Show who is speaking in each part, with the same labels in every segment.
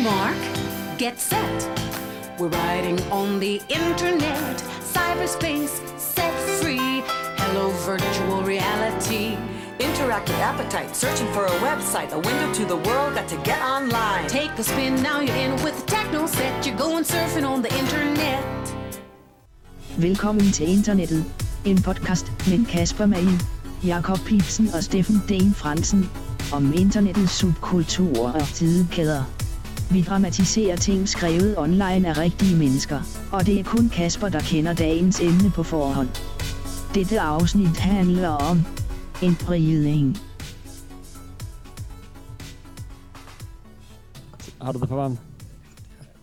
Speaker 1: mark, get set. We're riding on the internet, cyberspace set free. Hello, virtual reality.
Speaker 2: Interactive appetite, searching for a website, a window to the world, got to get online.
Speaker 1: Take a spin, now you're in with the techno set. You're going surfing on the internet.
Speaker 3: Velkommen til internettet. En podcast med Kasper Malin, Jakob Pipsen og Steffen Den Fransen. Om internettets subkulturer og tidekæder. Vi dramatiserer ting skrevet online af rigtige mennesker, og det er kun Kasper, der kender dagens emne på forhånd. Dette afsnit handler om en bridning.
Speaker 4: Har du det for varmt?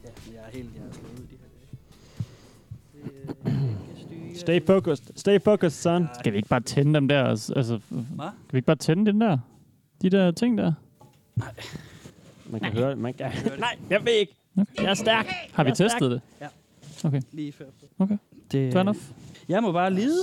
Speaker 5: Ja, men jeg er helt jeg er slået ud i de her dage. øh,
Speaker 4: Stay focused. Stay focused, son.
Speaker 6: Skal vi ikke bare tænde dem der? Altså, altså,
Speaker 5: Hvad?
Speaker 6: skal vi ikke bare tænde den der? De der ting der?
Speaker 4: Man kan høre det. Man kan... Nej, jeg ved ikke. Jeg er stærk.
Speaker 6: Har vi
Speaker 4: Jeg er
Speaker 6: testet det?
Speaker 5: Ja.
Speaker 6: Okay,
Speaker 5: Lige før.
Speaker 6: okay.
Speaker 5: Det,
Speaker 6: Fair enough.
Speaker 5: Jeg må bare lide.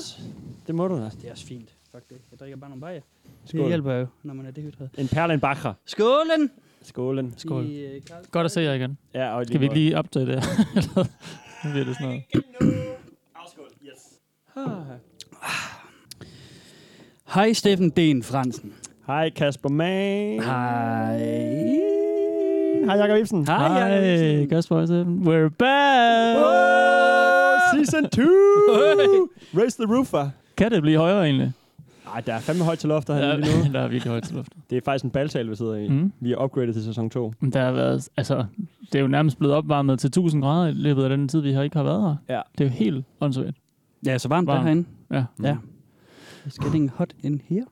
Speaker 4: Det må du da.
Speaker 5: Det er også fint. Fuck det. Jeg drikker bare nogle bajer.
Speaker 4: Skål.
Speaker 5: Det hjælper jo, når man er dehydreret.
Speaker 4: En perle, en bakker.
Speaker 5: Skålen!
Speaker 4: Skålen.
Speaker 6: Skål.
Speaker 5: I, øh, Carlsberg.
Speaker 6: Godt at se jer igen.
Speaker 4: Ja, og
Speaker 6: Skal vi ikke lige optage det? Eller hvad bliver det sådan noget?
Speaker 5: Hej Steffen Den Fransen.
Speaker 4: Hej, Kasper Mann.
Speaker 5: Hej.
Speaker 4: Hej, Jakob Ibsen.
Speaker 5: Hej, Jacob
Speaker 6: Hej,
Speaker 5: Ibsen.
Speaker 6: Kasper og Steffen. We're back!
Speaker 4: Season 2! Raise the roofer.
Speaker 6: Kan det blive højere egentlig?
Speaker 4: Ej, der er fandme højt til loftet
Speaker 6: Ja,
Speaker 4: her lige nu.
Speaker 6: der er virkelig højt til luften.
Speaker 4: Det er faktisk en baltal, vi sidder i.
Speaker 6: Mm.
Speaker 4: Vi er upgradet til sæson 2.
Speaker 6: Men Der har været, altså, det er jo nærmest blevet opvarmet til 1000 grader i løbet af den tid, vi har ikke har været her.
Speaker 4: Ja.
Speaker 6: Det er jo helt åndssvagt.
Speaker 5: Ja, så varmt der
Speaker 6: Varmt.
Speaker 5: herinde.
Speaker 6: Ja.
Speaker 4: Mm.
Speaker 5: Ja. It's getting hot in here.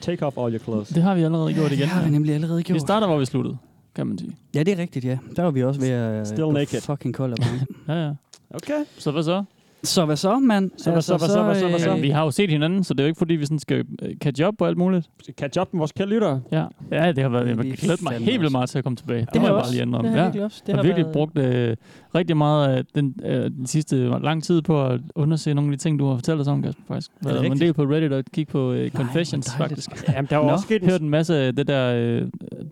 Speaker 4: Take off all your clothes.
Speaker 6: Det har vi allerede gjort igen.
Speaker 5: Det har vi nemlig allerede
Speaker 6: Vi
Speaker 5: gjort.
Speaker 6: starter, hvor vi sluttede, kan man sige.
Speaker 5: Ja, det er rigtigt, ja. Der var vi også ved at... øh,
Speaker 4: Still
Speaker 5: gå
Speaker 4: naked.
Speaker 5: Fucking kold og varmt.
Speaker 6: Ja, ja.
Speaker 4: Okay.
Speaker 6: Så hvad så?
Speaker 5: Så hvad så, mand? Altså, øh,
Speaker 4: Så hvad så, hvad så, hvad så, hvad så?
Speaker 6: Ja, vi har jo set hinanden, så det er jo ikke fordi, vi sådan skal øh, catch up på alt muligt.
Speaker 4: Catch up med vores kære lyttere.
Speaker 6: Ja, ja det har været, jeg
Speaker 5: Vi
Speaker 6: har glædet mig
Speaker 5: fandme
Speaker 6: helt vildt
Speaker 5: også.
Speaker 6: meget til at komme tilbage. Det,
Speaker 5: Det
Speaker 6: må
Speaker 5: har
Speaker 6: jeg
Speaker 5: jeg
Speaker 6: bare lige ændre om.
Speaker 5: Det har
Speaker 6: Ja.
Speaker 5: jeg virkelig også. Det
Speaker 6: jeg har virkelig
Speaker 5: været-
Speaker 6: brugt øh, rigtig meget af den, øh, den sidste lang tid på at undersøge nogle af de ting, du har fortalt os om, Kasper, faktisk. Jeg har en
Speaker 5: rigtigt?
Speaker 6: del på Reddit og kigge på øh, Confessions,
Speaker 5: hvor dejligt.
Speaker 6: faktisk.
Speaker 4: Jamen, der var
Speaker 6: Nå,
Speaker 4: også sket en
Speaker 6: hørt en masse af det der øh,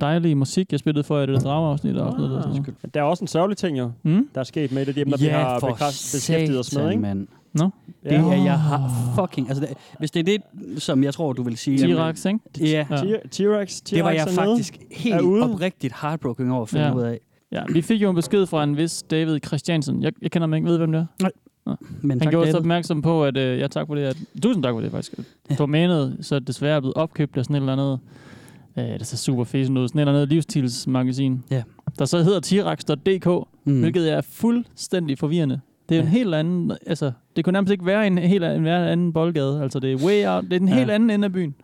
Speaker 6: dejlige musik, jeg spillede for jer, i det der drageafsnit og afsnit. Og sådan noget.
Speaker 4: Der er også en sørgelig ting jo,
Speaker 6: Mm?
Speaker 4: der er sket med et af de emner, vi har
Speaker 5: for
Speaker 4: bekræft- beskæftiget os med,
Speaker 5: satan,
Speaker 4: ikke?
Speaker 5: Mand.
Speaker 4: Ja.
Speaker 5: Det er, jeg har fucking... Altså, det, hvis det er det, som jeg tror, du vil sige...
Speaker 6: T-Rex, ikke?
Speaker 5: Ja,
Speaker 6: Ja.
Speaker 4: T- T-Rex, T-Rex
Speaker 5: det var jeg
Speaker 4: er nede.
Speaker 5: faktisk helt
Speaker 4: Er ude.
Speaker 5: oprigtigt heartbroken over at finde
Speaker 6: Ja.
Speaker 5: ud af.
Speaker 6: Ja, vi fik jo en besked fra en vis David Christiansen. Jeg, jeg kender ham ikke, ved I, hvem det er.
Speaker 5: Men
Speaker 6: Han
Speaker 5: tak,
Speaker 6: gjorde os
Speaker 5: David.
Speaker 6: opmærksom på, at øh, jeg tak for det. At, tusind tak for det, faktisk. Ja. Domænet så desværre er blevet opkøbt af sådan et eller andet. Øh, det ser super fesen ud. Sådan et eller andet livsstilsmagasin.
Speaker 5: Ja.
Speaker 6: Der så hedder tirax.dk, mm.
Speaker 5: Mm.
Speaker 6: hvilket er fuldstændig forvirrende. Det er jo en
Speaker 5: Ja.
Speaker 6: helt anden... Altså, det kunne nærmest ikke være en helt anden, være en anden boldgade. Altså, det er way out. Det er den
Speaker 5: Ja.
Speaker 6: helt anden ende af byen.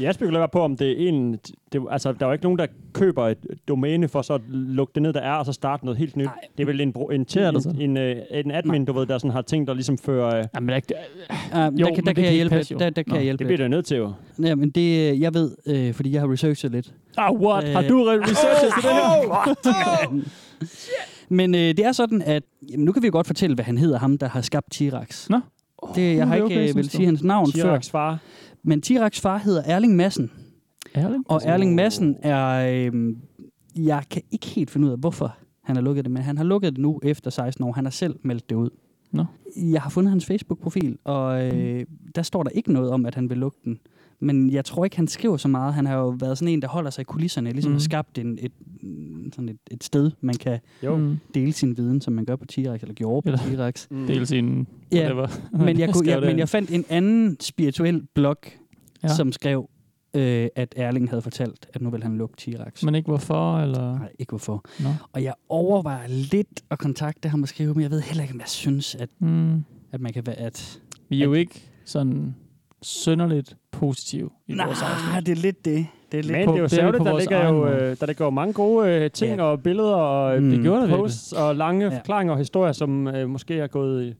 Speaker 4: Jeg spekulerer bare på, om det er en... Det, altså, der er jo ikke nogen, der køber et domæne for så at lukke det ned, der er, og så starte noget helt nyt. Nej. Det er vel en, bro- en,
Speaker 6: er der
Speaker 4: en,
Speaker 6: så.
Speaker 4: en, en, øh, en admin, du ved, der sådan har ting, der ligesom fører... Øh,
Speaker 6: Jamen, der er ikke,
Speaker 5: Ah,
Speaker 6: Jo,
Speaker 5: der
Speaker 6: men
Speaker 5: kan,
Speaker 6: det
Speaker 5: der kan
Speaker 6: kan
Speaker 5: jeg
Speaker 6: ikke
Speaker 5: hjælpe.
Speaker 6: passe, jo.
Speaker 5: Der, der kan
Speaker 6: Nå,
Speaker 5: jeg
Speaker 4: det
Speaker 5: hjælpe.
Speaker 4: bliver du nødt til jo.
Speaker 5: Ja, men det, øh, jeg ved, øh, fordi jeg har researchet lidt.
Speaker 4: Ah, what?
Speaker 5: Øh,
Speaker 4: har du re- researchet til det her?
Speaker 5: Men øh, det er sådan, at jamen, nu kan vi jo godt fortælle, hvad han hedder, ham, der har skabt T-Rex.
Speaker 6: Nå.
Speaker 5: Det,
Speaker 6: er
Speaker 5: jeg har
Speaker 6: det
Speaker 5: ikke
Speaker 6: okay,
Speaker 5: okay, vil
Speaker 6: synes du?
Speaker 5: sige hans navn før.
Speaker 4: T-Rex far.
Speaker 5: Men T-Rex far hedder Erling Madsen.
Speaker 6: Ærligt?
Speaker 5: Og Erling Madsen er... Øh, jeg kan ikke helt finde ud af, hvorfor han har lukket det, men han har lukket det nu efter 16 år. Han har selv meldt det ud.
Speaker 6: Nå. Mm.
Speaker 5: Jeg har fundet hans Facebook-profil, og øh, der står der ikke noget om, at han vil lukke den. Men jeg tror ikke, han skriver så meget. Han har jo været sådan en, der holder sig i kulisserne, ligesom mm.
Speaker 6: Mhm.
Speaker 5: har skabt en, et, mm, sådan et, et sted, man kan
Speaker 4: Jo.
Speaker 6: Mm.
Speaker 5: dele sin viden, som man gør på T-Rex, eller gjorde på
Speaker 6: Eller-
Speaker 5: T-Rex.
Speaker 4: Mm.
Speaker 6: Del sin...
Speaker 5: Ja,
Speaker 6: whatever.
Speaker 5: Men jeg, kunne,
Speaker 6: Skrev
Speaker 5: jeg, men
Speaker 6: det.
Speaker 5: jeg fandt en anden spirituel blog,
Speaker 6: Ja.
Speaker 5: ja. som skrev, øh, at Erling havde fortalt, at nu vil han lukke T-Rex.
Speaker 6: Men ikke hvorfor, eller...
Speaker 5: Nej, ikke hvorfor.
Speaker 6: Nå.
Speaker 5: Og jeg overvejer lidt at kontakte ham og skrive, men jeg ved heller ikke, om jeg synes, at,
Speaker 6: Mm.
Speaker 5: at man kan være... At...
Speaker 6: Vi er jo ikke sådan sønderligt positive i
Speaker 5: Nej,
Speaker 6: vores afsnit.
Speaker 5: det er lidt det. Det er lidt...
Speaker 4: Men
Speaker 6: på-
Speaker 4: det er jo
Speaker 6: det er
Speaker 4: særligt,
Speaker 6: på
Speaker 4: der
Speaker 6: vores
Speaker 4: ligger
Speaker 6: egen
Speaker 4: jo,
Speaker 6: måde.
Speaker 4: øh, der ligger jo mange gode øh, ting
Speaker 5: Ja.
Speaker 4: og billeder og
Speaker 5: Mm.
Speaker 4: mm.
Speaker 5: Det gjorde
Speaker 6: der virkelig.
Speaker 4: posts og lange
Speaker 5: Ja.
Speaker 4: forklaringer og historier, som øh, måske er gået i
Speaker 6: Jamen,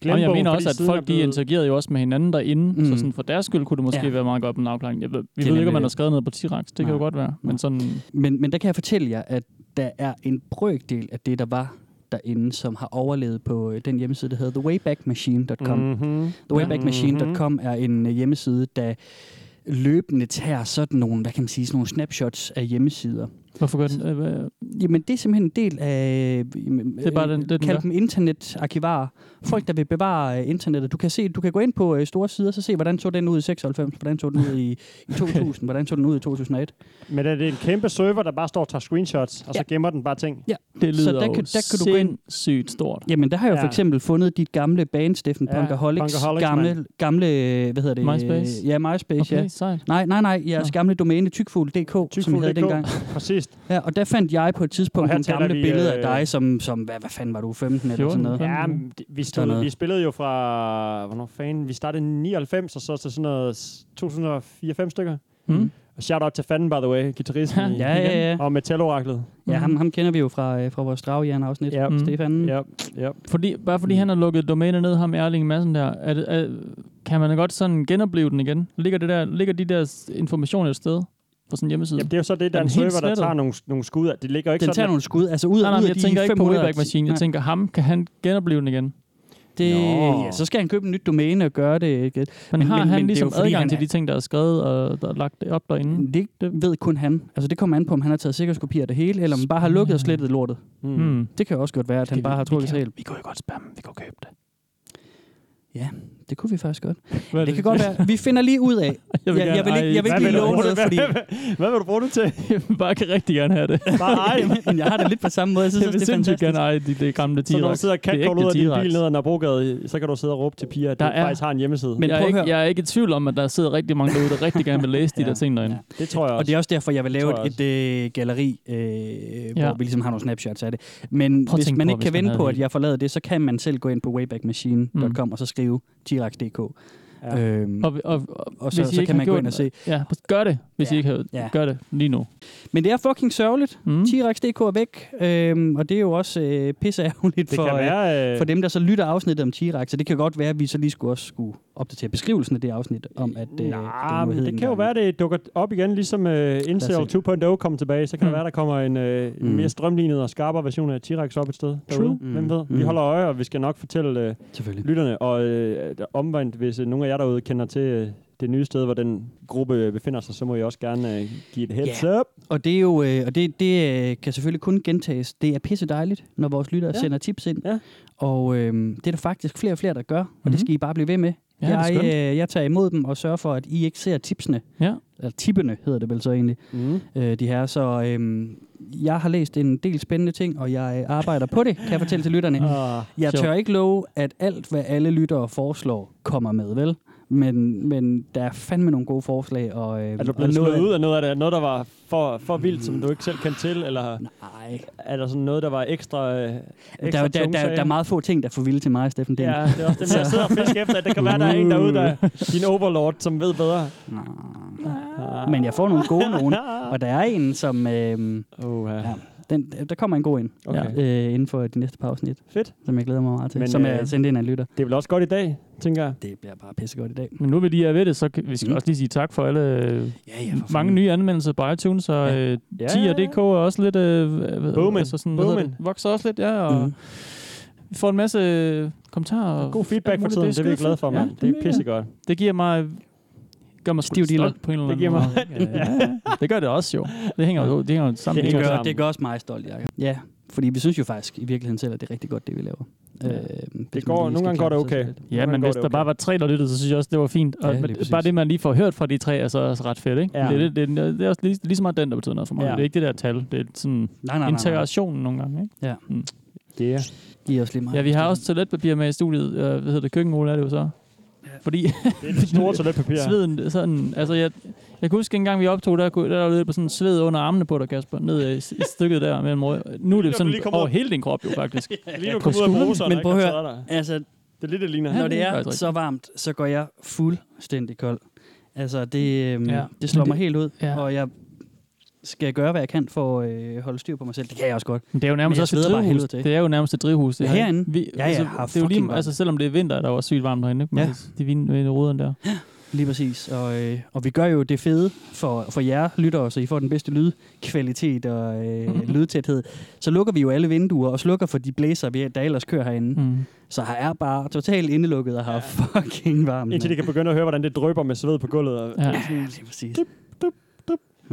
Speaker 4: glemmebogen.
Speaker 6: jeg mener
Speaker 4: fordi
Speaker 6: også, at
Speaker 4: siden er
Speaker 6: folk de
Speaker 4: blevet-
Speaker 6: interagerede jo også med hinanden derinde, mm. så
Speaker 5: Mm.
Speaker 6: sådan for deres skyld kunne det måske ja.
Speaker 5: Ja.
Speaker 6: være meget godt med en afklaring. Jeg ved, vi
Speaker 5: er
Speaker 6: ved ikke, om
Speaker 5: nemlig
Speaker 6: man har
Speaker 5: det.
Speaker 6: skrevet noget på T-Rex. Det kan
Speaker 5: Nej.
Speaker 6: jo godt være. Men
Speaker 5: Nej.
Speaker 6: sådan,
Speaker 5: Men, men der kan jeg fortælle jer, at der er en brøkdel af det, der var derinde, som har overlevet på øh, den hjemmeside, der hedder thewaybackmachine.com. Mm.
Speaker 4: Mhm.
Speaker 5: Thewaybackmachine.com
Speaker 6: Mm-hmm.
Speaker 5: er en øh, hjemmeside, der løbende tager sådan nogle, hvad kan man sige, sådan nogle snapshots af hjemmesider.
Speaker 6: Hvorfor gør den? Øh, hvad-
Speaker 5: Jamen, det er simpelthen en del af... Jamen,
Speaker 6: Det er bare den- det, den gør.
Speaker 5: Kald dem internetarkivarer. Folk, der vil bevare øh, internettet. Du kan, se, du kan gå ind på øh, store sider, så se, hvordan så den ud i 96, hvordan så den ud i, i 2000, hvordan så den ud i 2001.
Speaker 4: Men er det en kæmpe server, der bare står og tager screenshots, og så gemmer den bare ting?
Speaker 6: Det lyder
Speaker 5: Så der kan- der kan du gå ind-
Speaker 6: sindssygt stort.
Speaker 5: Jamen, der har jeg jo
Speaker 4: Ja.
Speaker 5: for eksempel fundet dit gamle band, Steffen
Speaker 4: Ja,
Speaker 5: ja, Punkaholics,
Speaker 4: Punkaholics,
Speaker 5: gamle, gamle, øh, hvad hedder det?
Speaker 6: MySpace?
Speaker 5: Øh, Ja, MySpace, okay.
Speaker 6: Okay,
Speaker 5: ja.
Speaker 6: sejt.
Speaker 5: Nej, nej, nej, jeres
Speaker 6: Nå.
Speaker 5: gamle domæne tykfugl.dk, som I havde
Speaker 4: Tykfugl.dk.
Speaker 5: dengang.
Speaker 4: Præcis.
Speaker 5: Ja, og der fandt jeg på et
Speaker 4: Og
Speaker 5: tidspunkt
Speaker 4: her
Speaker 5: nogle
Speaker 4: taler
Speaker 5: gamle
Speaker 4: vi,
Speaker 5: vi, billeder af
Speaker 4: øh,
Speaker 5: dig, som, som hvad, hvad fanden var du, 15 eller sådan
Speaker 6: 14,
Speaker 5: noget?
Speaker 6: ja.
Speaker 4: Ja,
Speaker 6: Sådan
Speaker 4: men det- vi,
Speaker 5: Sådan
Speaker 4: stod,
Speaker 5: noget.
Speaker 4: vi spillede jo fra, hvornår fanden, vi startede i 99, og så til sådan noget 2004-5 stykker.
Speaker 6: Mm.
Speaker 4: Og shout out til fanden, by the way, guitaristen i-
Speaker 5: Ja, ja, ja.
Speaker 4: og Metal-oraklet.
Speaker 5: Ja,
Speaker 6: Mhm.
Speaker 5: ham, ham kender vi jo fra, øh, fra vores dragjern-afsnit,
Speaker 4: Ja.
Speaker 5: ja.
Speaker 6: Mm.
Speaker 5: Stefan. Mhm. Ja.
Speaker 4: Ja, ja.
Speaker 6: Fordi, bare fordi han har lukket domæner ned, ham Erling Madsen der, er det, er, kan man godt sådan genopleve den igen? Ligger, det der, ligger de der s- informationer et sted på sådan en hjemmeside?
Speaker 4: Jamen, det er jo så det, der er
Speaker 6: Er
Speaker 4: en
Speaker 6: den helt
Speaker 4: server, der
Speaker 6: slettet?
Speaker 4: tager nogle, nogle skud af. Det ligger jo ikke
Speaker 5: Den tager
Speaker 4: sådan,
Speaker 5: nogle skud, altså ud,
Speaker 6: nej, nej,
Speaker 5: ud
Speaker 6: men
Speaker 5: af
Speaker 6: jeg
Speaker 5: de
Speaker 6: tænker ikke på
Speaker 5: 500
Speaker 6: Wayback Machine. Jeg
Speaker 5: Nej,
Speaker 6: tænker, ham, kan han genopleve den igen?
Speaker 5: Det,
Speaker 4: Nå.
Speaker 5: ja, så skal han købe et nyt domæne og gøre det. ikke?
Speaker 6: Men, men har
Speaker 5: men-
Speaker 6: han
Speaker 5: men det er
Speaker 6: ligesom
Speaker 5: jo fordi,
Speaker 6: adgang
Speaker 5: han
Speaker 6: til
Speaker 5: er- Mm,
Speaker 6: de ting, der er skrevet og der er lagt op derinde?
Speaker 5: Det, det ved kun han. Altså, det kommer an på, om han har taget sikkerhedskopier af det hele, eller om han bare har lukket og slettet lortet.
Speaker 4: mm.
Speaker 6: Mm.
Speaker 5: Det kan jo også godt være, at han bare har trukket sig helt.
Speaker 6: Vi kunne jo godt spørge dem, vi kunne købe det.
Speaker 5: Det kunne vi faktisk godt.
Speaker 6: Hvad er
Speaker 5: Det kan godt være. Vi finder lige ud af.
Speaker 6: Jeg vil,
Speaker 5: Jeg-
Speaker 6: gerne,
Speaker 5: jeg vil ikke- jeg vil
Speaker 6: ej,
Speaker 5: ikke
Speaker 4: Hvad vil,
Speaker 5: lige
Speaker 4: du
Speaker 5: love
Speaker 4: bruge det,
Speaker 5: noget,
Speaker 4: hvad,
Speaker 5: fordi-
Speaker 4: hvad, hvad vil du bruge det til?
Speaker 6: jeg vil bare kan rigtig gerne have det.
Speaker 4: Bare ej.
Speaker 5: Men jeg har det lidt på samme måde. Jeg synes,
Speaker 6: Jeg
Speaker 5: også,
Speaker 6: vil
Speaker 5: det er
Speaker 6: sindssygt
Speaker 5: fantastisk.
Speaker 6: gerne eje de, de gamle
Speaker 4: Så når du
Speaker 6: T-Rex.
Speaker 4: sidder og kan
Speaker 6: Det er
Speaker 4: ud af
Speaker 6: ægte
Speaker 4: din
Speaker 6: T-Rex.
Speaker 4: bil ned ad Nabrogade, så kan du sidde og råbe til piger, at du
Speaker 6: Der er-
Speaker 4: faktisk har en hjemmeside.
Speaker 5: Men
Speaker 4: Men,
Speaker 6: jeg,
Speaker 5: prøv
Speaker 6: er
Speaker 5: at
Speaker 6: ikke,
Speaker 5: høre.
Speaker 6: jeg er ikke i tvivl om, at der sidder rigtig mange derude, der rigtig gerne vil læse de der ting derinde.
Speaker 5: Ja.
Speaker 4: det tror jeg også.
Speaker 5: Og det er også derfor, jeg vil lave
Speaker 4: Tror jeg
Speaker 5: et, et øh, galleri, øh, ja. hvor vi ligesom har nogle snapshots af det. Men
Speaker 6: Prøv at
Speaker 5: hvis
Speaker 6: tænke
Speaker 5: man
Speaker 6: på,
Speaker 5: ikke
Speaker 6: hvis
Speaker 5: kan
Speaker 6: man
Speaker 5: vende
Speaker 6: havde
Speaker 5: på, at
Speaker 6: det.
Speaker 5: jeg forlader det, så kan man selv gå ind på waybackmachine.com og så skrive tirax.dk.
Speaker 4: Ja.
Speaker 5: Øhm,
Speaker 6: Og, og, og,
Speaker 5: og så,
Speaker 6: hvis I
Speaker 5: så
Speaker 6: ikke
Speaker 5: kan
Speaker 6: har
Speaker 5: man gå
Speaker 6: gjort
Speaker 5: ind og se.
Speaker 6: ja, gør det, hvis
Speaker 5: Ja.
Speaker 6: I ikke har
Speaker 5: Ja.
Speaker 6: gør det lige nu.
Speaker 5: Men det er fucking sørgeligt.
Speaker 6: Mm.
Speaker 5: T-Rex.dk er væk, øhm, og det er jo også øh, pisseærgerligt
Speaker 4: det
Speaker 5: for,
Speaker 4: kan
Speaker 5: øh,
Speaker 4: være... øh,
Speaker 5: for dem, der så lytter afsnittet om T-Rex. Så det kan godt være, at vi så lige skulle også skulle opdatere beskrivelsen af det afsnit, om at øh,
Speaker 4: Nej,
Speaker 5: nu
Speaker 4: men
Speaker 5: hed
Speaker 4: det
Speaker 5: en
Speaker 4: kan jo
Speaker 5: gang.
Speaker 4: være, det dukker op igen, ligesom uh, Incel
Speaker 5: Lad os se.
Speaker 4: 2.0 kommer tilbage. Så kan mm.
Speaker 6: Mm.
Speaker 4: det være, der kommer en uh,
Speaker 5: Mm.
Speaker 4: mere strømlignet og skarpere version af T-Rex op et sted. True.
Speaker 5: Mm.
Speaker 4: Hvem ved? Vi
Speaker 5: Mm.
Speaker 4: holder øje, og vi skal nok fortælle uh,
Speaker 5: Selvfølgelig.
Speaker 4: lytterne. Og uh, omvendt, hvis uh, nogen af jer derude kender til uh, det nye sted, hvor den gruppe øh, befinder sig, så må I også gerne uh, give et heads
Speaker 5: Ja.
Speaker 4: yeah. up.
Speaker 5: Og det er jo, øh, og det, det øh, kan selvfølgelig kun gentages. Det er pisse dejligt, når vores lyttere
Speaker 4: Ja.
Speaker 5: ja. sender tips ind.
Speaker 4: Ja.
Speaker 5: Og øh, det er der faktisk flere og flere, der gør, og mm-hmm.
Speaker 6: Mhm.
Speaker 5: det skal I bare blive ved med.
Speaker 6: Ja, det er
Speaker 5: jeg,
Speaker 6: skønt.
Speaker 5: øh, jeg tager imod dem og sørger for, at I ikke ser tipsene.
Speaker 6: Ja. Mhm.
Speaker 5: Eller tippene hedder det vel så egentlig,
Speaker 4: Mm.
Speaker 5: øh, de her. Så øh, jeg har læst en del spændende ting, og jeg øh, arbejder på det, kan jeg fortælle til lytterne.
Speaker 4: Uh,
Speaker 5: Jeg
Speaker 6: Ah, Sjovt.
Speaker 5: tør ikke love, at alt, hvad alle lyttere foreslår, kommer med, vel? Men, men der er fandme nogle gode forslag. Og, øh,
Speaker 4: er du
Speaker 5: og
Speaker 4: blevet
Speaker 5: noget
Speaker 4: slået
Speaker 5: af-
Speaker 4: ud af noget af det? Noget, der var for, for vildt, som du ikke selv kendte til? Eller
Speaker 5: Nej,
Speaker 4: er der sådan noget, der var ekstra, øh, ekstra
Speaker 5: Der, er jo- der, der,
Speaker 4: tungsag?
Speaker 5: der er meget få ting, der får vilde til mig, Steffen Ding.
Speaker 4: Ja, det er også dem, jeg sidder og fisker efter. at Det kan være, der er
Speaker 5: Uh.
Speaker 4: en derude, der er din overlord, som ved bedre. Ah.
Speaker 5: Men jeg får nogle gode nogen, og der er en, som... Øh,
Speaker 4: Oh, ja.
Speaker 5: ja, den, der kommer en god en
Speaker 4: Okay.
Speaker 5: ja, øh, inden for de næste par afsnit,
Speaker 4: Fedt.
Speaker 5: som jeg glæder mig meget til,
Speaker 4: Men,
Speaker 5: Men, som
Speaker 4: øh,
Speaker 5: er sendt ind af en lytter.
Speaker 4: Det er vel også godt i dag, tænker jeg.
Speaker 5: Det bliver bare pissegodt i dag.
Speaker 6: Men nu vil de er ved det, så kan, vi skal
Speaker 5: Mm.
Speaker 6: også lige sige tak for alle øh,
Speaker 5: Ja, ja,
Speaker 6: mange nye anmeldelser på iTunes, og øh,
Speaker 4: Ja,
Speaker 6: Tia.dk er også lidt... Øh, hvad-
Speaker 4: Booming.
Speaker 6: Altså sådan, hvad hedder
Speaker 4: Booming.
Speaker 6: det? Vokser også lidt, ja, og
Speaker 5: Mm.
Speaker 6: vi får en masse øh, kommentarer. og
Speaker 4: God feedback for
Speaker 6: alt muligt.
Speaker 4: tiden, det er vi
Speaker 6: skide
Speaker 4: glade
Speaker 6: fedt.
Speaker 4: for, mand.
Speaker 6: Ja,
Speaker 4: Det er pissegodt.
Speaker 6: Det giver mig gør mig sgu
Speaker 5: Stiv
Speaker 6: lidt stolt
Speaker 5: diller.
Speaker 6: på en eller
Speaker 4: Det giver
Speaker 6: anden
Speaker 4: mig-
Speaker 6: måde. Ja, ja. Det gør det også jo. Det hænger jo, det hænger jo sammen.
Speaker 4: Det
Speaker 5: Det,
Speaker 4: hænger
Speaker 5: gør,
Speaker 4: sammen.
Speaker 5: det gør også mig stolt, Jacob. Ja, fordi vi synes jo faktisk i virkeligheden selv, at det er rigtig godt, det vi laver.
Speaker 6: Ja.
Speaker 5: Øh, hvis man lige
Speaker 4: går- nogle
Speaker 5: skal
Speaker 4: gange går
Speaker 5: klappe
Speaker 4: det
Speaker 5: sig selv
Speaker 4: okay.
Speaker 5: lidt.
Speaker 6: Ja,
Speaker 4: Hvordan
Speaker 6: men
Speaker 4: går
Speaker 6: hvis
Speaker 4: det
Speaker 6: der
Speaker 4: okay?
Speaker 6: bare var tre, der lyttede, så synes jeg også, det var fint. Og
Speaker 5: Ja,
Speaker 6: ja,
Speaker 5: lige præcis.
Speaker 6: bare det, man lige får hørt fra de tre, er så også ret fedt, ikke?
Speaker 4: Ja.
Speaker 6: Ja. Det, er det, det, er- det er også lige, lige så meget den, der betyder noget for mig.
Speaker 4: Ja.
Speaker 6: Ja. Det er ikke det der tal. Det er sådan
Speaker 5: Nej, nej, nej, nej.
Speaker 6: integrationen nogle gange, ikke?
Speaker 4: Yeah.
Speaker 5: I er også lige meget.
Speaker 6: Ja, vi har også toiletpapir med i studiet. Øh, Hvad hedder det? Køkkenrulle er det jo så. Fordi
Speaker 4: Det er det store toiletpapir.
Speaker 6: sveden, sådan, altså jeg, jeg kan huske en gang, vi optog, der, kunne- der var lidt på sådan sved under armene på dig, Kasper, ned i s- i stykket der mellem rø- Nu er det
Speaker 4: Lige
Speaker 6: jo
Speaker 4: når du lige
Speaker 6: sådan
Speaker 4: kommer
Speaker 6: over
Speaker 4: ud.
Speaker 6: hele din krop jo faktisk.
Speaker 4: Lige nu
Speaker 6: På
Speaker 4: kom ud af
Speaker 6: skulderen.
Speaker 4: bruseren,
Speaker 5: Men
Speaker 4: ikke?
Speaker 5: prøv at
Speaker 4: Og
Speaker 5: høre.
Speaker 4: så er der-
Speaker 5: Altså,
Speaker 4: Det er lidt, det ligner.
Speaker 5: Når det
Speaker 6: det er
Speaker 5: er
Speaker 6: faktisk
Speaker 5: så varmt, så går jeg fuldstændig kold. Altså, det, øhm,
Speaker 6: Ja.
Speaker 5: ja. det slår
Speaker 6: Men
Speaker 5: mig
Speaker 6: det-
Speaker 5: helt ud,
Speaker 6: ja.
Speaker 5: ja. og jeg skal gøre, hvad jeg kan for at øh, holde styr på mig selv. Det kan jeg også godt.
Speaker 6: Men det er jo
Speaker 5: Men
Speaker 6: nærmest
Speaker 5: jeg
Speaker 6: også et
Speaker 5: sveder bare
Speaker 6: drivhus.
Speaker 5: helvede til.
Speaker 6: Det er jo nærmest et drivhus. Det
Speaker 5: Ja, herinde.
Speaker 6: Vi,
Speaker 5: Ja, ah, ja, har
Speaker 6: det er jo
Speaker 5: fucking
Speaker 6: lige,
Speaker 5: varmt.
Speaker 6: altså, selvom det er vinter, er der jo også sygt varmt herinde. Ikke? Men
Speaker 5: Ja.
Speaker 6: det- De vinde ved ruderne der.
Speaker 5: Lige præcis. Og, øh, og vi gør jo det fede for, for jer lyttere, så I får den bedste lydkvalitet og øh, lydtæthed. Så lukker vi jo alle vinduer og slukker for de blæser, vi, der ellers kører herinde. Mm.
Speaker 6: Mm.
Speaker 5: Så her er bare totalt indelukket og har fucking varmt.
Speaker 4: Indtil de
Speaker 5: mand.
Speaker 4: kan begynde at høre, hvordan det drøber med sved på gulvet. Og
Speaker 6: Ja.
Speaker 5: Ja, lige præcis.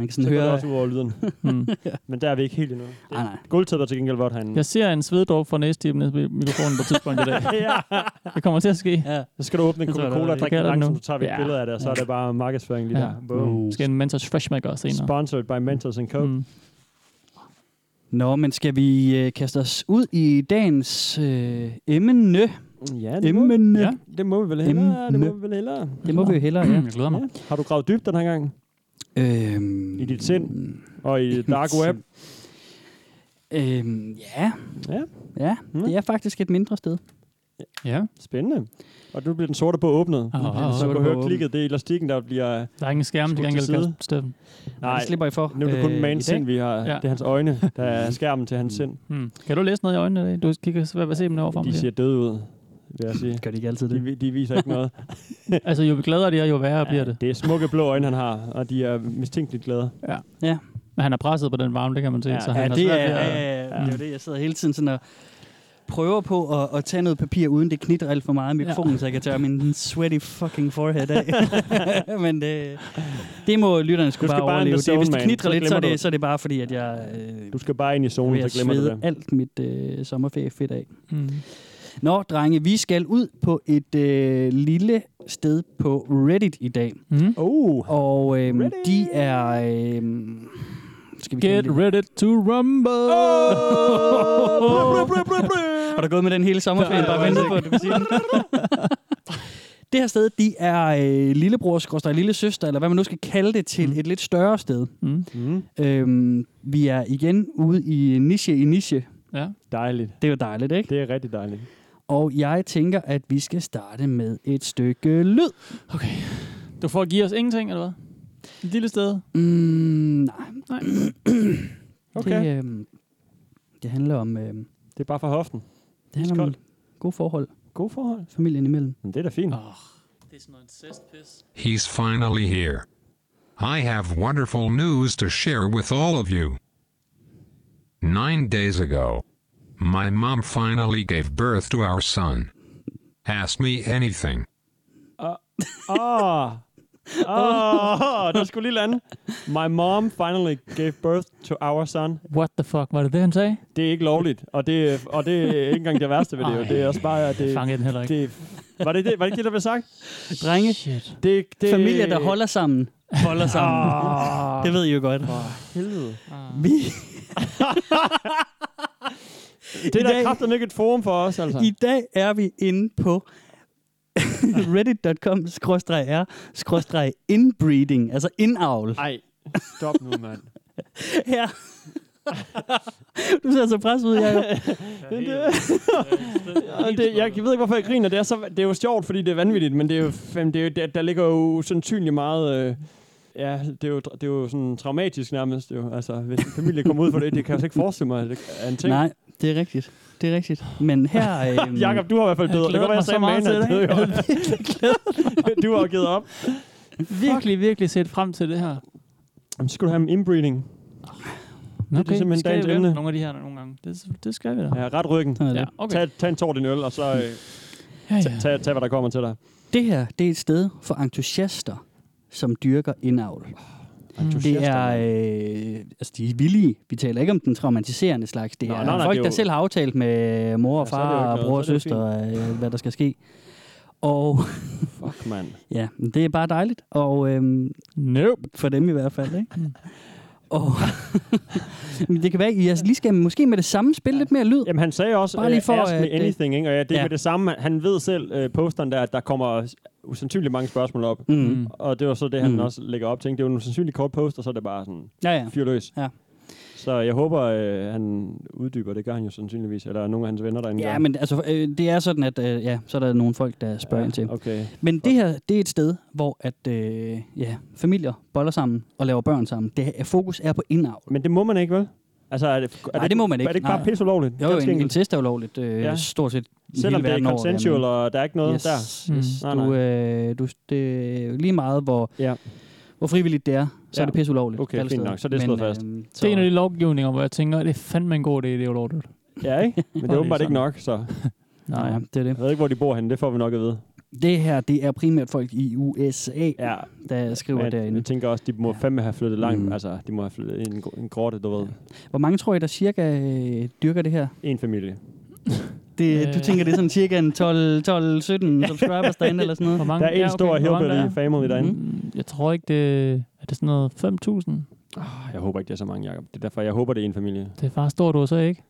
Speaker 5: Man kan
Speaker 4: Så
Speaker 5: sådan
Speaker 4: går det
Speaker 5: høre... Ah,
Speaker 4: også ud over lyden.
Speaker 6: Mm.
Speaker 4: Men der er vi ikke helt endnu. Det-
Speaker 5: Nej, nej.
Speaker 4: Gulvtæppet er til gengæld vort herinde.
Speaker 6: Jeg ser en sveddråbe fra næstippen ned på mikrofonen på et tidspunkt i dag.
Speaker 4: ja.
Speaker 6: Det kommer til at ske.
Speaker 5: Ja.
Speaker 4: Så skal du åbne en
Speaker 6: Det tror jeg,
Speaker 4: Coca-Cola
Speaker 6: der
Speaker 4: og
Speaker 6: er-
Speaker 4: drikke
Speaker 6: det
Speaker 4: en
Speaker 6: gælder
Speaker 4: lang,
Speaker 6: nu.
Speaker 4: så tager vi et
Speaker 6: Ja.
Speaker 4: billede af det, og så er det bare markedsføring lige
Speaker 6: Ja.
Speaker 4: der. Boom.
Speaker 6: Skal en Mentos Fresh Mac også senere.
Speaker 4: Sponsored by Mentos and Coke.
Speaker 6: Mm.
Speaker 5: Nå, men skal vi øh, kaste os ud i dagens øh, emne?
Speaker 4: Ja, det må,
Speaker 5: Emne.
Speaker 6: Ja.
Speaker 5: Ja.
Speaker 4: det må vi vel hellere. Det må
Speaker 5: Emne.
Speaker 4: vi vel hellere.
Speaker 5: Det må vi jo hellere, ja.
Speaker 6: Jeg glæder mig.
Speaker 4: Ja. Har du gravet dybt den her gang?
Speaker 5: Øhm,
Speaker 4: I dit sind? Og i dark web?
Speaker 5: Øhm, ja.
Speaker 4: Ja.
Speaker 5: Ja,
Speaker 4: Mm.
Speaker 5: det er faktisk et mindre sted.
Speaker 6: Ja. Ah,
Speaker 4: Spændende. Og nu bliver den sorte på åbnet.
Speaker 6: Åh,
Speaker 4: Nu bliver den
Speaker 6: åh,
Speaker 4: så
Speaker 5: åh.
Speaker 4: kan høre klikket, det er elastikken, der bliver...
Speaker 6: Der er ingen skærm til
Speaker 4: Skub til
Speaker 6: gengæld,
Speaker 4: side.
Speaker 6: Kasper Steffen.
Speaker 4: Nej,
Speaker 5: Det slipper I for.
Speaker 4: nu er det kun
Speaker 5: øh,
Speaker 4: øh,
Speaker 5: i dag.
Speaker 4: Mans sind, vi har.
Speaker 6: Ja.
Speaker 4: Ja. Det er hans øjne, der er skærmen til hans sind.
Speaker 6: Mm. Kan du læse noget i øjnene i dag? Du kigger svært ved at se dem derovre.
Speaker 4: De ser døde ud, vil jeg sige.
Speaker 5: Gør de ikke altid det?
Speaker 4: De, de viser ikke noget.
Speaker 6: Altså, jo gladere de er, jo værre bliver det.
Speaker 4: Det er smukke blå øjne, han har, og de er mistænkeligt glade.
Speaker 6: Men han er presset på den varme, det kan man se.
Speaker 4: Ja,
Speaker 6: så
Speaker 5: Ja,
Speaker 6: han
Speaker 5: det er,
Speaker 6: svært ved
Speaker 5: ja,
Speaker 6: at-
Speaker 5: ja, ja. det er jo det, jeg sidder hele tiden sådan og prøver på at, at tage noget papir, uden det knitter alt for meget i mikrofonen, ja. så jeg kan tørre min sweaty fucking forehead af. Men det, det må lytterne
Speaker 4: Du
Speaker 5: skulle
Speaker 4: skal
Speaker 5: bare,
Speaker 4: bare in
Speaker 5: overleve.
Speaker 4: the
Speaker 5: det, hvis
Speaker 4: zone,
Speaker 5: det
Speaker 4: man.
Speaker 5: knitrer
Speaker 4: Så
Speaker 5: lidt, så er,
Speaker 4: glemmer du
Speaker 5: det,
Speaker 4: det.
Speaker 5: så er det bare fordi, at jeg øh,
Speaker 4: Du skal bare ind i
Speaker 5: vil
Speaker 4: zonen,
Speaker 5: jeg
Speaker 4: så glemmer du
Speaker 5: svede
Speaker 4: det.
Speaker 5: alt mit øh, sommerferiefedt af.
Speaker 6: Mm.
Speaker 5: Nå, drenge, vi skal ud på et øh, lille sted på Reddit i dag.
Speaker 6: Mm.
Speaker 4: Oh,
Speaker 5: Og øh,
Speaker 4: Reddit.
Speaker 5: de er... Øh, skal vi kalde
Speaker 6: Get
Speaker 5: det-
Speaker 6: ready to rumble!
Speaker 4: Oh!
Speaker 5: Har du gået med den hele sommerferien,
Speaker 6: Nej,
Speaker 5: bare
Speaker 6: jeg
Speaker 5: ventet
Speaker 6: har
Speaker 5: på, at du vil sige den? Det her sted, de er øh, lillebror, skorstræk, lille søster, eller hvad man nu skal kalde det, til
Speaker 6: Mm.
Speaker 5: mm. et lidt større sted.
Speaker 6: Mm.
Speaker 4: mm,
Speaker 5: Øhm, vi er igen ude i niche i niche.
Speaker 6: Ja.
Speaker 4: dejligt.
Speaker 5: Det er jo dejligt, ikke?
Speaker 4: Det er rigtig dejligt.
Speaker 5: Og jeg tænker, at vi skal starte med et stykke lyd.
Speaker 6: Okay. Du får at give os ingenting, eller hvad? Et lille sted?
Speaker 5: Mm, nej,
Speaker 6: Nej.
Speaker 4: Okay,
Speaker 5: det, øhm, det handler om, øhm,
Speaker 4: det er bare for hoften.
Speaker 5: det handler om gode forhold
Speaker 4: God forhold.
Speaker 5: familien imellem.
Speaker 4: Men det er da fint.
Speaker 6: Oh, det er sådan noget incest-pis.
Speaker 7: He's finally here. I have wonderful news to share with all of you. Nine days ago, my mom finally gave birth to our son. Ask me anything.
Speaker 4: Åh, åh, Ah. der skulle lige lande. My mom finally gave birth to our son.
Speaker 6: What the fuck? Var det det, han sagde?
Speaker 4: Det er ikke lovligt, og det, og det er ikke engang det værste ved det. Jo. Det er også bare, at det,
Speaker 6: Fangede den heller ikke.
Speaker 4: det var det, det, var det ikke det, der blev sagt?
Speaker 5: Drenge,
Speaker 6: Shit.
Speaker 4: Det, det,
Speaker 5: familier, der holder sammen, holder sammen.
Speaker 4: Ah,
Speaker 5: Det ved I jo godt.
Speaker 4: helvede.
Speaker 5: Vi,
Speaker 4: Det er
Speaker 5: I
Speaker 4: da
Speaker 5: dag-
Speaker 4: kraften ikke et forum for os, altså.
Speaker 5: I dag er vi inde på reddit.com-r-inbreeding, altså indavl.
Speaker 4: Ej, stop nu, mand.
Speaker 5: Ja. du ser så presset ud, Jacob.
Speaker 4: Og det, jeg ved ikke, hvorfor jeg griner. Det er, så, det er jo sjovt, fordi det er vanvittigt, men det er jo, fandme- det er jo, der, der ligger jo sandsynligt meget... Øh, ja, det er, jo, det er jo sådan traumatisk nærmest. Jo. Altså, hvis en familie kommer ud for det, det kan jeg slet ikke forestille mig, at det er en ting.
Speaker 5: Nej, det er rigtigt. Det er rigtigt. Men her... Øhm,
Speaker 4: Jakob, du har i hvert fald død. Det kan
Speaker 6: glæder
Speaker 4: være, jeg
Speaker 6: mig
Speaker 4: sagde
Speaker 6: så meget
Speaker 4: meget til
Speaker 6: til det,
Speaker 4: det. Du har jo givet op.
Speaker 6: Virkelig, virkelig set frem til det her.
Speaker 4: Jamen, så skal du have en inbreeding.
Speaker 6: Okay,
Speaker 4: det er simpelthen
Speaker 6: skal
Speaker 4: dagens
Speaker 6: vi vel
Speaker 4: emne.
Speaker 6: Nogle af de her nogle gange. Det, det skal vi da.
Speaker 4: Ja, ret ryggen.
Speaker 5: sådan er det.
Speaker 6: okay.
Speaker 4: Tag, tag en tår din øl, og så øh,
Speaker 6: ja,
Speaker 4: tag, tag, tag, hvad der kommer til dig.
Speaker 5: Det her, det er et sted for entusiaster, som dyrker indavl. Det er, øh, altså de er villige. Vi taler ikke om den traumatiserende slags. Det
Speaker 4: Nå,
Speaker 5: er
Speaker 4: nej, nej,
Speaker 5: folk,
Speaker 4: det er
Speaker 5: der
Speaker 4: jo-
Speaker 5: selv har aftalt med mor og
Speaker 4: Ja, så er det jo
Speaker 5: far
Speaker 4: ikke
Speaker 5: og
Speaker 4: noget.
Speaker 5: bror og
Speaker 4: Så er det
Speaker 5: søster, øh, hvad der skal ske. Og
Speaker 4: Fuck, mand.
Speaker 5: ja, men det er bare dejligt. Og øhm,
Speaker 6: Nope.
Speaker 5: for dem i hvert fald,
Speaker 4: Mm.
Speaker 5: ikke? og Men det kan være, at I altså lige skal måske med det samme spille lidt mere lyd.
Speaker 4: Jamen, han sagde også,
Speaker 5: Bare lige for,
Speaker 4: uh, ask me
Speaker 5: at, øh,
Speaker 4: anything, ikke? Og ja, det er
Speaker 5: ja.
Speaker 4: ja. det samme. Han ved selv, uh, posteren der, at der kommer usandsynligt mange spørgsmål op.
Speaker 5: Mm.
Speaker 4: Og det var så det, han
Speaker 5: Mm.
Speaker 4: mm. også lægger op til. ikke? Det er jo en usandsynlig kort post, og så er det bare sådan
Speaker 5: Ja, ja.
Speaker 4: fyrløs.
Speaker 5: Ja.
Speaker 4: Så jeg håber, øh, han uddyber. Det gør han jo sandsynligvis. Eller nogle af hans venner derinde gør.
Speaker 5: Ja, men altså, øh, det er sådan, at øh, ja, så er der nogle folk, der spørger ind til.
Speaker 4: Okay.
Speaker 5: Men det her, det er et sted, hvor at, øh, ja, familier boller sammen og laver børn sammen. Det er, fokus er på indavl.
Speaker 4: Men det må man ikke, vel? Altså, er det, er
Speaker 5: Nej, det må man ikke.
Speaker 4: Er det ikke
Speaker 5: Nej.
Speaker 4: bare pisse ulovligt?
Speaker 5: Jo,
Speaker 4: Ganske
Speaker 5: en, en
Speaker 4: enkelt.
Speaker 5: test er ulovligt, øh, ja.
Speaker 4: Ja.
Speaker 5: stort set i
Speaker 4: Selvom
Speaker 5: hele
Speaker 4: det er
Speaker 5: verden over, ja, men-
Speaker 4: consensual, og der er ikke noget
Speaker 5: yes,
Speaker 4: der.
Speaker 5: Yes.
Speaker 4: Mm. Nej,
Speaker 5: Du, øh, du, det er lige meget, hvor,
Speaker 4: Ja.
Speaker 5: hvor frivilligt det er, så ja. er
Speaker 4: Ja. Uh.
Speaker 5: det pisse ulovligt.
Speaker 4: Okay,
Speaker 5: alle
Speaker 4: fint
Speaker 5: steder.
Speaker 4: nok. Så er det slået fast.
Speaker 5: Øh, så,
Speaker 6: Det er en af de lovgivninger, hvor jeg tænker, det er fandme en god idé, det er ulovligt.
Speaker 4: Ja, ikke? Men det
Speaker 6: er
Speaker 4: er åbenbart
Speaker 6: sådan.
Speaker 4: ikke nok, så
Speaker 5: Nej,
Speaker 6: Nej.
Speaker 5: det er det.
Speaker 4: jeg ved ikke, hvor de bor henne. Det får vi nok at vide.
Speaker 5: Det her, det er primært folk i USA,
Speaker 4: Ja.
Speaker 5: der skriver
Speaker 4: Men
Speaker 5: derinde.
Speaker 4: jeg tænker også, de må fandme have flyttet langt.
Speaker 5: Mm.
Speaker 4: Altså, de må have flyttet en, gro- en grotte, du ved.
Speaker 5: Hvor mange tror I, der cirka øh, dyrker det her?
Speaker 4: En familie.
Speaker 5: Det, du
Speaker 6: Øh.
Speaker 5: tænker, det er sådan cirka en 12-17 subscribers derinde eller sådan noget?
Speaker 6: Hvor mange?
Speaker 4: Der er en
Speaker 6: ja, okay,
Speaker 4: stor
Speaker 6: hvor mange der
Speaker 4: hillbilly
Speaker 6: er?
Speaker 4: family derinde.
Speaker 6: Mm, Jeg tror ikke, det er det sådan noget 5.000.
Speaker 4: Ah, Jeg håber ikke, det er så mange, Jacob. Det er derfor, jeg håber, det er en familie.
Speaker 6: Det er faktisk stort USA, ikke?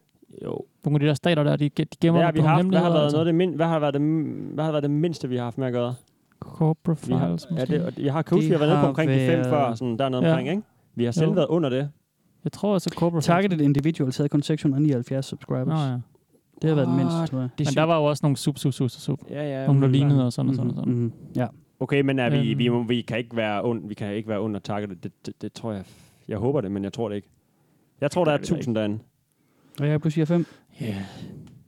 Speaker 4: Jo.
Speaker 6: Nogle af de der stater der, de, ge- de gemmer
Speaker 4: Hvad har, vi
Speaker 6: ja, på
Speaker 4: haft, hvad,
Speaker 6: nogle
Speaker 4: har
Speaker 6: hemmeligheder.
Speaker 4: været
Speaker 6: altså
Speaker 4: noget af det mind, hvad, har været det, m- hvad har været det mindste, vi har haft med at gøre?
Speaker 6: Corporate
Speaker 4: Vi har,
Speaker 6: files,
Speaker 4: ja,
Speaker 6: måske.
Speaker 4: det, og jeg har kan
Speaker 5: Det
Speaker 4: huske, vi har været nede på
Speaker 5: har
Speaker 4: omkring de fem
Speaker 5: været-
Speaker 4: før, sådan dernede
Speaker 6: Ja.
Speaker 4: omkring, ikke? Vi har selv
Speaker 6: Jo.
Speaker 4: været under det.
Speaker 6: Jeg tror altså corporate
Speaker 5: Targeted Individuals havde kun 679
Speaker 6: Nå,
Speaker 5: subscribers.
Speaker 6: ja.
Speaker 5: Det har været den
Speaker 4: What?
Speaker 5: mindste, tror jeg.
Speaker 6: Men der var jo også nogle sub, sub, sub, sub, sub.
Speaker 4: Ja, ja.
Speaker 6: Nogle, der lignede og sådan og sådan og sådan.
Speaker 5: Mm-hmm. Ja.
Speaker 4: Okay, men er vi,
Speaker 6: Øhm.
Speaker 4: vi, må- vi, kan ikke være und, vi kan ikke være under targetet. Det, det, det, tror jeg. Jeg håber det, men jeg tror det ikke. Jeg tror, der er
Speaker 6: ved jeg
Speaker 4: tusind derinde.
Speaker 5: Og jeg er på siger 5.
Speaker 4: Yeah.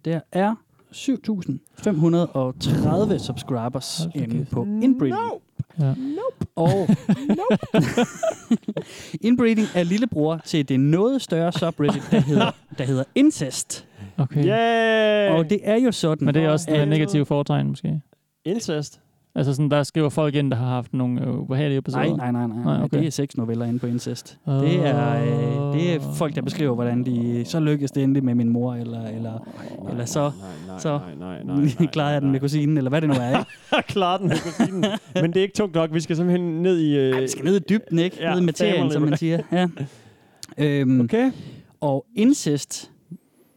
Speaker 5: Der er 7.530 subscribers
Speaker 6: Hold da
Speaker 5: inde
Speaker 6: kæft.
Speaker 5: på Inbreeding.
Speaker 6: Ja.
Speaker 5: Og Inbreeding er lillebror til det noget større subreddit, der hedder, der hedder Incest.
Speaker 6: Okay.
Speaker 4: Yeah.
Speaker 5: Og det er jo sådan,
Speaker 6: Men det er også
Speaker 5: at-
Speaker 6: et negativt foretegn, måske.
Speaker 4: incest.
Speaker 6: Altså sådan, der skriver folk ind, der har haft nogle øh, ubehagelige episoder.
Speaker 5: Nej, nej, nej, nej. nej
Speaker 6: Nej, okay.
Speaker 5: okay. Det er seks noveller inde på incest. Det er, øh, det er folk, der beskriver, hvordan de så lykkedes det endelig med min mor, eller, eller, eller så
Speaker 4: Nej, nej,
Speaker 5: så-
Speaker 4: nej, nej, nej, nej,
Speaker 5: klarede jeg den
Speaker 4: nej.
Speaker 5: med kusinen, eller hvad det nu er. Ikke?
Speaker 4: Jeg klarer den med kusinen. Men det er ikke tungt nok. Vi skal simpelthen ned i... Øh,
Speaker 5: Ej, vi skal ned i dybden, ikke?
Speaker 4: ja,
Speaker 5: Ja, ned i materien,
Speaker 4: family,
Speaker 5: som man siger. Ja. Øhm, okay.
Speaker 4: Okay.
Speaker 5: Og incest,
Speaker 4: Mm.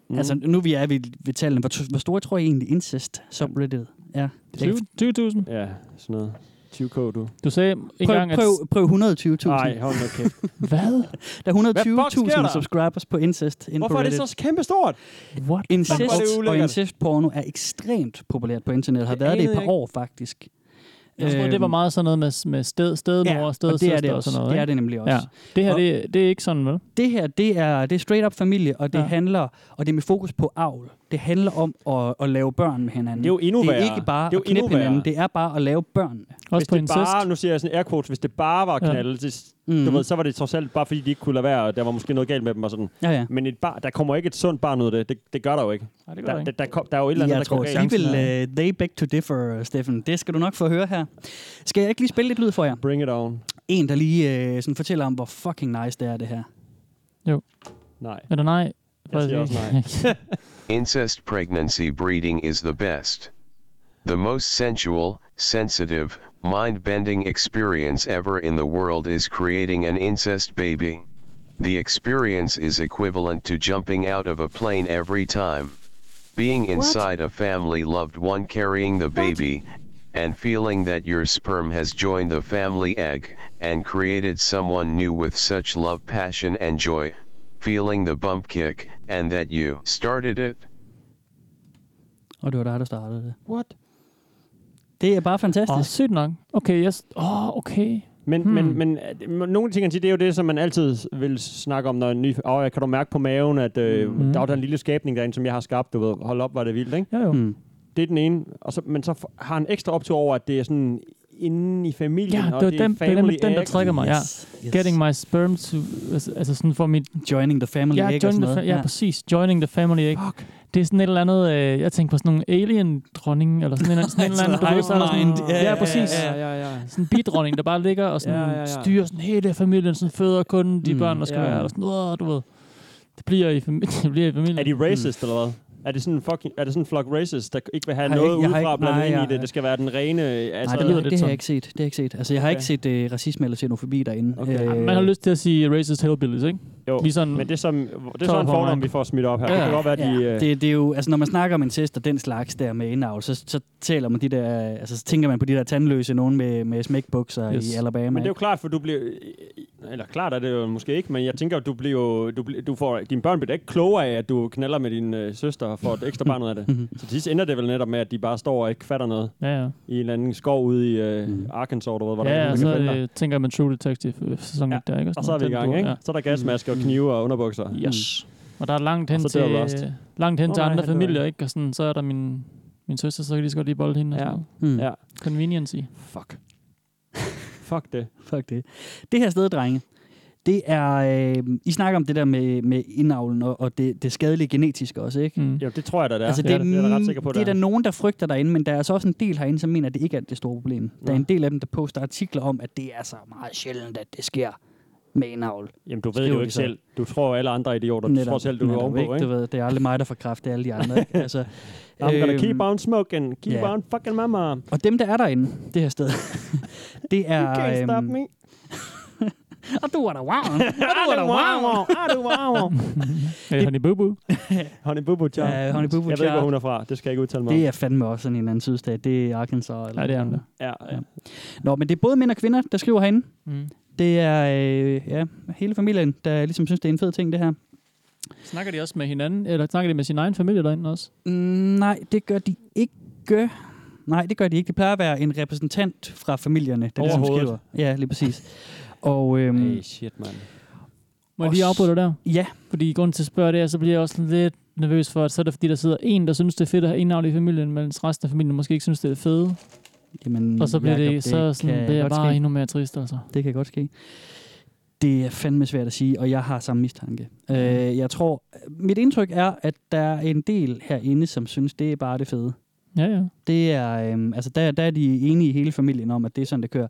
Speaker 5: mm. altså nu vi er ved, ved tallene, hvor, t- hvor store tror I egentlig incest subreddit er?
Speaker 6: 20.000.
Speaker 4: Ja, sådan noget. 20k, du.
Speaker 6: Du sagde en
Speaker 5: Prøv,
Speaker 6: gang, at...
Speaker 5: prøv, prøv 120.000.
Speaker 4: Nej, hold nu kæft.
Speaker 6: Hvad?
Speaker 5: Der
Speaker 4: Hvad fuck sker
Speaker 5: er
Speaker 4: der?
Speaker 5: 120.000 subscribers på incest inde
Speaker 4: Hvorfor
Speaker 5: på
Speaker 4: er det
Speaker 5: Reddit.
Speaker 4: så kæmpestort?
Speaker 6: What?
Speaker 4: Fuck, hvor er det
Speaker 5: Incest og
Speaker 4: ulækkert.
Speaker 5: incestporno er ekstremt populært på internettet. Har
Speaker 4: Det
Speaker 5: været det i
Speaker 4: anede
Speaker 5: et
Speaker 4: jeg
Speaker 5: par år, faktisk.
Speaker 6: Jeg troede, det var meget sådan noget med, med sted, stedmor og
Speaker 5: Øhm. og det er det
Speaker 6: stedsøster og
Speaker 5: også.
Speaker 6: sådan noget.
Speaker 5: det er
Speaker 6: ikke?
Speaker 5: det nemlig også.
Speaker 6: Ja. Det her,
Speaker 5: Og-
Speaker 6: det, det er ikke sådan, vel?
Speaker 5: det her, det er, det er straight up familie, og det
Speaker 6: Ja.
Speaker 5: ja. handler, og det er med fokus på avl. Det handler om at, at lave børn med hinanden.
Speaker 4: Det er jo endnu
Speaker 5: det er
Speaker 4: værre.
Speaker 5: ikke bare
Speaker 4: Det er jo
Speaker 5: at knippe
Speaker 4: endnu værre.
Speaker 5: hinanden, det er bare at lave børn.
Speaker 6: Også
Speaker 4: Hvis
Speaker 6: på
Speaker 4: det
Speaker 6: incest.
Speaker 4: bare, nu siger jeg sådan air quotes, hvis det bare var
Speaker 6: Ja. Mhm.
Speaker 4: knaldet, det,
Speaker 5: Mm.
Speaker 4: du ved, så var det trods alt bare fordi, de ikke kunne lade være, og der var måske noget galt med dem og sådan.
Speaker 5: Ja, ja.
Speaker 4: Men et bar, der kommer ikke et sundt barn ud af det. Det, det gør der jo ikke.
Speaker 6: Nej, det gør
Speaker 4: Der,
Speaker 6: det
Speaker 4: der,
Speaker 6: ikke. øh,
Speaker 4: der, kom, der er jo et eller andet,
Speaker 5: Jeg
Speaker 4: der går
Speaker 5: tror,
Speaker 4: galt.
Speaker 5: de vil uh, they beg to differ, øh, Steffen. Det skal du nok få at høre her. Skal jeg ikke lige spille lidt lyd for jer?
Speaker 4: Bring it on.
Speaker 5: En, der lige uh, sådan fortæller om, hvor fucking nice det er, det her.
Speaker 4: Nej.
Speaker 6: Eller nej. Faktisk
Speaker 4: siger også
Speaker 6: ikke.
Speaker 8: Incest pregnancy breeding is the best. The most sensual, sensitive, mind bending experience ever in the world is creating an incest baby. The experience is equivalent to jumping out of a plane every time. Being inside a family loved one carrying the baby, and feeling that your sperm has joined the family egg and created someone new with such love, passion, and joy, feeling the bump kick, and that you started it.
Speaker 5: Og det var dig, der startede det.
Speaker 4: What?
Speaker 5: Det er bare
Speaker 6: Åh,
Speaker 5: fantastisk.
Speaker 6: sygt nok. Okay, jeg... s- Åh, okay.
Speaker 4: Men, hmm. men, men øh, det- må- nogle ting, han siger, det er jo det, som man altid vil snakke om, når en ny... Åh, oh, kan du mærke på maven, at øh, der var den lille skabning derinde, som jeg har skabt, du ved. Hold op, var det vildt, ikke?
Speaker 6: Hmm. Jo, jo.
Speaker 5: Mm.
Speaker 4: Det er den ene. Og så, men så f- har han ekstra optur over, at det er sådan inde i familien, og
Speaker 6: Ja, det var
Speaker 4: det er
Speaker 6: den, det er
Speaker 4: family
Speaker 6: nemlig den, der
Speaker 4: egg.
Speaker 6: trækker mig. Ja.
Speaker 5: Yes.
Speaker 6: Getting my sperm to... altså- Altså sådan for mit...
Speaker 5: Joining the family
Speaker 6: Ja,
Speaker 5: egg og
Speaker 6: joining
Speaker 5: sådan
Speaker 6: the fa-
Speaker 5: noget.
Speaker 6: ja, præcis. Joining the family, ikke? Det er sådan et eller andet... Øh, jeg tænker på sådan nogle alien-dronning, eller sådan en eller anden... Sådan en eller anden du ved, så er der sådan-
Speaker 5: Hivemind. Ja,
Speaker 6: Ja,
Speaker 5: ja,
Speaker 6: præcis.
Speaker 4: Ja, ja, ja.
Speaker 6: sådan en bidronning, der bare ligger og sådan
Speaker 4: Ja, ja, ja.
Speaker 6: styrer sådan hele familien, sådan føder kun de mm,
Speaker 5: Mm,
Speaker 6: børn, der skal
Speaker 4: ja.
Speaker 6: ja. være, og sådan, Åh, du ved. Det bliver i, fami- det bliver i familien. Hmm.
Speaker 4: Er de racist, mm. eller hvad? Er det sådan en fucking, er det sådan en flok racist, der ikke vil have
Speaker 5: Har jeg
Speaker 4: noget
Speaker 5: ikke- jeg har
Speaker 4: udefra
Speaker 5: ikke-
Speaker 4: blandet
Speaker 5: nej,
Speaker 4: ind
Speaker 5: jeg-
Speaker 4: i det? Det skal være den rene... Altså,
Speaker 5: Nej, det,
Speaker 6: lyder
Speaker 5: lyder det,
Speaker 6: lidt
Speaker 5: det har
Speaker 6: sådan.
Speaker 5: jeg ikke set. Det har jeg ikke set. Altså, jeg har
Speaker 4: Okay.
Speaker 5: ikke set øh, racisme eller xenofobi derinde.
Speaker 4: Okay.
Speaker 5: Øh,
Speaker 6: Man har lyst til at sige racist hillbillies, ikke?
Speaker 4: jo.
Speaker 6: Vi er sådan,
Speaker 4: Men det er, som, det er
Speaker 6: Tøjet
Speaker 4: så en
Speaker 6: på
Speaker 4: fordom,
Speaker 6: hånden.
Speaker 4: vi får smidt op her. Ja.
Speaker 6: Ja.
Speaker 4: Det kan godt være, de...
Speaker 5: Ja,
Speaker 4: øh,
Speaker 5: det, det er jo, altså når man snakker om incest og den slags der med indavl, så, så taler man de der, altså så tænker man på de der tandløse nogen med, med smækbukser
Speaker 6: Yes.
Speaker 5: yes. i Alabama.
Speaker 4: Men det er jo
Speaker 5: ikke?
Speaker 4: klart, for du bliver... Eller klart er det jo måske ikke, men jeg tænker, at du bliver jo... Du, bliver- du får, dine børn bliver da ikke klogere af, at du knaller med din øh, søster og får et ekstra barn ud af det. Så til sidst ender det vel netop med, at de bare står og ikke fatter noget
Speaker 6: Ja, ja.
Speaker 4: i en eller anden skov ude i øh, Arkansas, du ved, hvor der
Speaker 6: Ja,
Speaker 4: er
Speaker 6: ja,
Speaker 4: nogen,
Speaker 6: så
Speaker 4: der
Speaker 6: er
Speaker 4: kan finde dig.
Speaker 6: det, tænker man True Detective øh, sæson
Speaker 4: Ja,
Speaker 6: ja. der, ikke?
Speaker 4: Og
Speaker 6: sådan
Speaker 4: så er vi i
Speaker 6: noget,
Speaker 4: gang,
Speaker 6: den
Speaker 4: ikke?
Speaker 6: dur,
Speaker 4: Så er der gasmasker og knive og underbukser.
Speaker 6: Ja. Yes. Mm. Og der er langt hen
Speaker 4: Og så
Speaker 6: til,
Speaker 4: dør Rust.
Speaker 6: øh, langt hen
Speaker 4: Åh,
Speaker 6: til
Speaker 4: nej,
Speaker 6: andre
Speaker 4: han dør
Speaker 6: familier, ikke? Og sådan, så er der min, min søster, så kan de så godt lige bolde hende.
Speaker 4: Ja.
Speaker 6: Ja. Og
Speaker 5: Mm,
Speaker 4: Ja.
Speaker 5: ja.
Speaker 6: Conveniency.
Speaker 4: Fuck. Fuck det.
Speaker 5: Fuck det. Det her sted, drenge, Det er, øh, I snakker om det der med, med indavlen og, og det, det skadelige genetiske også, ikke?
Speaker 6: Mm.
Speaker 4: Jo, det tror jeg da, det er.
Speaker 5: Altså,
Speaker 4: det, er, det er jeg da ret sikker på,
Speaker 5: det er
Speaker 4: det
Speaker 5: der nogen, der frygter derinde, men der er altså også en del herinde, som mener, at det ikke er det store problem. Der er
Speaker 4: Ja.
Speaker 5: en del af dem, der poster artikler om, at det er så meget sjældent, at det sker med indavl.
Speaker 4: Jamen, du ved det
Speaker 5: skriver
Speaker 4: jo
Speaker 5: de
Speaker 4: ikke
Speaker 5: så.
Speaker 4: selv. Du tror alle andre idioter. Du tror selv, du er
Speaker 5: netop,
Speaker 4: ovenpå, ikke?
Speaker 5: Du ved, det er aldrig mig, der får kraft, det er alle de andre. Ikke? Altså,
Speaker 4: I'm gonna
Speaker 5: øhm,
Speaker 4: keep on smoking. Keep
Speaker 5: ja.
Speaker 4: on fucking mama. You
Speaker 5: Og dem, der er derinde, det her sted, det er...
Speaker 4: can't stop
Speaker 5: øhm,
Speaker 4: me.
Speaker 5: Og du er der wow. Og du er
Speaker 4: I
Speaker 5: der
Speaker 4: do
Speaker 5: wow.
Speaker 4: wow, wow. I do wow, wow.
Speaker 6: Hey, Øh, honey boo boo.
Speaker 4: Honey Boo Boo Charm.
Speaker 5: Ja, Honey Boo Boo
Speaker 4: Jeg ved ikke,
Speaker 5: Charm.
Speaker 4: hvor hun er fra. Det skal jeg ikke udtale mig om.
Speaker 5: Det er fandme også sådan en eller anden sydstat. Det er Arkansas. Eller
Speaker 6: Ja, det er hun da.
Speaker 4: Ja, ja.
Speaker 5: Nå, men det er både mænd og kvinder, der skriver herinde.
Speaker 6: Mm.
Speaker 5: Det er øh, ja, hele familien, der ligesom synes, det er en fed ting, det her.
Speaker 6: Snakker de også med hinanden, eller snakker de med sin egen familie derinde også?
Speaker 5: Mm, nej, det gør de ikke. Nej, det gør de ikke. Det plejer at være en repræsentant fra familierne, der ligesom
Speaker 4: Overhovedet.
Speaker 5: skriver. Ja, lige præcis. Og øhm,
Speaker 4: Hey, shit, mand.
Speaker 6: Må jeg lige
Speaker 5: Også-
Speaker 6: afbryde dig der?
Speaker 5: ja,
Speaker 6: Fordi grunden til at spørge det er, så bliver jeg også sådan lidt nervøs for, at så er det fordi, der sidder en, der synes, det er fedt at have indavl i familien, mens resten af familien måske ikke synes, det er fedt.
Speaker 5: jamen,
Speaker 6: Og så bliver
Speaker 5: Jacob,
Speaker 6: det, så sådan,
Speaker 5: kan
Speaker 6: det er
Speaker 5: godt
Speaker 6: bare
Speaker 5: ske.
Speaker 6: endnu mere trist, altså.
Speaker 5: Det kan godt ske. Det er fandme svært at sige, og jeg har samme mistanke. Øh, jeg tror, mit indtryk er, at der er en del herinde, som synes, det er bare det fede.
Speaker 6: Ja, ja.
Speaker 5: Det er, øhm, altså der, der er de enige i hele familien om, at det er sådan, det kører.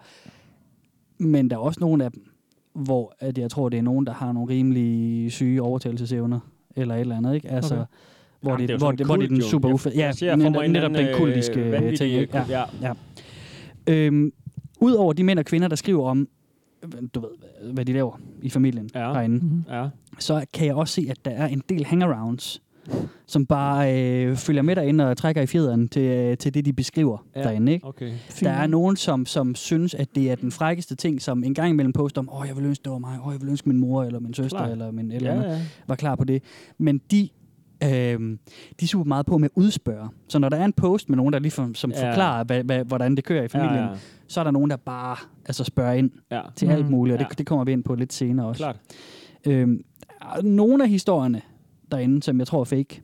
Speaker 5: Men der er også nogle af dem, hvor at jeg tror, det er nogen, der har nogle rimelig syge overtagelsesevner, eller et eller andet, ikke? Altså,
Speaker 6: Okay.
Speaker 5: okay. hvor,
Speaker 4: Jamen,
Speaker 5: det,
Speaker 4: er jo
Speaker 5: hvor,
Speaker 4: sådan
Speaker 5: det, hvor det er den
Speaker 4: kult, jo.
Speaker 5: super
Speaker 4: Jeg-
Speaker 5: ufed. Ja,
Speaker 4: jeg ser for mig
Speaker 5: netop,
Speaker 4: en
Speaker 5: netop
Speaker 4: eller
Speaker 5: den
Speaker 4: anden,
Speaker 5: kultiske
Speaker 4: øh,
Speaker 5: øh,
Speaker 4: vanvittig
Speaker 5: ting. ikke? Ja.
Speaker 4: kult. Ja.
Speaker 5: Øhm, Udover de mænd og kvinder, der skriver om, øh, du ved, hvad de laver i familien ja.
Speaker 4: Ja.
Speaker 5: herinde,
Speaker 6: Mm-hmm.
Speaker 4: Ja.
Speaker 5: så kan jeg også se, at der er en del hangarounds, som bare øh, følger med derinde og trækker i fjederen til, øh, til det, de beskriver ja.
Speaker 4: Ja.
Speaker 5: derinde. Ikke?
Speaker 4: Okay.
Speaker 5: Der er nogen, som, som synes, at det er den frækkeste ting, som en gang imellem poster om, åh, jeg vil ønske, det var mig, åh, jeg vil ønske, min mor eller min søster
Speaker 4: Klart.
Speaker 5: eller min eller
Speaker 4: Ja,
Speaker 5: andet
Speaker 4: ja.
Speaker 5: var klar på det. Men de, øh, de er super meget på med at udspørge. Så når der er en post med nogen, der ligesom, som
Speaker 4: Ja.
Speaker 5: forklarer, hvad, hvad, hvordan det kører i familien,
Speaker 4: Ja,
Speaker 5: så er der nogen, der bare altså, spørger ind
Speaker 4: ja. ja.
Speaker 5: til
Speaker 6: Mm.
Speaker 5: mm, alt muligt, og det,
Speaker 4: Ja.
Speaker 5: ja. det kommer vi ind på lidt senere også.
Speaker 4: Klart.
Speaker 5: Øhm, der er nogle af historierne derinde, som jeg tror er fake,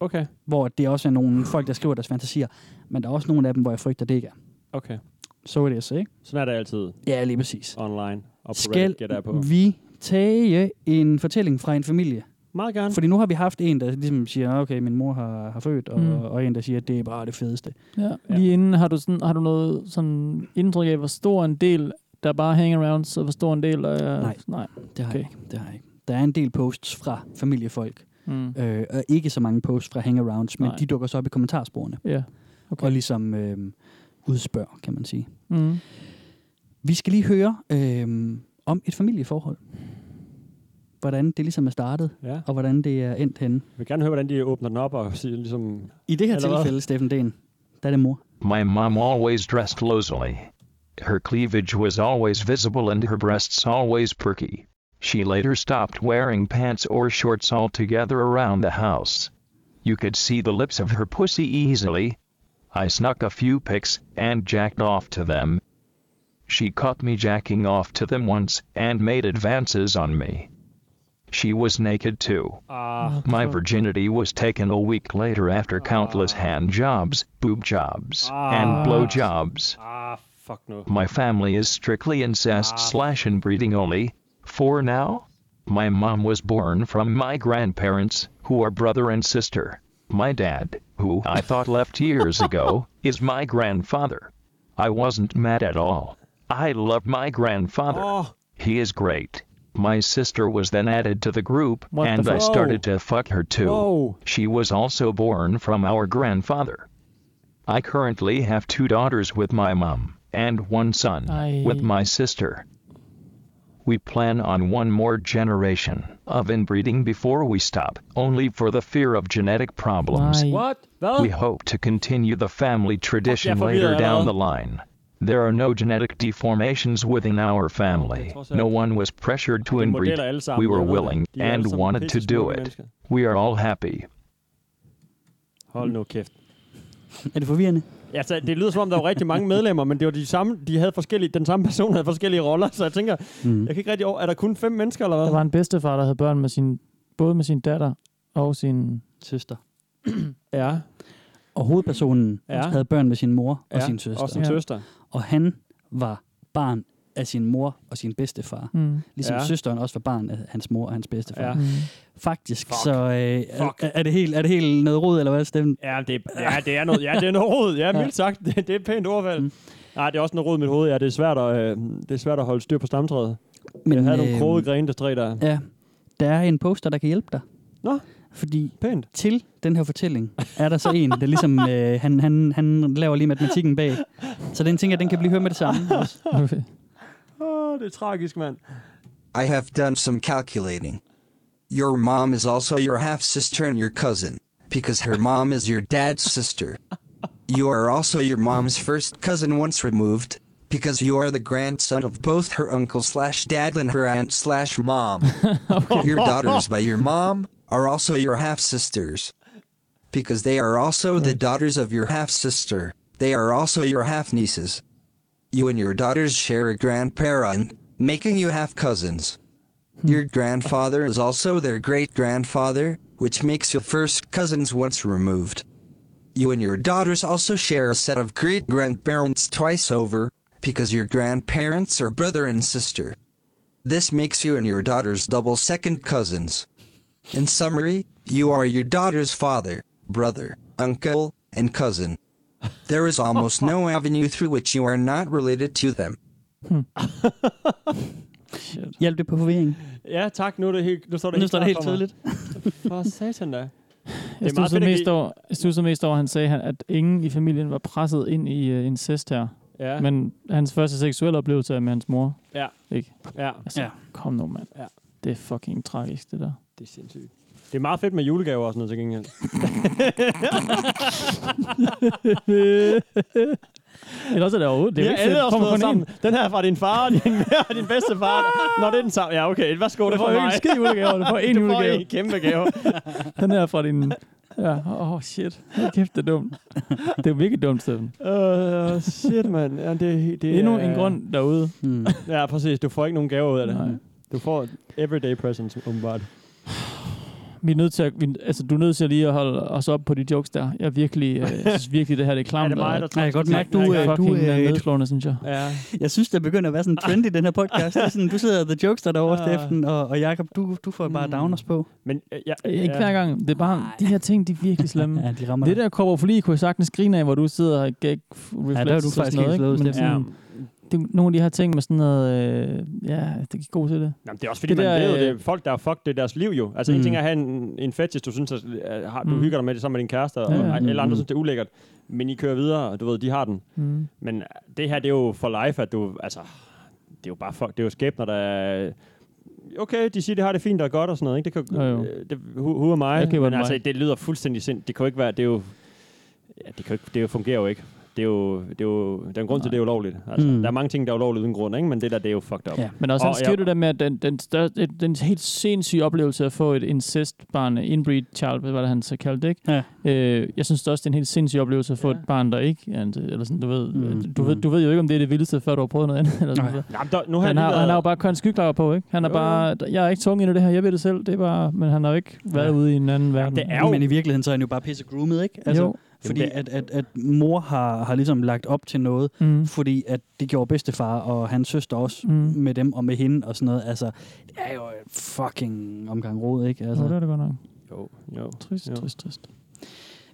Speaker 4: Okay.
Speaker 5: hvor det også er nogle folk, der skriver deres fantasier, men der er også nogle af dem, hvor jeg frygter, det ikke er.
Speaker 4: Okay.
Speaker 5: Så er det så, ikke?
Speaker 4: Sådan er det altid
Speaker 5: Ja, lige præcis.
Speaker 4: online og på
Speaker 5: Skal
Speaker 4: Reddit, gætter jeg på.
Speaker 5: vi tage en fortælling fra en familie?
Speaker 4: Meget gerne.
Speaker 5: Fordi nu har vi haft en, der ligesom siger, "Ah, okay, min mor har, har født, og,
Speaker 6: Mm.
Speaker 5: og en, der siger, at det er bare det fedeste.
Speaker 6: Ja. Lige inden, har du, sådan, har du noget sådan indtryk af, hvor stor en del, der bare hangarounds, og hvor stor en del... Øh,
Speaker 5: Nej.
Speaker 6: nej.
Speaker 5: Det har okay. jeg
Speaker 6: Okay.
Speaker 5: ikke. Det har jeg ikke. Der er en del posts fra familiefolk,
Speaker 6: Mm.
Speaker 5: øh, og ikke så mange posts fra hangarounds, men
Speaker 6: Nej.
Speaker 5: Nej. de dukker så op i kommentarsporene,
Speaker 6: Ja. Okay.
Speaker 5: okay. og ligesom øh, udspørger, kan man sige.
Speaker 6: Mm.
Speaker 5: Vi skal lige høre øh, om et familieforhold. Hvordan det ligesom er startet,
Speaker 4: Ja.
Speaker 5: og hvordan det er endt henne.
Speaker 4: Jeg vil gerne høre, hvordan de åbner den op og siger ligesom...
Speaker 5: I det her
Speaker 4: Eller hvad?
Speaker 5: tilfælde, Steffen Den, der er det mor.
Speaker 9: My mom always dressed losely. Her cleavage was always visible and her breasts always perky. She later stopped wearing pants or shorts altogether around the house. You could see the lips of her pussy easily. I snuck a few pics and jacked off to them. She caught me jacking off to them once and made advances on me. She was naked too.
Speaker 4: Ah,
Speaker 9: My virginity was taken a week later after countless hand jobs, boob jobs, and blow jobs.
Speaker 4: ah, fuck nu.
Speaker 9: My family is strictly
Speaker 6: Ah.
Speaker 9: incest slash inbreeding only. For now, my mom was born from my grandparents, who are brother and sister. My dad, who I thought left years ago, is my grandfather. I wasn't mad at all. I love my grandfather.
Speaker 6: Oh.
Speaker 9: He is great. My sister was then added to the group,
Speaker 6: What the
Speaker 9: and I
Speaker 6: fuck?
Speaker 9: started to fuck her too.
Speaker 4: Whoa.
Speaker 9: She was also born from our grandfather. I currently have two daughters with my mom, and one son
Speaker 6: Aye.
Speaker 9: with my sister. We plan on one more generation of inbreeding before we stop, only for the fear of genetic problems.
Speaker 6: Nej.
Speaker 4: What? Hvad?
Speaker 9: We hope to continue the family tradition
Speaker 4: for
Speaker 9: later
Speaker 4: real,
Speaker 9: down
Speaker 4: Alan.
Speaker 9: the line. There are no genetic deformations within our family.
Speaker 4: trods alt.
Speaker 9: No one was pressured to
Speaker 4: De
Speaker 9: inbreed.
Speaker 4: modeller alle sammen,
Speaker 9: We
Speaker 4: jeg
Speaker 9: were
Speaker 4: ved det.
Speaker 9: willing
Speaker 4: De er alle
Speaker 9: and
Speaker 4: sammen
Speaker 9: wanted to
Speaker 4: pisse
Speaker 9: do
Speaker 4: smukke
Speaker 9: it.
Speaker 4: mennesker.
Speaker 9: We are all happy.
Speaker 4: Hold nu kæft.
Speaker 5: Er det forvirrende?
Speaker 4: Ja, Altså, det lyder som om, der var rigtig mange medlemmer, men det var de samme, de havde forskellige, den samme person havde forskellige roller, så jeg tænker,
Speaker 5: Mhm.
Speaker 4: mm. jeg kan ikke rigtig over, er der kun fem mennesker, eller hvad?
Speaker 6: Der var en bedstefar, der havde børn med sin, både med sin datter og sin...
Speaker 5: Søster.
Speaker 4: Ja,
Speaker 5: Og hovedpersonen
Speaker 4: Ja.
Speaker 5: ja. havde børn med sin mor og
Speaker 4: ja.
Speaker 5: sin søster.
Speaker 4: Og sin
Speaker 6: Ja.
Speaker 4: søster.
Speaker 5: Og han var barn af sin mor og sin bedstefar.
Speaker 6: Mm.
Speaker 5: Ligesom
Speaker 4: Ja.
Speaker 5: ja. søsteren også var barn af hans mor og hans bedstefar.
Speaker 4: Ja.
Speaker 5: Ja.
Speaker 4: Mm.
Speaker 5: Faktisk, Fuck. så øh, er, er, det helt, er det helt noget rod, eller hvad stemmen?
Speaker 4: Ja, det, ja, det er noget, ja, det er noget rod. Ja, mildt sagt. Det, det er et pænt ordvalg.
Speaker 5: Mhm.
Speaker 4: Mm. Nej, det er også noget rod i mit hoved. Ja, det er svært at, øh, det er svært at holde styr på stamtræet. Men, jeg havde
Speaker 5: øh,
Speaker 4: nogle krogede grene, der træ der.
Speaker 5: Ja, der er en poster, der kan hjælpe dig.
Speaker 4: Nå,
Speaker 5: Fordi
Speaker 4: pænt.
Speaker 5: til den her fortælling er der så en, der ligesom, øh, han, han, han laver lige matematikken bag. Så den tænker jeg, den kan blive hørt med det samme. også.
Speaker 6: Okay.
Speaker 4: Åh, det er tragisk, mand.
Speaker 10: Mm-hmm. I have done some calculating. Your mom is also your half sister and your cousin, because her mom is your dad's sister. You are also your mom's first cousin once removed, because you are the grandson of both her uncle slash dad and her aunt slash mom. Your daughters by your mom are also your half sisters, because they are also the daughters of your half sister. They are also your half nieces. You and your daughters share a grandparent, making you half cousins. Your grandfather is also their great grandfather, which makes you first cousins once removed. You and your daughters also share a set of great grandparents twice over, because your grandparents are brother and sister. This makes you and your daughters double second cousins. In summary, you are your daughter's father, brother, uncle, and cousin. There is almost no avenue through which you are not related to them.
Speaker 5: Hjælp det på forvirring.
Speaker 4: Ja, tak. Nu, er det helt, nu står det
Speaker 5: Nu står det helt
Speaker 4: klart for mig.
Speaker 5: tydeligt.
Speaker 4: For satan da.
Speaker 6: Jeg
Speaker 4: meget
Speaker 6: stussede
Speaker 4: fedt, at
Speaker 6: mest,
Speaker 4: I-
Speaker 6: over, jeg stussede mest over, at han sagde, han- at ingen i familien var presset ind i uh, incest her.
Speaker 4: Ja,
Speaker 6: Ja. Men hans første seksuelle oplevelse er med hans mor.
Speaker 4: ja,
Speaker 6: Ikke?
Speaker 4: ja.
Speaker 6: Altså, ja.
Speaker 5: Ja.
Speaker 6: kom nu, mand.
Speaker 4: Ja.
Speaker 6: Ja. Det er fucking tragisk, det der.
Speaker 4: Det er sindssygt. Det er meget fedt med julegaver og sådan noget til gengæld.
Speaker 6: Eller også er det overhovedet. Det er
Speaker 4: Det er
Speaker 6: jo ikke
Speaker 4: alle
Speaker 6: fedt.
Speaker 4: også
Speaker 6: Kommer
Speaker 4: noget
Speaker 6: kun
Speaker 4: sammen.
Speaker 6: en.
Speaker 4: Den her er fra din far og din, og din bedste far. Nå, det er den samme. Ja, okay. Værsgo, det
Speaker 6: Du
Speaker 4: er
Speaker 6: får
Speaker 4: fra
Speaker 6: jo ikke en
Speaker 4: mig.
Speaker 6: skid julegave. Du får en
Speaker 4: Du får
Speaker 6: julegave.
Speaker 4: en kæmpe gave.
Speaker 6: Den her fra din... Ja, åh oh, shit. Hold kæft, det er dumt. Det er virkelig dumt, Steffen.
Speaker 4: Åh, shit, mand. Ja, det, det
Speaker 6: Yeah. Endnu
Speaker 4: er-
Speaker 6: en grund derude.
Speaker 5: Mm.
Speaker 4: Ja, præcis. Du får ikke nogen gaver ud af det.
Speaker 6: Hmm. Nej.
Speaker 4: Du får everyday presents, åbenbart.
Speaker 6: Vi er nødt til at, vi, altså, du er nødt til lige at holde os op på de jokes der. Jeg, er virkelig, øh, jeg synes virkelig, det her det er klamt.
Speaker 4: Er det mig,
Speaker 6: og-
Speaker 4: der
Speaker 5: Jeg kan godt mærke, du,
Speaker 6: Nej,
Speaker 5: øh, du,
Speaker 6: fucking øh,
Speaker 5: øh,
Speaker 6: nedslående, synes jeg.
Speaker 4: Ja.
Speaker 5: Jeg synes, det begynder at være sådan trendy, den her podcast. Det er sådan, du sidder the jokester derovre,
Speaker 4: Ah.
Speaker 5: Steffen, og, og Jacob, du, du får bare downers på.
Speaker 4: Men øh, ja,
Speaker 6: Øh, Ikke
Speaker 4: ja.
Speaker 6: hver gang. Det er bare, de her ting, de er virkelig slemme.
Speaker 5: Ja, de rammer
Speaker 6: Det
Speaker 5: det
Speaker 6: der koproforli kunne jeg sagtens grine af, hvor du sidder og gag reflexes
Speaker 5: der er du
Speaker 6: og
Speaker 5: faktisk
Speaker 6: sådan noget,
Speaker 5: helt
Speaker 6: ikke?
Speaker 5: slået,
Speaker 6: Men
Speaker 5: Steffen.
Speaker 4: Ja.
Speaker 6: sådan, det er nogle af de her ting med sådan noget, øh, ja, det gik god til det.
Speaker 4: Jamen, det er også fordi, det
Speaker 6: Det
Speaker 4: man
Speaker 6: der,
Speaker 4: der, ved,
Speaker 6: øh,
Speaker 4: det er folk, der har fucked det er deres liv jo. Altså, mm. en
Speaker 6: Mm.
Speaker 4: ting er at have en, en fetish, du synes, at, øh, har, du
Speaker 6: Mm.
Speaker 4: hygger dig med det sammen med din kæreste, og,
Speaker 6: Ja, ja.
Speaker 4: ja,
Speaker 6: Mm,
Speaker 4: eller andre
Speaker 5: mm.
Speaker 4: synes, det er ulækkert. Men I kører videre, og du ved, de har den.
Speaker 6: Mm.
Speaker 4: Men øh, det her, det er jo for life, at du, altså, det er jo bare fuck, det er jo skæbner, der er, okay, de siger, det har det fint og godt og sådan noget, ikke? Det kan,
Speaker 6: Jo, jo.
Speaker 4: øh, Det, who, who am I?
Speaker 6: Jeg køber
Speaker 4: Men
Speaker 6: den
Speaker 4: altså,
Speaker 6: vej.
Speaker 4: det lyder fuldstændig sind. Det kan jo ikke være, det er jo, ja, det, kan jo ikke, det jo fungerer jo ikke. Det er jo, det er jo, der er en grund Nej. til, det er ulovligt. Altså, mm.
Speaker 5: Mm.
Speaker 4: Der er mange ting, der er ulovligt uden grund, ikke? Men det der, det er jo fucked up.
Speaker 5: Ja.
Speaker 6: Men også,
Speaker 4: Og
Speaker 6: han skriver
Speaker 4: jeg-
Speaker 6: det der med, at den, den, største, den helt sindssyge oplevelse at få et incestbarn, øh, inbreed child, hvad var det, han så kaldte det, ikke? Ja. Øh, jeg synes det også, det er en helt sindssyg oplevelse at få ja. et barn, der ikke er en, eller sådan, du ved, mm.
Speaker 5: Mm,
Speaker 6: du, ved, du ved jo ikke, om det er det vildeste, før du har prøvet noget andet. Eller sådan
Speaker 5: Nej.
Speaker 6: noget.
Speaker 4: Nå, men der, nu har jeg
Speaker 6: Han
Speaker 4: lige
Speaker 6: har, han
Speaker 4: været-
Speaker 6: har jo bare kørt en skyklaver på, ikke? Han er
Speaker 4: Jo, jo.
Speaker 6: bare, jeg er ikke tvunget ind i det her, jeg ved det selv, det er bare, men han har jo ikke været
Speaker 5: Ja.
Speaker 6: ude i en anden verden.
Speaker 4: det er
Speaker 5: der.
Speaker 4: jo-
Speaker 5: Men i virkeligheden, så er han jo bare pisse groomet, ikke?
Speaker 6: altså,
Speaker 5: Altså,
Speaker 6: jo.
Speaker 5: Fordi
Speaker 4: Jamen,
Speaker 5: at, at, at mor har, har ligesom lagt op til noget,
Speaker 6: Mm.
Speaker 5: fordi at det gjorde bedstefar og hans søster også
Speaker 6: Mm.
Speaker 5: mm. med dem og med hende og sådan noget. Altså, det er jo et fucking omgang rod, ikke?
Speaker 6: Altså.
Speaker 5: Altså.
Speaker 6: Nå, det er det godt nok.
Speaker 4: Jo, jo.
Speaker 6: Trist,
Speaker 4: Jo.
Speaker 6: trist, trist.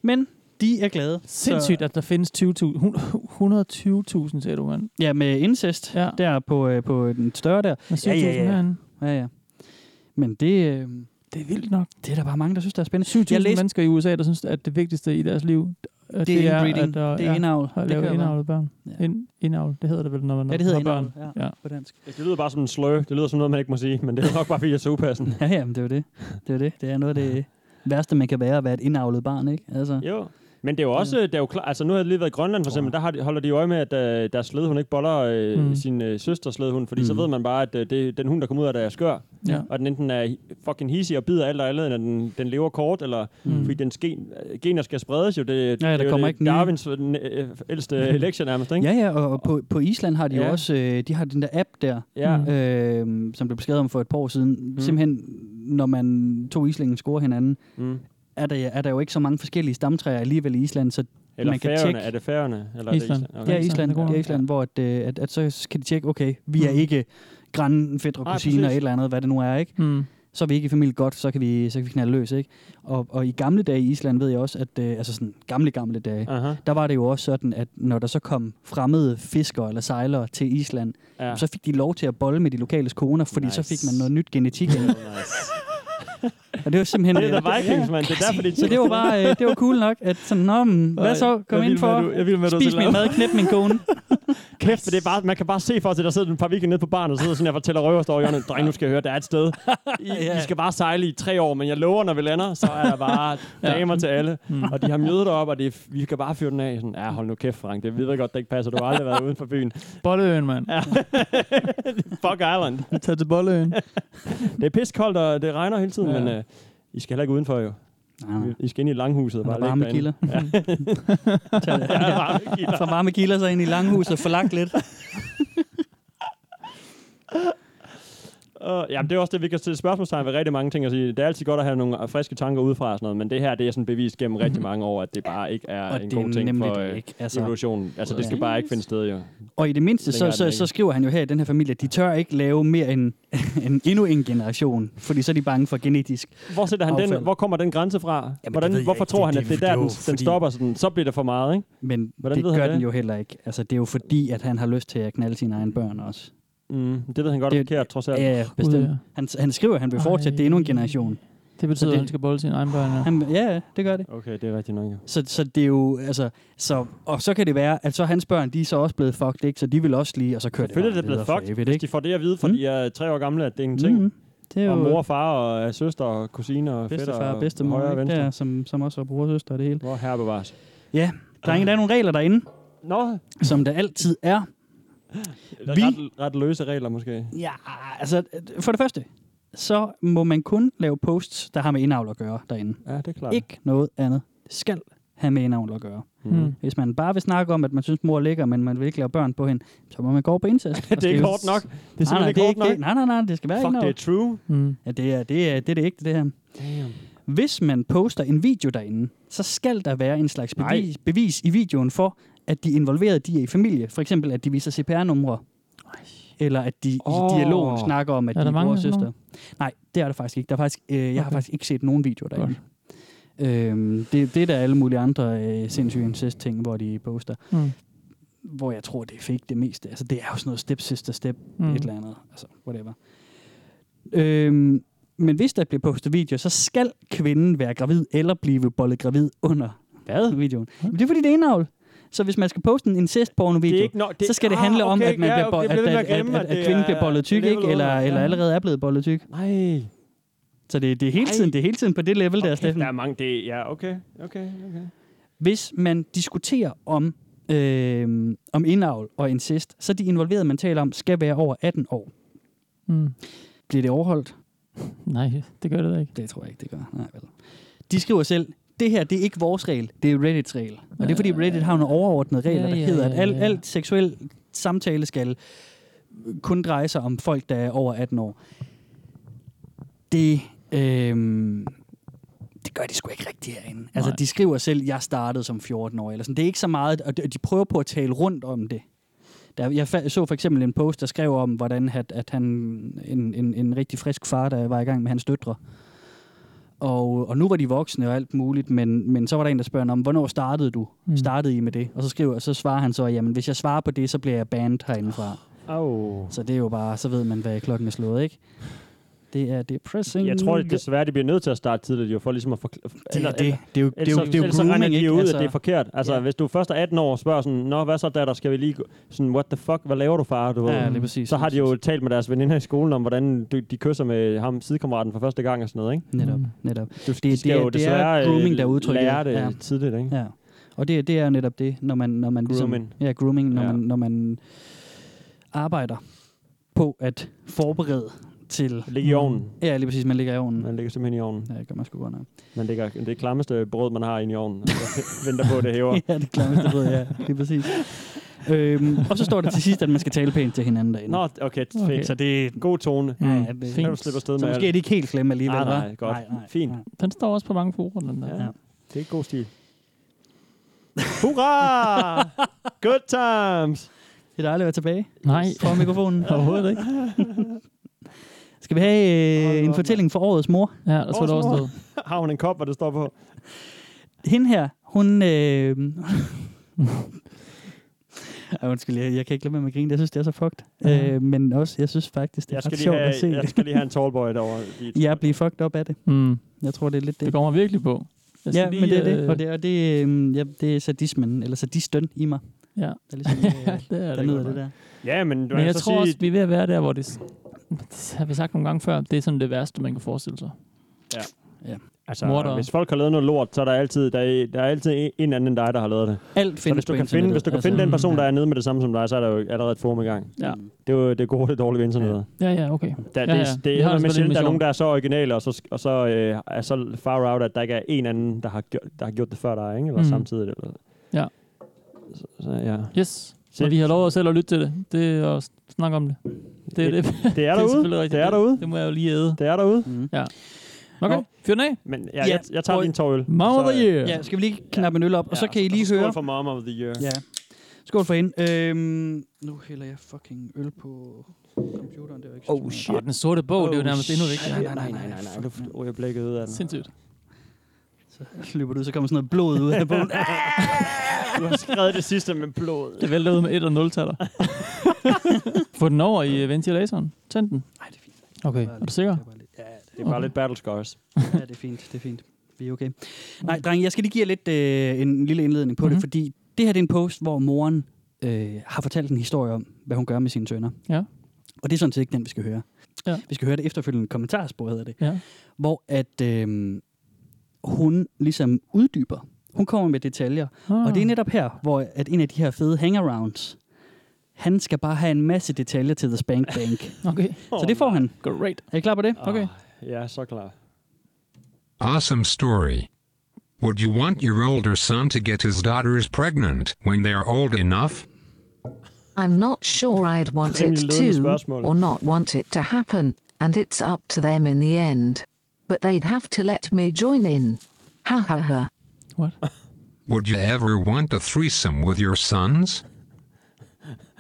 Speaker 5: Men de er glade.
Speaker 6: Sindssygt, at der findes 20.000, hun- 120.000, sagde du, mand.
Speaker 5: Så, ja, med incest
Speaker 6: Ja.
Speaker 5: ja. der på, øh, på den større der.
Speaker 6: Men 7.000 ja, ja, ja. herinde.
Speaker 5: Ja, ja. Men det, øh,
Speaker 6: Det er vildt nok.
Speaker 5: det er der bare mange, der synes, der er spændende.
Speaker 6: 7.000
Speaker 5: Jeg læste,
Speaker 6: mennesker i USA, der synes, at det vigtigste i deres liv, at
Speaker 5: det er inbreeding,
Speaker 6: at, der-
Speaker 5: det er indavl.
Speaker 6: at
Speaker 5: det
Speaker 6: lave
Speaker 5: kører
Speaker 6: indavlede børn. Ja.
Speaker 5: Ja.
Speaker 6: Ind, indavl, det hedder det vel, når man
Speaker 5: bare. Ja, det hedder
Speaker 6: har børn.
Speaker 5: indavl ja,
Speaker 6: Ja.
Speaker 5: på dansk.
Speaker 4: Altså, Det lyder bare som en slør. Det lyder som noget, man ikke må sige, men det er nok bare, fordi jeg er så upassende.
Speaker 5: Ja, ja, men det er jo det. Det er jo det. Det er noget af det værste, man kan være at være et indavlet barn, ikke? Altså.
Speaker 4: Jo. Men det er jo
Speaker 5: Mm.
Speaker 4: også, det er jo klar, altså nu har jeg lige været i Grønland for eksempel, der har de, holder de øje med, at øh, deres slædehund ikke boller øh,
Speaker 6: Mm.
Speaker 4: mm. sin øh, søsters slædehund, fordi mm. så
Speaker 5: Mm.
Speaker 4: ved man bare, at øh, det, den hund, der kommer ud af det, er skør,
Speaker 6: Ja.
Speaker 4: og den enten er hi- fucking hissig og bider alt og andet, eller den, den lever kort, eller mm. fordi dens gen, øh, gener skal spredes jo, det,
Speaker 5: Ja,
Speaker 4: det
Speaker 5: ja,
Speaker 4: er
Speaker 5: der
Speaker 4: jo
Speaker 5: kommer
Speaker 4: det,
Speaker 5: ikke nye.
Speaker 4: Darwins øh, den, øh, ældste lektion nærmest, ikke?
Speaker 5: Ja, ja, og og på, på Island har de ja.
Speaker 4: Ja.
Speaker 5: jo også, øh, de har den der app der, øhm,
Speaker 4: Ja. Mm.
Speaker 5: øh, som blev beskrevet om for et par år siden. Mm. Simpelthen, når man to islændinge scorer hinanden,
Speaker 4: Mm.
Speaker 5: er der, er der jo ikke så mange forskellige stamtræer alligevel i Island, så
Speaker 4: Eller
Speaker 5: man kan
Speaker 4: Færøerne.
Speaker 5: tjekke...
Speaker 4: Er det Færøerne?
Speaker 5: Island.
Speaker 4: Eller Er det Island?
Speaker 5: Okay. Ja, Island, ja, Island hvor at, øh, at, at, så kan de tjekke, okay, vi er
Speaker 4: Mm.
Speaker 5: ikke græn, fætter og
Speaker 4: Nej,
Speaker 5: kusiner og et
Speaker 4: præcis.
Speaker 5: eller andet, hvad det nu er, ikke?
Speaker 6: Mm.
Speaker 5: Så er vi ikke i familie godt, så kan vi, så kan vi knalde løs, ikke? Og, og i gamle dage i Island ved jeg også, at øh, altså sådan gamle, gamle dage,
Speaker 4: Aha.
Speaker 5: der var det jo også sådan, at når der så kom fremmede fiskere eller sejlere til Island,
Speaker 4: Ja.
Speaker 5: ja. så fik de lov til at bolle med de lokale koner, fordi nice. så fik man noget nyt genetik ind. Og det var simpelthen...
Speaker 4: Det er
Speaker 5: øh,
Speaker 4: da Vikings, mand. Det er derfor, de
Speaker 5: så det var bare øh, det var cool nok, at sådan, Nå, men,
Speaker 4: Ej,
Speaker 5: hvad så? Kom
Speaker 4: jeg
Speaker 5: ind
Speaker 4: vil med,
Speaker 5: for,
Speaker 4: du- jeg vil med, du
Speaker 5: spis
Speaker 4: selv
Speaker 5: min
Speaker 4: lavede.
Speaker 5: mad, knæp min kone.
Speaker 4: Kæft, for det er bare, man kan bare se for sig, der sidder en par vikinger nede på barnet, og sidder sådan, jeg fortæller røverstory, og dreng, nu skal jeg høre, der er et sted. I, I skal bare sejle i tre år, men jeg lover, når vi lander, så er der bare damer til alle.
Speaker 6: Mm.
Speaker 4: Og de har mødet op, og det er, vi kan bare fyre den af. Sådan, ja, hold nu kæft, Frank, det ved jeg godt, det ikke passer. Du har aldrig været uden for byen.
Speaker 6: Bolleøen, mand.
Speaker 4: Ja. Fuck Island.
Speaker 6: Tag til Bolleøen.
Speaker 4: Det er pissekoldt, og det regner hele tiden, ja.
Speaker 6: Ja.
Speaker 4: men øh, I skal heller ikke udenfor, jo.
Speaker 5: Nej, nej.
Speaker 4: I skal ind i langhuset og
Speaker 5: Der er
Speaker 4: bare
Speaker 5: varme
Speaker 4: ligge
Speaker 5: kilder.
Speaker 4: derinde. Ja. Der er varme kilder.
Speaker 5: Fra varme kilder så ind i langhuset, for langt lidt.
Speaker 4: Og, ja, det er også det, vi kan stille spørgsmålstegn ved rigtig mange ting og sige. Det er altid godt at have nogle øh, friske tanker udefra og sådan noget, men det her, det er sådan bevist gennem rigtig mange år, at det bare ikke er
Speaker 5: Mhm. Og
Speaker 4: en
Speaker 5: det er
Speaker 4: god ting
Speaker 5: nemlig
Speaker 4: for
Speaker 5: det
Speaker 4: øh,
Speaker 5: ikke, altså.
Speaker 4: evolutionen. Altså, det skal
Speaker 5: Ja.
Speaker 4: bare ikke finde sted, jo.
Speaker 5: Og i det mindste,
Speaker 4: Længere
Speaker 5: så,
Speaker 4: er den
Speaker 5: så,
Speaker 4: ikke.
Speaker 5: så skriver han jo her i den her familie, at de tør ikke lave mere end, end endnu en generation, fordi så er de bange for genetisk.
Speaker 4: Hvor, sætter han den,
Speaker 5: Affald.
Speaker 4: hvor kommer den grænse fra?
Speaker 5: det
Speaker 4: Hvordan,
Speaker 5: ved jeg
Speaker 4: hvorfor
Speaker 5: ikke.
Speaker 4: tror
Speaker 5: Det-
Speaker 4: han, at
Speaker 5: det-
Speaker 4: det er der,
Speaker 5: det er
Speaker 4: den,
Speaker 5: jo
Speaker 4: den
Speaker 5: fordi-
Speaker 4: stopper sådan? Så bliver det for meget, ikke?
Speaker 5: Men
Speaker 4: Hvordan
Speaker 5: det
Speaker 4: ved han
Speaker 5: gør
Speaker 4: det?
Speaker 5: den jo heller ikke. Altså, det er jo fordi, at han har lyst til at knalde sine egne børn også.
Speaker 4: Mm, det ved han godt det, er
Speaker 5: Det-
Speaker 4: forkert, trods alt.
Speaker 5: Ja, ja,
Speaker 6: Gud,
Speaker 5: bestemt.
Speaker 6: ja.
Speaker 5: Han, han skriver, at han vil fortsætte, det er endnu en generation.
Speaker 6: Det betyder,
Speaker 5: Så det-
Speaker 6: at han skal bolle sine egne børn. ja.
Speaker 5: Han, ja, ja, det gør det.
Speaker 4: Okay, det er rigtigt nok, jo.
Speaker 5: Så, så det er jo, altså, så, og så kan det være, at så hans børn, de er så også blevet fucked, ikke? Så de vil også lige, og så kører det
Speaker 4: Selvfølgelig
Speaker 5: bare
Speaker 4: er det blevet
Speaker 5: videre for
Speaker 4: fucked,
Speaker 5: evigt,
Speaker 4: hvis
Speaker 5: ikke?
Speaker 4: de får det at vide, for
Speaker 5: Mm.
Speaker 4: de er tre år gamle, at det er en ting.
Speaker 5: Mhm. Det er jo
Speaker 4: Og mor og far og øh, søster og kusiner og fætter
Speaker 5: bedstefar og
Speaker 4: og
Speaker 5: bedstemor,
Speaker 4: højre og
Speaker 5: ikke?
Speaker 4: venstre.
Speaker 5: der, som, som også var bror og søster og det hele.
Speaker 4: Hvor herre bevares.
Speaker 5: Ja, drenge, der er nogle regler derinde,
Speaker 4: Nå,
Speaker 5: som der altid er. Vi-
Speaker 4: ret, ret løse regler måske.
Speaker 5: Ja, altså, for det første, så må man kun lave posts, der har med indavl at gøre derinde.
Speaker 4: Ja, det er klart.
Speaker 5: Ikke noget andet. Det skal have med indavl at gøre.
Speaker 4: Hmm.
Speaker 6: Mm.
Speaker 5: Hvis man bare vil snakke om, at man synes, mor er lækker, men man vil ikke lave børn på hende, så må man gå på incest.
Speaker 4: det er ikke hårdt nok. Det er
Speaker 5: nej, nej,
Speaker 4: simpelthen
Speaker 5: det er
Speaker 4: ikke
Speaker 5: ikke
Speaker 4: hårdt
Speaker 5: det.
Speaker 4: nok.
Speaker 5: Nej, nej, nej, det skal være
Speaker 4: Fuck,
Speaker 5: ikke
Speaker 4: det
Speaker 5: noget.
Speaker 4: er true.
Speaker 6: Mm.
Speaker 5: Ja, det er det, er, det er det ikke, det her. Hvis man poster en video derinde, så skal der være en slags
Speaker 4: Nej.
Speaker 5: bevis, bevis i videoen for, at de involverede de er i familie. For eksempel, at de viser CPR-numre. Eller at de
Speaker 4: Åh.
Speaker 5: i dialogen snakker om, at
Speaker 6: Er
Speaker 5: de
Speaker 6: der
Speaker 5: er
Speaker 6: mange
Speaker 5: bror og
Speaker 6: af sådan
Speaker 5: søster. Nej, det er der faktisk ikke. Der er faktisk, øh, jeg har
Speaker 6: Okay.
Speaker 5: faktisk ikke set nogen videoer derinde. Øhm, det, det er der alle mulige andre øh, sindssyge incest-ting, hvor de poster.
Speaker 6: Mm.
Speaker 5: Hvor jeg tror, det er fake det meste. Altså, det er jo sådan noget step-sister-step
Speaker 6: Mm.
Speaker 5: mm. et eller andet. Altså, whatever. Øhm, men hvis der bliver postet video, så skal kvinden være gravid eller blive bollet gravid under Hvad? videoen. Men det er fordi, det er indavl. Så hvis man skal poste en incest porno
Speaker 4: Det er
Speaker 5: video
Speaker 4: ikke nok.
Speaker 5: så skal det handle om, at, man
Speaker 4: ja,
Speaker 5: bliver bo-
Speaker 4: okay,
Speaker 5: at,
Speaker 4: jeg ved,
Speaker 5: at,
Speaker 4: jeg
Speaker 5: at,
Speaker 4: glemmer,
Speaker 5: at,
Speaker 4: det
Speaker 5: at kvinden bliver
Speaker 4: er
Speaker 5: bollet tyk,
Speaker 4: level
Speaker 5: ikke? Eller,
Speaker 4: under,
Speaker 5: eller
Speaker 4: ja.
Speaker 5: allerede er blevet bollet tyk.
Speaker 4: Nej.
Speaker 5: Så det, det, er hele
Speaker 4: Ej.
Speaker 5: tiden, det er hele tiden på det level der,
Speaker 4: Okay,
Speaker 5: Steffen.
Speaker 4: der er mange, det ja, okay, okay, okay.
Speaker 5: hvis man diskuterer om, øh, om indavl og incest, så de involverede, man taler om, skal være over 18 år.
Speaker 6: Mm.
Speaker 5: Bliver det overholdt?
Speaker 6: Nej, det gør det da ikke.
Speaker 5: Det tror jeg ikke, det gør. Nej, vel. De skriver selv, det her, det er ikke vores regel, det er Reddits regel. Og det er fordi Reddit har nogle overordnede regler,
Speaker 6: Ja,
Speaker 5: der
Speaker 6: ja,
Speaker 5: hedder, at
Speaker 6: ja,
Speaker 5: al,
Speaker 6: ja.
Speaker 5: alt seksuel samtale skal kun dreje sig om folk, der er over 18 år. Det, øh, det gør de sgu ikke rigtigt herinde. Altså,
Speaker 6: Nej.
Speaker 5: de skriver selv, jeg startede som 14 år. Eller sådan. Det er ikke så meget, og de de prøver på at tale rundt om det. Der, jeg fa- så for eksempel en post, der skrev om, hvordan at, at han, en, en, en rigtig frisk far, der var i gang med hans døtre. Og, og nu var de voksne og alt muligt, men, men så var der en, der spørger om, hvornår startede du? Mm. Startede I med det? Og så, skriver, så svarer han så, jamen hvis jeg svarer på det, så bliver jeg banned herindefra.
Speaker 4: Au.
Speaker 5: Så det er jo bare, så ved man, hvad klokken er slået, ikke? Det er depressing.
Speaker 4: Jeg tror det desværre, de bliver nødt til at starte tidligt, jo, for ligesom at forklare.
Speaker 5: det er det. Det er jo, det er
Speaker 4: Ellers,
Speaker 5: jo,
Speaker 4: så-
Speaker 5: det er jo
Speaker 4: ellers så regner
Speaker 5: grooming,
Speaker 4: de
Speaker 5: ikke?
Speaker 4: jo ud, altså,
Speaker 5: Altså,
Speaker 4: at det er forkert. Altså,
Speaker 5: Ja.
Speaker 4: hvis du først er 18 år og spørger sådan, Nå, hvad så, datter, skal vi lige... gå-" Sådan, what the fuck, hvad laver du, far? Du
Speaker 5: Ja,
Speaker 4: ved. mm.
Speaker 5: det er præcis.
Speaker 4: Så har de jo talt med deres veninder i skolen om, hvordan de, de kysser med ham, sidekammeraten, for første gang og sådan noget, ikke?
Speaker 6: Mm.
Speaker 5: Netop, netop.
Speaker 4: Du
Speaker 5: det er-
Speaker 4: skal
Speaker 5: det
Speaker 4: jo
Speaker 5: er
Speaker 4: desværre, øh,
Speaker 5: grooming, der er udtrykket.
Speaker 4: Lære det
Speaker 5: Ja.
Speaker 4: tidligt, ikke?
Speaker 5: Ja. Og det, det er jo netop det, når man... Når man
Speaker 4: Grooming.
Speaker 5: Ligesom, ja, grooming, når,
Speaker 4: Ja.
Speaker 5: ja. Man, når man arbejder på at forberede til...
Speaker 4: Ligge i ovnen.
Speaker 5: Ja, lige præcis, man ligger i ovnen.
Speaker 4: Man ligger simpelthen i ovnen.
Speaker 5: Ja, det gør man sgu godt nok.
Speaker 4: Man ligger det klammeste brød, man har inde i ovnen. og så venter Altså, på, at det hæver.
Speaker 5: ja, det klammeste brød, ja. Lige præcis. øhm, og så står der til sidst, at man skal tale pænt til hinanden derinde.
Speaker 4: Nå, okay,
Speaker 5: Okay.
Speaker 4: fint.
Speaker 5: Så det er...
Speaker 4: God tone.
Speaker 5: Ja,
Speaker 4: Mm.
Speaker 5: ja, det-
Speaker 4: Kan du slippe afsted
Speaker 5: Så
Speaker 4: med
Speaker 5: måske er de ikke helt slemme alligevel,
Speaker 4: Nej, nej,
Speaker 5: hva'?
Speaker 4: godt.
Speaker 5: Nej, nej.
Speaker 4: Fint.
Speaker 6: Den står også på mange forer, den der.
Speaker 4: Ja. Det er god stil. Hurra! Good times!
Speaker 5: Det er dejligt at være tilbage.
Speaker 6: Nej.
Speaker 5: For mikrofonen.
Speaker 6: Overhovedet ikke.
Speaker 5: Skal vi have øh, en fortælling for årets mor?
Speaker 6: Ja, der tror
Speaker 4: Årets
Speaker 6: der også
Speaker 4: mor.
Speaker 6: noget.
Speaker 4: Har hun en kop, hvor det står på?
Speaker 5: Hende her, hun... Øh... Ej, undskyld, jeg, jeg kan ikke lade være med at grine. Jeg synes, det er så fucked.
Speaker 6: Ja.
Speaker 5: Øh, men også, jeg synes faktisk, det
Speaker 4: Jeg
Speaker 5: er ret
Speaker 4: skal, lige
Speaker 5: sjovt
Speaker 4: have,
Speaker 5: at se
Speaker 4: jeg
Speaker 5: det.
Speaker 4: skal lige have en tallboy derovre. Lige et-
Speaker 5: Jeg bliver fucked op af det.
Speaker 6: Mm.
Speaker 5: Jeg tror, det er lidt det.
Speaker 6: Det kommer virkelig på. Jeg skal
Speaker 5: Ja, men det er det.
Speaker 6: øh,
Speaker 5: Og det, og det, øh, ja, det er sadismen, eller sadistøn i mig.
Speaker 6: Ja.
Speaker 5: Der ligesom, øh,
Speaker 6: ja, det er
Speaker 5: der
Speaker 6: det.
Speaker 5: nyder
Speaker 6: godt nok.
Speaker 5: det der.
Speaker 4: Ja, men du
Speaker 6: Men
Speaker 4: kan
Speaker 6: jeg
Speaker 4: så
Speaker 6: tror
Speaker 4: sige...
Speaker 6: også, vi er ved at være der, hvor det, s- det har vi sagt nogle gange før, det er sådan det værste, man kan forestille sig.
Speaker 4: altså,
Speaker 6: mordere.
Speaker 4: hvis folk har lavet noget lort, så er der altid, der er, der er altid en- en anden end dig, der har lavet det.
Speaker 5: Alt
Speaker 4: Så
Speaker 5: findes
Speaker 4: hvis du
Speaker 5: på
Speaker 4: kan finde,
Speaker 5: internettet.
Speaker 4: hvis du kan finde den
Speaker 6: mm,
Speaker 4: person, der
Speaker 5: ja.
Speaker 4: er nede med det samme som dig, så er der jo allerede et forum i gang.
Speaker 6: Ja.
Speaker 4: Det er jo det gode og det dårlige ved internettet.
Speaker 6: Ja, ja, okay.
Speaker 4: Der,
Speaker 6: Ja,
Speaker 4: det,
Speaker 6: ja.
Speaker 4: er- det
Speaker 6: Vi
Speaker 4: er
Speaker 6: har altså
Speaker 4: noget med
Speaker 6: selvfølgelig en
Speaker 4: sjældent, der er nogen,
Speaker 6: mission.
Speaker 4: der er så originale, og så, og så øh, er så far out, at der ikke er en anden, der har gjort, der har gjort det før dig, ikke? Eller
Speaker 6: Mm.
Speaker 4: samtidig. Eller.
Speaker 6: Ja.
Speaker 4: Så, så, ja.
Speaker 6: Yes.
Speaker 4: Se.
Speaker 6: Så vi har lov at selv at lytte til det. Det er at snakke om det. Det er det.
Speaker 4: Det er derude.
Speaker 6: selvfølgelig rigtigt.
Speaker 4: Det er derude.
Speaker 6: Det må jeg jo lige æde.
Speaker 4: Det er derude.
Speaker 5: Mhm.
Speaker 6: Okay,
Speaker 5: Nå.
Speaker 6: fyr den af.
Speaker 4: Men ja, øh,
Speaker 5: Ja,
Speaker 4: jeg, jeg tager
Speaker 5: prøv-
Speaker 4: din tårøl.
Speaker 6: Mom of the year.
Speaker 5: Ja, skal vi lige knappe en øl op, og så kan I lige høre...
Speaker 4: Skål for Mom of the Year.
Speaker 5: Ja. Skål for hende. Øhm, nu hælder jeg fucking øl på computeren. Det var ikke oh,
Speaker 6: Åh, Ah, den sorte bog, det er jo nærmest endnu vigtigere.
Speaker 5: Nej, nej, nej, nej, nej.
Speaker 4: Du ryger blækket ud af den.
Speaker 6: Sindssygt.
Speaker 5: Så løber du ud, så kommer sådan noget blod ud af bogen.
Speaker 4: Du har skrevet det sidste med blod.
Speaker 6: Det vælter ud med 1 og 0 taler. Få den over i øh, ventilatoren. Tænd den.
Speaker 5: Nej, det er fint.
Speaker 6: Okay. Er du sikker?
Speaker 5: Det er bare lidt- Ja,
Speaker 4: Det er bare lidt battle scars.
Speaker 5: ja, det er fint. Det er fint. Vi er okay. Nej, dreng, jeg skal lige give jer lidt øh, en lille indledning på mm-hmm.
Speaker 6: Mm. Mhm.
Speaker 5: det, fordi det her det er en post, hvor moren øh, har fortalt en historie om, hvad hun gør med sine sønner.
Speaker 6: Ja.
Speaker 5: Og det er sådan set ikke den, vi skal høre.
Speaker 6: Ja.
Speaker 5: Vi skal høre det efterfølgende kommentarspor, hedder det.
Speaker 6: Ja.
Speaker 5: Hvor at øh, hun ligesom uddyber. Hun kommer med detaljer,
Speaker 6: Ah.
Speaker 5: Og det er netop her, hvor at en af de her fede hangarounds, han skal bare have en masse detaljer til The Spank Bank.
Speaker 6: Okay.
Speaker 5: så det får han.
Speaker 6: Great.
Speaker 5: Er I klar på det?
Speaker 6: Okay.
Speaker 4: Ja, så klar.
Speaker 7: Awesome story. Would you want your older son to get his daughters pregnant when they're old enough?
Speaker 11: I'm not sure I'd want it
Speaker 4: Rimelig ledende
Speaker 11: to,
Speaker 4: spørgsmål.
Speaker 11: or not want it to happen, and it's up to them in the end. But they'd have to let me join in. Ha ha ha.
Speaker 6: What?
Speaker 7: Would you ever want a threesome with your sons?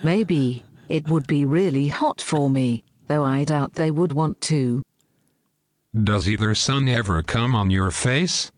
Speaker 11: Maybe. It would be really hot for me, though I doubt they would want to.
Speaker 7: Does either son ever come on your face?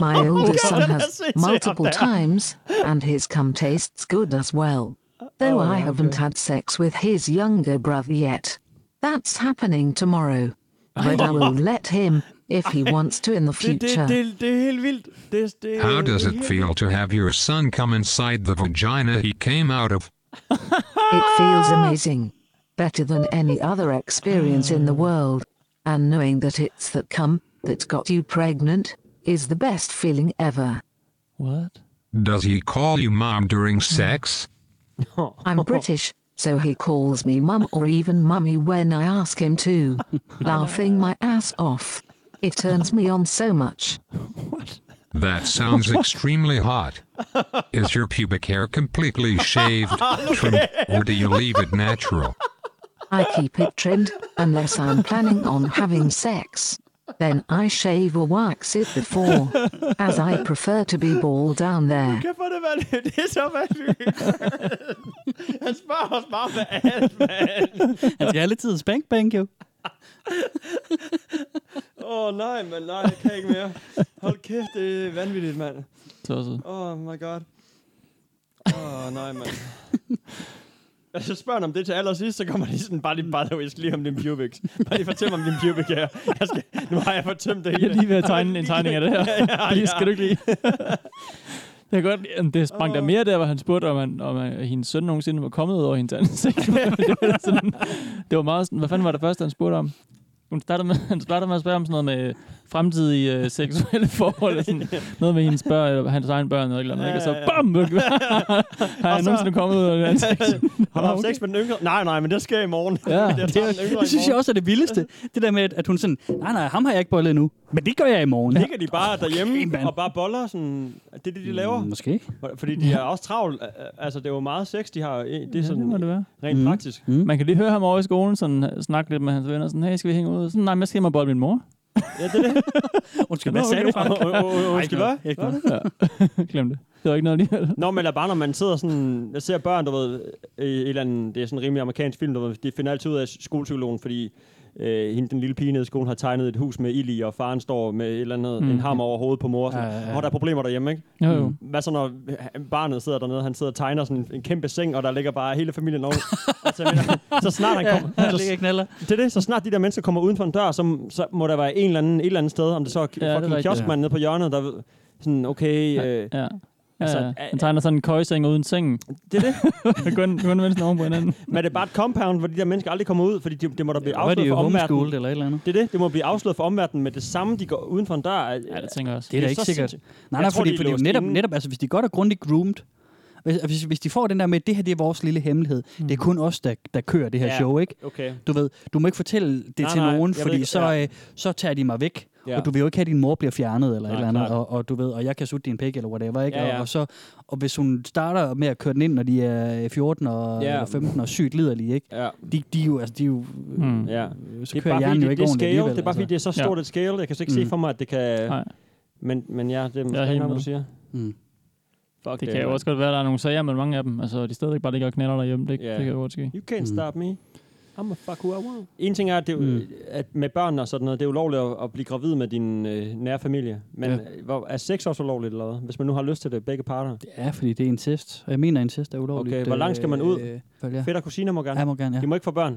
Speaker 11: My older son
Speaker 4: that's
Speaker 11: has
Speaker 4: it,
Speaker 11: multiple
Speaker 4: yeah.
Speaker 11: times, and his cum tastes good as well. Though I haven't had sex with his younger brother yet. That's happening tomorrow. But I will let him, if he wants to in the future.
Speaker 4: det, det er helt vildt. Det, det,
Speaker 7: How does it feel to have your son come inside the vagina he came out of?
Speaker 11: It feels amazing. Better than any other experience in the world. And knowing that it's that cum that got you pregnant is the best feeling ever.
Speaker 6: What?
Speaker 7: Does he call you mom during sex?
Speaker 11: I'm British, so he calls me mum or even mummy when I ask him to. laughing my ass off. It turns me on so much.
Speaker 7: That sounds extremely hot. Is your pubic hair completely shaved, trimmed, or do you leave it natural?
Speaker 11: I keep it trimmed, unless I'm planning on having sex. Then I shave or wax it before, as I prefer to be bald down there.
Speaker 4: Kæft, hvor er det vanvittigt. Det er så vanvittigt. Han spørger os bare med alt, mand.
Speaker 5: Han skal have lidt tid til Spank Bank, jo.
Speaker 4: Åh, oh, nej, men nej, jeg kan ikke mere. Hold kæft, det er vanvittigt, mand.
Speaker 6: Tosset.
Speaker 4: Oh my god. Åh, oh, nej, mand. Jeg så spørger han om det til allersidst, så kommer de sådan, bare lige, by the way, jeg skal lige om din pubics. Bare lige fortæl mig om din pubic her. Jeg skal, nu har jeg fortømt det
Speaker 6: Jeg
Speaker 4: hele.
Speaker 6: er lige ved at tegne en tegning af det her.
Speaker 4: ja,
Speaker 6: Det
Speaker 4: ja.
Speaker 6: skal du ikke lige. Det er godt, jamen, det sprang der mere der, hvor han spurgte, om, han, om øh, hendes søn nogensinde var kommet over hendes ansigt. det, var sådan, det var meget sådan, hvad fanden var det første, han spurgte om? Hun startede med, han startede med at spørge om sådan noget med, fremtidige øh, seksuelle forhold. Og sådan, noget med hendes børn, eller hans egen børn, eller et eller andet, ikke? og så bam! har jeg
Speaker 4: så-
Speaker 6: nogensinde kommet ud af det ansigt?
Speaker 4: Har du haft sex med den yngre? Nej, nej, men det sker i morgen.
Speaker 5: Ja,
Speaker 4: Jeg tager
Speaker 5: det,
Speaker 4: den yngre i
Speaker 5: det, det synes jeg
Speaker 4: morgen.
Speaker 5: også er det vildeste. Det der med, at- at hun sådan, nej, nej, ham har jeg ikke bollet endnu, men det gør jeg i morgen.
Speaker 4: Ligger de bare derhjemme og bare boller? Sådan, er det er det, de laver?
Speaker 5: Måske.
Speaker 4: Fordi de er også travlt. Altså, det er jo meget sex, de har. Det er sådan,
Speaker 6: det må det være.
Speaker 4: rent
Speaker 6: Mm.
Speaker 4: praktisk.
Speaker 5: Mm.
Speaker 6: Man kan lige høre ham over i skolen sådan, øh, snakke lidt med hans venner, sådan, hey, skal vi hænge ud? Sådan, nej, men jeg skal hjem og bolle min mor. Mm.
Speaker 5: Undskyld,
Speaker 4: hvad sagde du? Åh, åh, åh, Undskyld,
Speaker 6: Ej,
Speaker 4: hvad?
Speaker 6: ikke noget. Ja. Glem det. Det var ikke noget alligevel.
Speaker 4: Nå, men eller bare, når man sidder sådan... Jeg ser børn, der ved... øh, i Et eller andet, det er sådan en rimelig amerikansk film, der ved, de finder altid ud af skolepsykologen, fordi øh, hende, den lille pige nede i skolen har tegnet et hus med ild i, og faren står med et eller andet,
Speaker 6: Mm.
Speaker 4: mm. en hammer over hovedet på mor. Og sådan,
Speaker 6: Ja, ja,
Speaker 4: ja,
Speaker 6: ja.
Speaker 4: ja. der er problemer derhjemme, ikke? Mm.
Speaker 6: Jo, jo.
Speaker 4: Hvad så, når han- barnet sidder dernede, han sidder og tegner sådan en, en kæmpe seng, og der ligger bare hele familien over. altså, jeg mener, så snart han kommer...
Speaker 5: der ligger knaller.
Speaker 4: Det er det, så snart de der mennesker kommer uden for en dør, så, så må der være en eller anden, et eller andet sted, om det så er
Speaker 6: er
Speaker 4: ja, fucking
Speaker 6: rigtigt.
Speaker 4: kioskmand nede på hjørnet, der ved, sådan, okay, øh,
Speaker 6: Ja. ja.
Speaker 4: Altså,
Speaker 6: Altså,
Speaker 4: øh,
Speaker 6: han tegner sådan en køjseng uden sengen.
Speaker 4: det er det.
Speaker 6: kun, kun vende sådan oven på hinanden.
Speaker 4: Men er det bare et compound, hvor de der mennesker aldrig kommer ud, fordi det, det må da blive
Speaker 5: Var de
Speaker 4: afsløret
Speaker 5: jo
Speaker 4: for
Speaker 5: homeschooled
Speaker 4: omverdenen.
Speaker 5: eller et eller andet?
Speaker 4: Det er det. Det må blive afsløret for omverdenen med det samme, de går uden for en dør.
Speaker 6: Ja, det tænker jeg også.
Speaker 5: Det er da
Speaker 4: er
Speaker 5: ikke
Speaker 4: så
Speaker 5: sikkert.
Speaker 4: sindssygt.
Speaker 5: Nej,
Speaker 4: Jeg
Speaker 5: nej,
Speaker 4: tror, de
Speaker 5: fordi,
Speaker 4: er
Speaker 5: fordi
Speaker 4: låst
Speaker 5: netop,
Speaker 4: inde.
Speaker 5: netop, altså hvis de godt og grundigt groomed, hvis, altså, hvis, hvis de får den der med, det her det er vores lille hemmelighed, mm. det er kun os, der, der kører det her
Speaker 4: Ja.
Speaker 5: show, ikke?
Speaker 4: Okay.
Speaker 5: Du ved, du må ikke fortælle det
Speaker 4: Nej,
Speaker 5: til
Speaker 4: nej,
Speaker 5: nogen,
Speaker 4: jeg ved
Speaker 5: fordi
Speaker 4: ikke,
Speaker 5: så,
Speaker 4: ja.
Speaker 5: øh, så tager de mig væk,
Speaker 4: Ja.
Speaker 5: og du vil jo ikke have, at din mor bliver fjernet, eller
Speaker 4: Nej,
Speaker 5: et eller andet,
Speaker 4: klart.
Speaker 5: og, og, du ved, og jeg kan sutte din pik, eller whatever, ikke?
Speaker 4: Ja,
Speaker 5: Og-
Speaker 4: ja.
Speaker 5: Og, så, og hvis hun starter med at køre den ind, når de er 14 og,
Speaker 4: Ja.
Speaker 5: eller 15 og sygt liderlige, ikke?
Speaker 4: Ja.
Speaker 5: De, de, er jo, altså, de er jo,
Speaker 6: Mm.
Speaker 4: Ja.
Speaker 5: øh, så
Speaker 4: Det er
Speaker 5: kører
Speaker 4: bare
Speaker 5: hjernen
Speaker 4: fordi,
Speaker 5: jo
Speaker 4: det,
Speaker 5: ikke
Speaker 4: det er
Speaker 5: ordentligt
Speaker 4: scale.
Speaker 5: alligevel, altså.
Speaker 4: Det er bare fordi, det er så
Speaker 6: Ja.
Speaker 4: stort et scale. Jeg kan så ikke
Speaker 5: Mm.
Speaker 4: se for mig, at det kan...
Speaker 6: Nej,
Speaker 4: Men, men ja, det er
Speaker 6: Jeg er
Speaker 4: måske
Speaker 6: helt
Speaker 4: ikke nok,
Speaker 6: med.
Speaker 4: du siger.
Speaker 5: Mm.
Speaker 4: Fuck
Speaker 6: det kan jo også godt være, at der er nogle sager med mange af dem. Altså, de stadigvæk bare ligger og knaller derhjemme. Det,
Speaker 4: Ja.
Speaker 6: det kan jo godt ske.
Speaker 4: You can't stop me. I'm a fuck who I want. En ting er, at, det, er jo- øh,
Speaker 5: Mm.
Speaker 4: at med børn og sådan noget, det er ulovligt at, at blive gravid med din øh, nære familie. Men ja. hvor, er sex også ulovligt eller hvad? Hvis man nu har lyst til det, begge parter.
Speaker 5: Ja, fordi det er incest. Og jeg mener, incest er ulovligt.
Speaker 4: Okay, hvor langt skal man ud?
Speaker 5: Øh, ja.
Speaker 4: Fætter og kusiner må gerne.
Speaker 5: Ja, må gerne, ja.
Speaker 4: De må ikke få børn.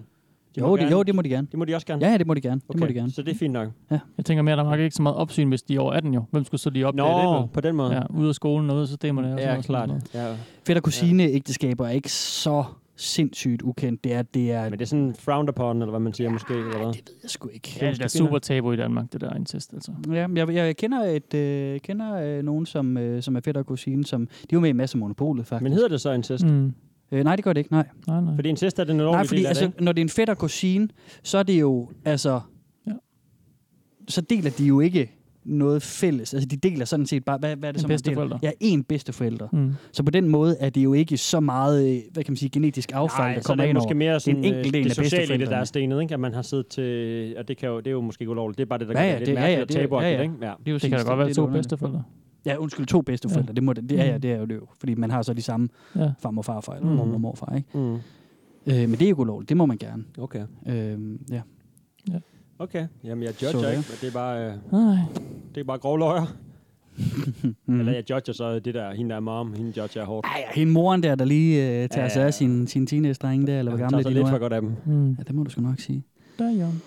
Speaker 4: De
Speaker 5: jo,
Speaker 4: må
Speaker 5: det,
Speaker 4: gerne-
Speaker 5: jo, det må de gerne.
Speaker 4: det må de også gerne.
Speaker 5: Ja, ja, det må de gerne. Okay. Det må de gerne.
Speaker 4: Så det er fint nok.
Speaker 6: Jeg tænker mere, at der er nok ikke så meget opsyn, hvis de er over 18 jo. Hvem skulle så lige opdage
Speaker 4: Nå,
Speaker 6: det?
Speaker 4: på den måde.
Speaker 6: vel? Ja, ude af skolen og ude af systemerne. og sådan
Speaker 4: ja
Speaker 6: noget, sådan
Speaker 4: klart.
Speaker 6: noget.
Speaker 4: Ja.
Speaker 5: Fætter kusine ægteskaber er ikke så sindssygt ukendt. Det er, det er,
Speaker 4: Men det er sådan frowned upon, eller hvad man siger måske, eller hvad?
Speaker 5: det ved jeg sgu ikke.
Speaker 6: Ja, det er super tabu i Danmark, det der incest, altså.
Speaker 5: Ja, men jeg, jeg kender, et, øh, kender øh, nogen, som, øh, som er fætter og kusine, som, de er jo med i masser af monopolet, faktisk.
Speaker 4: Men
Speaker 5: Men,
Speaker 4: hedder det så incest? Mm.
Speaker 6: Mm.
Speaker 5: øh, nej, det gør det ikke, nej.
Speaker 6: Nej, nej.
Speaker 4: Fordi incest er den
Speaker 5: Nej,
Speaker 4: ulovlige
Speaker 5: fordi
Speaker 4: del af det,
Speaker 5: altså,
Speaker 4: ikke?
Speaker 5: når det er en fætter kusine, så er det jo, altså,
Speaker 6: Ja.
Speaker 5: ja. så deler de jo ikke noget fælles. Altså, de deler sådan set bare, hvad, hvad er det
Speaker 6: En
Speaker 5: så, man deler?
Speaker 6: bedsteforælder.
Speaker 5: Ja, en bedsteforælder.
Speaker 6: Mm.
Speaker 5: Så på den måde er det jo ikke så meget, øh, hvad kan man sige, genetisk affald, der
Speaker 4: Nej, så er
Speaker 5: kommer
Speaker 4: det
Speaker 5: ind
Speaker 4: måske
Speaker 5: over.
Speaker 4: mere sådan,
Speaker 5: en enkelt
Speaker 4: øh,
Speaker 5: del
Speaker 4: det
Speaker 5: af
Speaker 4: sociale i det, der er
Speaker 5: bedsteforældrene.
Speaker 4: stenet, ikke? At man har siddet til... Og det, kan jo, det er jo måske ikke ulovligt. Det er bare det, der
Speaker 5: Ja,
Speaker 4: gør
Speaker 5: ja,
Speaker 4: det
Speaker 5: det-
Speaker 4: lidt
Speaker 5: ja, ja,
Speaker 4: mærkeligt og
Speaker 5: det er-
Speaker 4: tabuagtigt,
Speaker 5: ja, ja.
Speaker 4: ikke? Ja.
Speaker 6: Det, det kan da
Speaker 5: fuldstændig
Speaker 6: godt være
Speaker 5: lidt
Speaker 6: to
Speaker 5: underligt.
Speaker 6: bedsteforældre.
Speaker 5: Ja, undskyld, to bedsteforældre. Ja. Det, må det, det, er, ja, det er jo det jo. Fordi man har så de samme
Speaker 6: Mm. Ja.
Speaker 5: ja. farmor og farfar, eller
Speaker 4: Mm.
Speaker 5: mormor og morfar, ikke?
Speaker 4: Mm.
Speaker 5: Øh, men det er ikke ulovligt. Det må man gerne.
Speaker 4: Okay.
Speaker 5: Øh, ja.
Speaker 4: Okay. Jamen, jeg
Speaker 5: Så
Speaker 4: judger
Speaker 5: det.
Speaker 4: ikke, men det er bare, øh,
Speaker 6: Nej.
Speaker 4: det er bare grove løjer.
Speaker 5: Mm.
Speaker 4: Eller jeg judger så det der, hende der er mom, hende judger jeg hårdt.
Speaker 5: Ej, og hende moren der, der lige øh, tager
Speaker 4: Ja,
Speaker 5: ja, sig
Speaker 4: ja, ja.
Speaker 5: af sine sin teenage-drenge der, eller hvor
Speaker 4: Jeg
Speaker 5: gamle
Speaker 4: tager så
Speaker 5: de nu
Speaker 4: lidt for
Speaker 5: er.
Speaker 4: godt af dem.
Speaker 6: Mm.
Speaker 5: Ja, det må du sgu nok sige.
Speaker 6: Der er Jørgen.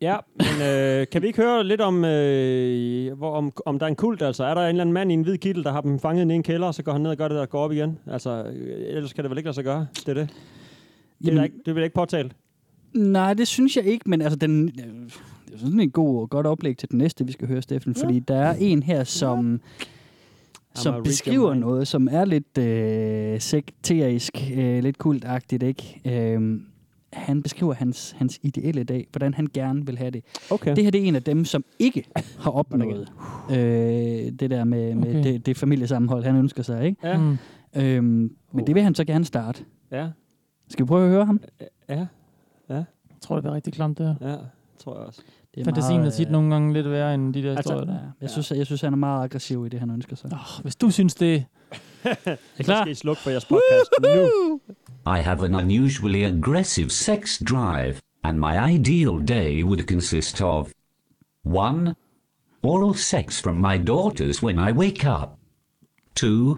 Speaker 4: Ja, men øh, kan vi ikke høre lidt om, øh, hvor, om, om der er en kult? Altså, er der en eller anden mand i en hvid kittel, der har dem fanget inde i en kælder, og så går han ned og gør det, der går op igen? Altså, øh, ellers kan det vel ikke lade sig gøre? Det er det. Det vil jeg ikke, det vil jeg ikke påtale.
Speaker 5: Nej, det synes jeg ikke, men altså den... øh, Det er sådan en god, godt oplæg til den næste, vi skal høre, Steffen, fordi der er en her, som,
Speaker 4: read
Speaker 5: som
Speaker 4: your
Speaker 5: beskriver
Speaker 4: mind.
Speaker 5: noget, som er lidt øh, sekterisk, øh, lidt kultagtigt, ikke? Øhm, han beskriver hans, hans ideelle dag, hvordan han gerne vil have det.
Speaker 4: Okay.
Speaker 5: Det her det er en af dem, som ikke har opnået øh, det der med, med
Speaker 6: Okay.
Speaker 5: okay. det, det familiesammenhold, han ønsker sig, ikke?
Speaker 4: Ja.
Speaker 6: Mm.
Speaker 5: Øhm, men det vil han så gerne starte.
Speaker 4: Oh. Ja,
Speaker 5: Skal vi prøve at høre ham?
Speaker 4: ja,
Speaker 6: Jeg tror, det bliver rigtig klamt, det her.
Speaker 4: ja, tror jeg også.
Speaker 5: Det er
Speaker 6: Fantasien er tit
Speaker 5: øh,
Speaker 6: nogle gange lidt værre end de der
Speaker 4: Altså,
Speaker 6: historier. der.
Speaker 5: Ja, jeg, synes, jeg, jeg synes, han er meget aggressiv i det, han ønsker sig.
Speaker 6: Åh, Hvis du synes det...
Speaker 5: Er
Speaker 4: Så skal I slukke for jeres podcast nu.
Speaker 12: I have an unusually aggressive sex drive, and my ideal day would consist of 1. Oral sex from my daughters when I wake up. 2.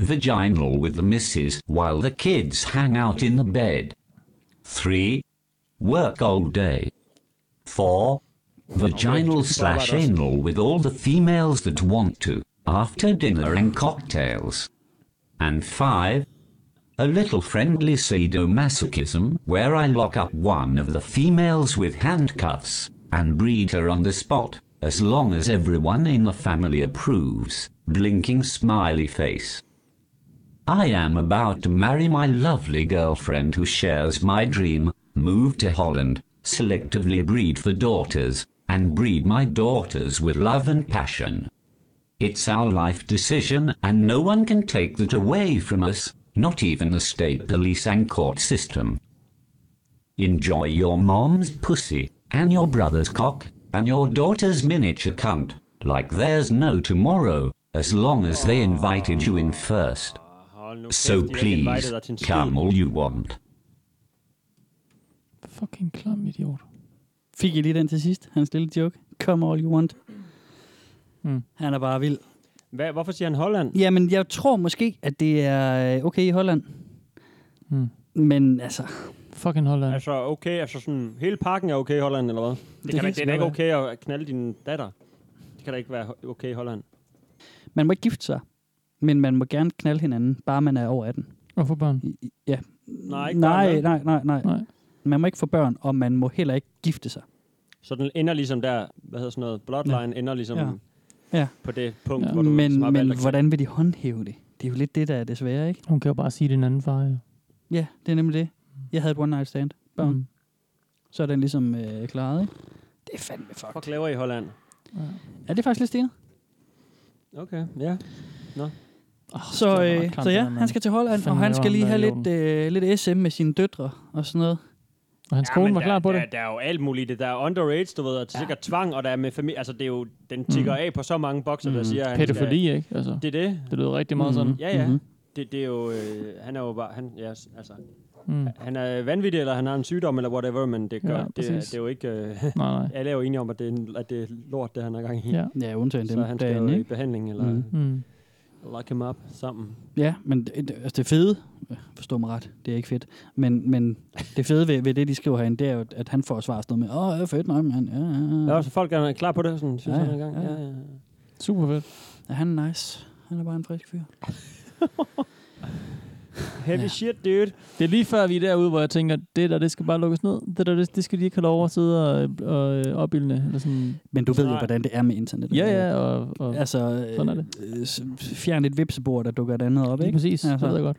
Speaker 12: Vaginal with the missus while the kids hang out in the bed. 3. Work all day. 4. Vaginal slash anal with all the females that want to, after dinner and cocktails. And 5. A little friendly sadomasochism where I lock up one of the females with handcuffs, and breed her on the spot, as long as everyone in the family approves. Blinking smiley face. I am about to marry my lovely girlfriend who shares my dream, move to Holland, selectively breed for daughters, and breed my daughters with love and passion. It's our life decision, and no one can take that away from us, not even the state police and court system. Enjoy your mom's pussy, and your brother's cock, and your daughter's miniature cunt, like there's no tomorrow, as long as they invited you in first.
Speaker 4: Hold nu
Speaker 12: So
Speaker 4: kæft, de ikke
Speaker 12: please,
Speaker 4: invited dig til en skid.
Speaker 12: come all you want.
Speaker 5: Fucking klam idiot. Fik I lige den til sidst? Hans lille joke. Come all you want.
Speaker 6: Mm.
Speaker 5: Han er bare vild.
Speaker 4: Hvad, hvorfor siger han Holland?
Speaker 5: Jamen, jeg tror måske, at det er øh, okay i Holland.
Speaker 6: Mm.
Speaker 5: Men altså...
Speaker 6: Fucking Holland.
Speaker 4: Altså, okay, altså sådan, hele pakken er okay i Holland, eller hvad? Det, det, kan
Speaker 5: kan
Speaker 4: da, ikke- det er
Speaker 5: sgu
Speaker 4: da ikke
Speaker 5: være.
Speaker 4: okay at knalde din datter. Det kan da ikke være okay i Holland.
Speaker 5: Man må ikke gifte sig, men man må gerne knalde hinanden, bare man er over 18.
Speaker 6: Og få børn.
Speaker 5: Ja.
Speaker 4: Nej, ikke børn,
Speaker 5: nej,
Speaker 4: vel?
Speaker 5: nej, nej, nej, nej. Man må ikke få børn, og man må heller ikke gifte sig.
Speaker 4: Så den ender ligesom der, hvad hedder sådan noget, Bloodline ja. ender ligesom
Speaker 5: Ja.
Speaker 4: ja.
Speaker 5: Ja.
Speaker 4: på det punkt, ja. hvor du
Speaker 5: Men,
Speaker 4: ligesom har valgt
Speaker 5: men
Speaker 4: at-
Speaker 5: hvordan vil de håndhæve det? Det er jo lidt det, der er desværre, ikke?
Speaker 6: Hun kan jo bare sige det er en anden far, ja.
Speaker 5: Ja, det er nemlig det. Jeg havde et one night stand. Børn. Mm. Så er den ligesom øh, klaret, ikke? Det er fandme fucked. Hvor
Speaker 4: clever i Holland.
Speaker 5: Er det faktisk lidt stenet?
Speaker 4: Okay, ja. Nå.
Speaker 5: Så, øh, så ja, han skal til Holland, og
Speaker 4: Fandme,
Speaker 5: han
Speaker 4: det var
Speaker 5: skal lige
Speaker 4: ham,
Speaker 5: have
Speaker 4: der er i
Speaker 5: lidt, øh, lidt SM med sine døtre og sådan noget.
Speaker 6: Og hans
Speaker 4: men der, der, Der er jo alt muligt. i det. Der er underage, du ved, og der er sikkert tvang, og der er med familie. Altså, det er jo, den tigger
Speaker 6: Mm.
Speaker 4: af på så mange bokser, der
Speaker 6: Mm.
Speaker 4: siger... at han
Speaker 6: Pædofili,
Speaker 4: skal-
Speaker 6: ikke? Altså,
Speaker 4: det er det.
Speaker 6: det lyder rigtig meget sådan.
Speaker 4: Ja, ja.
Speaker 6: Mhm.
Speaker 4: Det, det er jo... Øh, han er jo bare... Han, ja, s- altså,
Speaker 6: Mm.
Speaker 4: han er vanvittig, eller han har en sygdom, eller whatever, men det, gør,
Speaker 6: Ja,
Speaker 4: ja, det, er-
Speaker 6: præcis.
Speaker 4: det er jo ikke... Øh,
Speaker 6: nej.
Speaker 4: Alle er jo enige om, at det er, en- at det er lort, det han har gang i.
Speaker 5: Ja. Ja, undtagen
Speaker 4: Så
Speaker 5: dem
Speaker 4: han skal jo
Speaker 5: derinde,
Speaker 4: i
Speaker 5: ikke?
Speaker 4: behandling, eller...
Speaker 5: Mm.
Speaker 6: Mm.
Speaker 4: Lock him up sammen.
Speaker 5: Ja, men det, det- altså det fede, øh, forstå mig ret, det er ikke fedt, men, men det fede ved, ved det, de skriver herinde, det er jo, at han får svar sådan noget med, åh, det er fedt, nej, men han, ja, ja, ja.
Speaker 4: Ja, så folk er klar på det, sådan, synes
Speaker 5: Mm. Ja,
Speaker 4: ja, han
Speaker 5: ja,
Speaker 4: er i gang.
Speaker 5: ja.
Speaker 4: Ja, ja.
Speaker 6: Super fedt.
Speaker 5: Ja, han er nice. Han er bare en frisk fyr.
Speaker 4: Heavy ja. shit, dude.
Speaker 6: Det er lige før, vi er derude, hvor jeg tænker, det der, det skal bare lukkes ned. Det der, det, det skal de ikke have lov at sidde og, og øh, opildne. Eller sådan.
Speaker 5: Men du ved jo, hvordan det er med internet.
Speaker 6: Ja, ja, og, og
Speaker 5: altså, øh,
Speaker 6: sådan er det.
Speaker 5: øh, s- fjern et vipsebord, der dukker et andet op,
Speaker 6: Lige
Speaker 5: ikke? Altså.
Speaker 6: præcis, det ved jeg godt.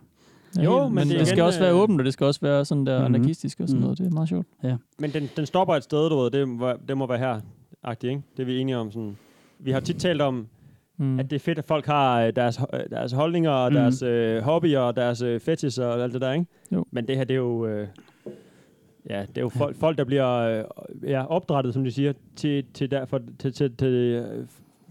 Speaker 6: Ja,
Speaker 4: Jo,
Speaker 6: helt-
Speaker 4: men
Speaker 6: men
Speaker 4: det er
Speaker 6: det skal
Speaker 4: igen,
Speaker 6: også være
Speaker 4: øh,
Speaker 6: åbent, og det skal også være sådan der
Speaker 5: Mhm.
Speaker 6: anarkistisk og sådan
Speaker 5: Mhm.
Speaker 6: noget. Det er meget sjovt.
Speaker 5: Ja.
Speaker 4: Men den, den stopper et sted, du ved, det, må- det må være her, agtig, ikke? Det er vi enige om. Sådan. Vi har tit talt om,
Speaker 6: Mm.
Speaker 4: mm. at det er fedt, at folk har øh, deres, øh, deres holdninger, og
Speaker 6: Mm.
Speaker 4: deres øh, hobbyer, og deres øh, fetishes og alt det der, ikke?
Speaker 6: Jo.
Speaker 4: Men det her, det er jo... Øh, ja, det er jo folk, folk der bliver øh, ja, opdrettet, som de siger, til, til, der, for, til, til, til øh,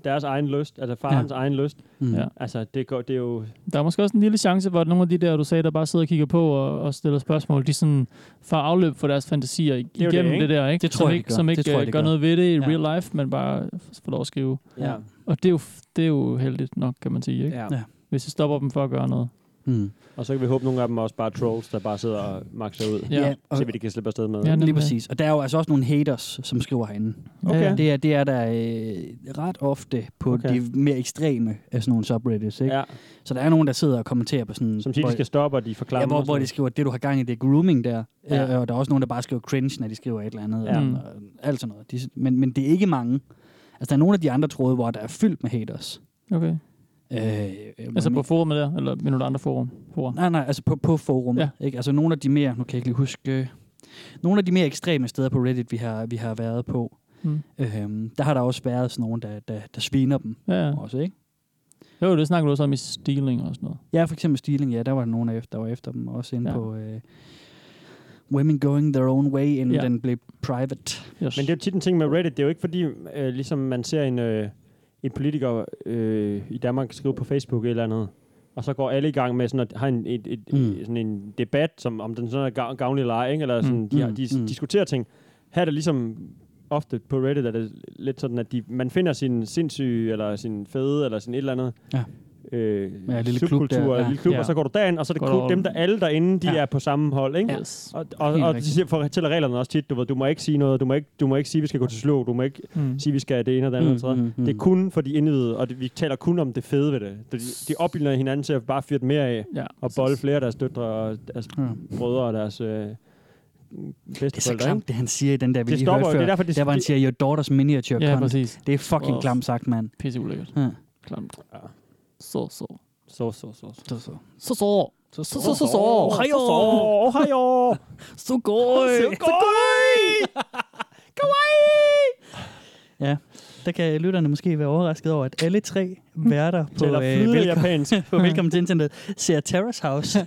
Speaker 4: deres egen lyst, altså farens ja. egen lyst.
Speaker 5: Mm.
Speaker 6: Ja.
Speaker 4: Altså, det, går, det er jo...
Speaker 6: Der er måske også en lille chance, hvor nogle af de der, du sagde, der bare sidder og kigger på og, og stiller spørgsmål, de sådan får afløb for deres fantasier ig-
Speaker 5: er jo det,
Speaker 6: igennem det,
Speaker 5: ikke?
Speaker 6: der, ikke?
Speaker 5: Det tror
Speaker 6: som
Speaker 5: jeg, de
Speaker 6: ikke,
Speaker 5: gør.
Speaker 6: Som
Speaker 5: Det
Speaker 6: ikke
Speaker 5: tror jeg,
Speaker 6: øh,
Speaker 5: de
Speaker 6: gør,
Speaker 5: gør.
Speaker 6: noget ved det i
Speaker 5: Ja.
Speaker 6: real life, men bare f- får lov at skrive.
Speaker 5: Ja.
Speaker 6: Og det er, jo, f- det er jo heldigt nok, kan man sige, ikke?
Speaker 4: Ja. Ja.
Speaker 6: Hvis jeg stopper dem for at gøre noget.
Speaker 5: Mm.
Speaker 4: Og så kan vi håbe, nogle af dem er også bare trolls, der bare sidder og makser ud,
Speaker 5: Ja,
Speaker 4: ja.
Speaker 5: og-
Speaker 4: så vi de kan slippe afsted med.
Speaker 5: Ja, lige præcis. Og der er jo altså også nogle haters, som skriver herinde.
Speaker 4: Okay.
Speaker 5: Det, er, det er der øh, ret ofte på
Speaker 4: Okay.
Speaker 5: okay. de mere ekstreme af sådan nogle subreddits. Ikke?
Speaker 4: Ja.
Speaker 5: Så der er nogen, der sidder og kommenterer på sådan...
Speaker 4: Som siger, de
Speaker 5: hvor-
Speaker 4: skal stoppe, og de forklarer
Speaker 5: Ja, hvor, hvor de
Speaker 4: det
Speaker 5: skriver, at det du har gang i, det er grooming der.
Speaker 4: Ja.
Speaker 5: Ja. Og der er også nogen, der bare skriver cringe, når de skriver et eller andet.
Speaker 4: Ja.
Speaker 5: Ja. Og, og alt sådan noget. De, men, men det er ikke mange. Altså, der er nogle af de andre tråde, hvor der er fyldt med haters.
Speaker 6: Okay.
Speaker 5: Øh,
Speaker 6: altså på forumet der, eller med nogle andre forum? forum.
Speaker 5: Nej, nej, altså på, på forum. Ja. Ikke? Altså nogle af de mere, nu kan jeg ikke lige huske, øh, nogle af de mere ekstreme steder på Reddit, vi har, vi har været på,
Speaker 6: Mm.
Speaker 5: mm. øhm, der har der også været sådan nogen, der, der, der sviner dem.
Speaker 6: Ja.
Speaker 5: Også, ikke?
Speaker 6: Jo, det snakker du også om i stealing og sådan noget.
Speaker 5: Ja, for eksempel Stiling, ja, der var nogen, der efter, der var efter dem, også inde
Speaker 6: Ja.
Speaker 5: ja. på øh, Women Going Their Own Way, inden
Speaker 4: Ja.
Speaker 5: ja. den blev private.
Speaker 6: Yes.
Speaker 4: Men det er jo tit en ting med Reddit. Det er jo ikke fordi, øh, ligesom man ser en, øh, en politiker øh, i Danmark skrive på Facebook eller andet, og så går alle i gang med sådan at have en, et, et, mm. sådan en debat, som, om den sådan er gav- gavnlig eller ej, ikke? eller sådan,
Speaker 5: Mm.
Speaker 4: mm. de, har,
Speaker 5: Mm.
Speaker 4: de
Speaker 5: Mm.
Speaker 4: mm. diskuterer ting. Her er det ligesom ofte på Reddit, er det lidt sådan, at de, man finder sin sindssyge, eller sin fede, eller sin et eller andet,
Speaker 5: Ja.
Speaker 4: Øh,
Speaker 5: Ja, lille klub
Speaker 4: subkultur,
Speaker 5: der.
Speaker 4: eller
Speaker 5: Ja.
Speaker 4: lille klub,
Speaker 5: Ja.
Speaker 4: og så går du derind, og så er det
Speaker 5: Går
Speaker 4: klub,
Speaker 5: du-
Speaker 4: dem der alle derinde, de
Speaker 5: Ja.
Speaker 4: er på samme hold, ikke?
Speaker 5: Yes.
Speaker 4: Og, og,
Speaker 5: Helt
Speaker 4: og de
Speaker 5: rigtigt.
Speaker 4: siger, fortæller reglerne også tit, du, ved, du må ikke sige noget, du må ikke, du må ikke sige, vi skal gå til slå, du må ikke
Speaker 6: Mm.
Speaker 4: mm. sige, vi skal det ene og det andet.
Speaker 5: Mm,
Speaker 4: og det tredje.
Speaker 5: mm, mm.
Speaker 4: Det er kun for de indvidede, og det, vi taler kun om det fede ved det. De, de opbilder hinanden til at bare fyre det mere af,
Speaker 6: ja,
Speaker 4: og bolde flere af deres døtre og deres
Speaker 5: Ja.
Speaker 4: brødre og deres øh,
Speaker 5: Det er så
Speaker 4: bedsteforældre,
Speaker 5: klamt,
Speaker 4: ikke?
Speaker 5: det han siger i den der, vi
Speaker 4: Det
Speaker 5: lige
Speaker 4: stopper
Speaker 5: hørte
Speaker 4: jo-
Speaker 5: før.
Speaker 4: det er derfor,
Speaker 5: derfor,
Speaker 4: det-
Speaker 5: det, der, hvor han
Speaker 4: det-
Speaker 5: siger, your daughter's miniature
Speaker 4: Ja,
Speaker 5: cunt.
Speaker 4: præcis.
Speaker 5: Det er fucking
Speaker 4: Åh.
Speaker 5: klamt sagt, mand.
Speaker 6: Pisse ulækkert.
Speaker 5: Ja.
Speaker 6: Klamt. Så, så.
Speaker 4: Så, så, så.
Speaker 5: Så, så.
Speaker 6: Så, så. Så, så, så, så.
Speaker 4: Ohayo! Ohayo!
Speaker 6: Sugoi!
Speaker 5: Ja, der kan lytterne måske være overrasket over, at alle tre værter på, øh,
Speaker 4: Taler flydende japansk.
Speaker 5: på Velkommen til Internet ser Terrace House.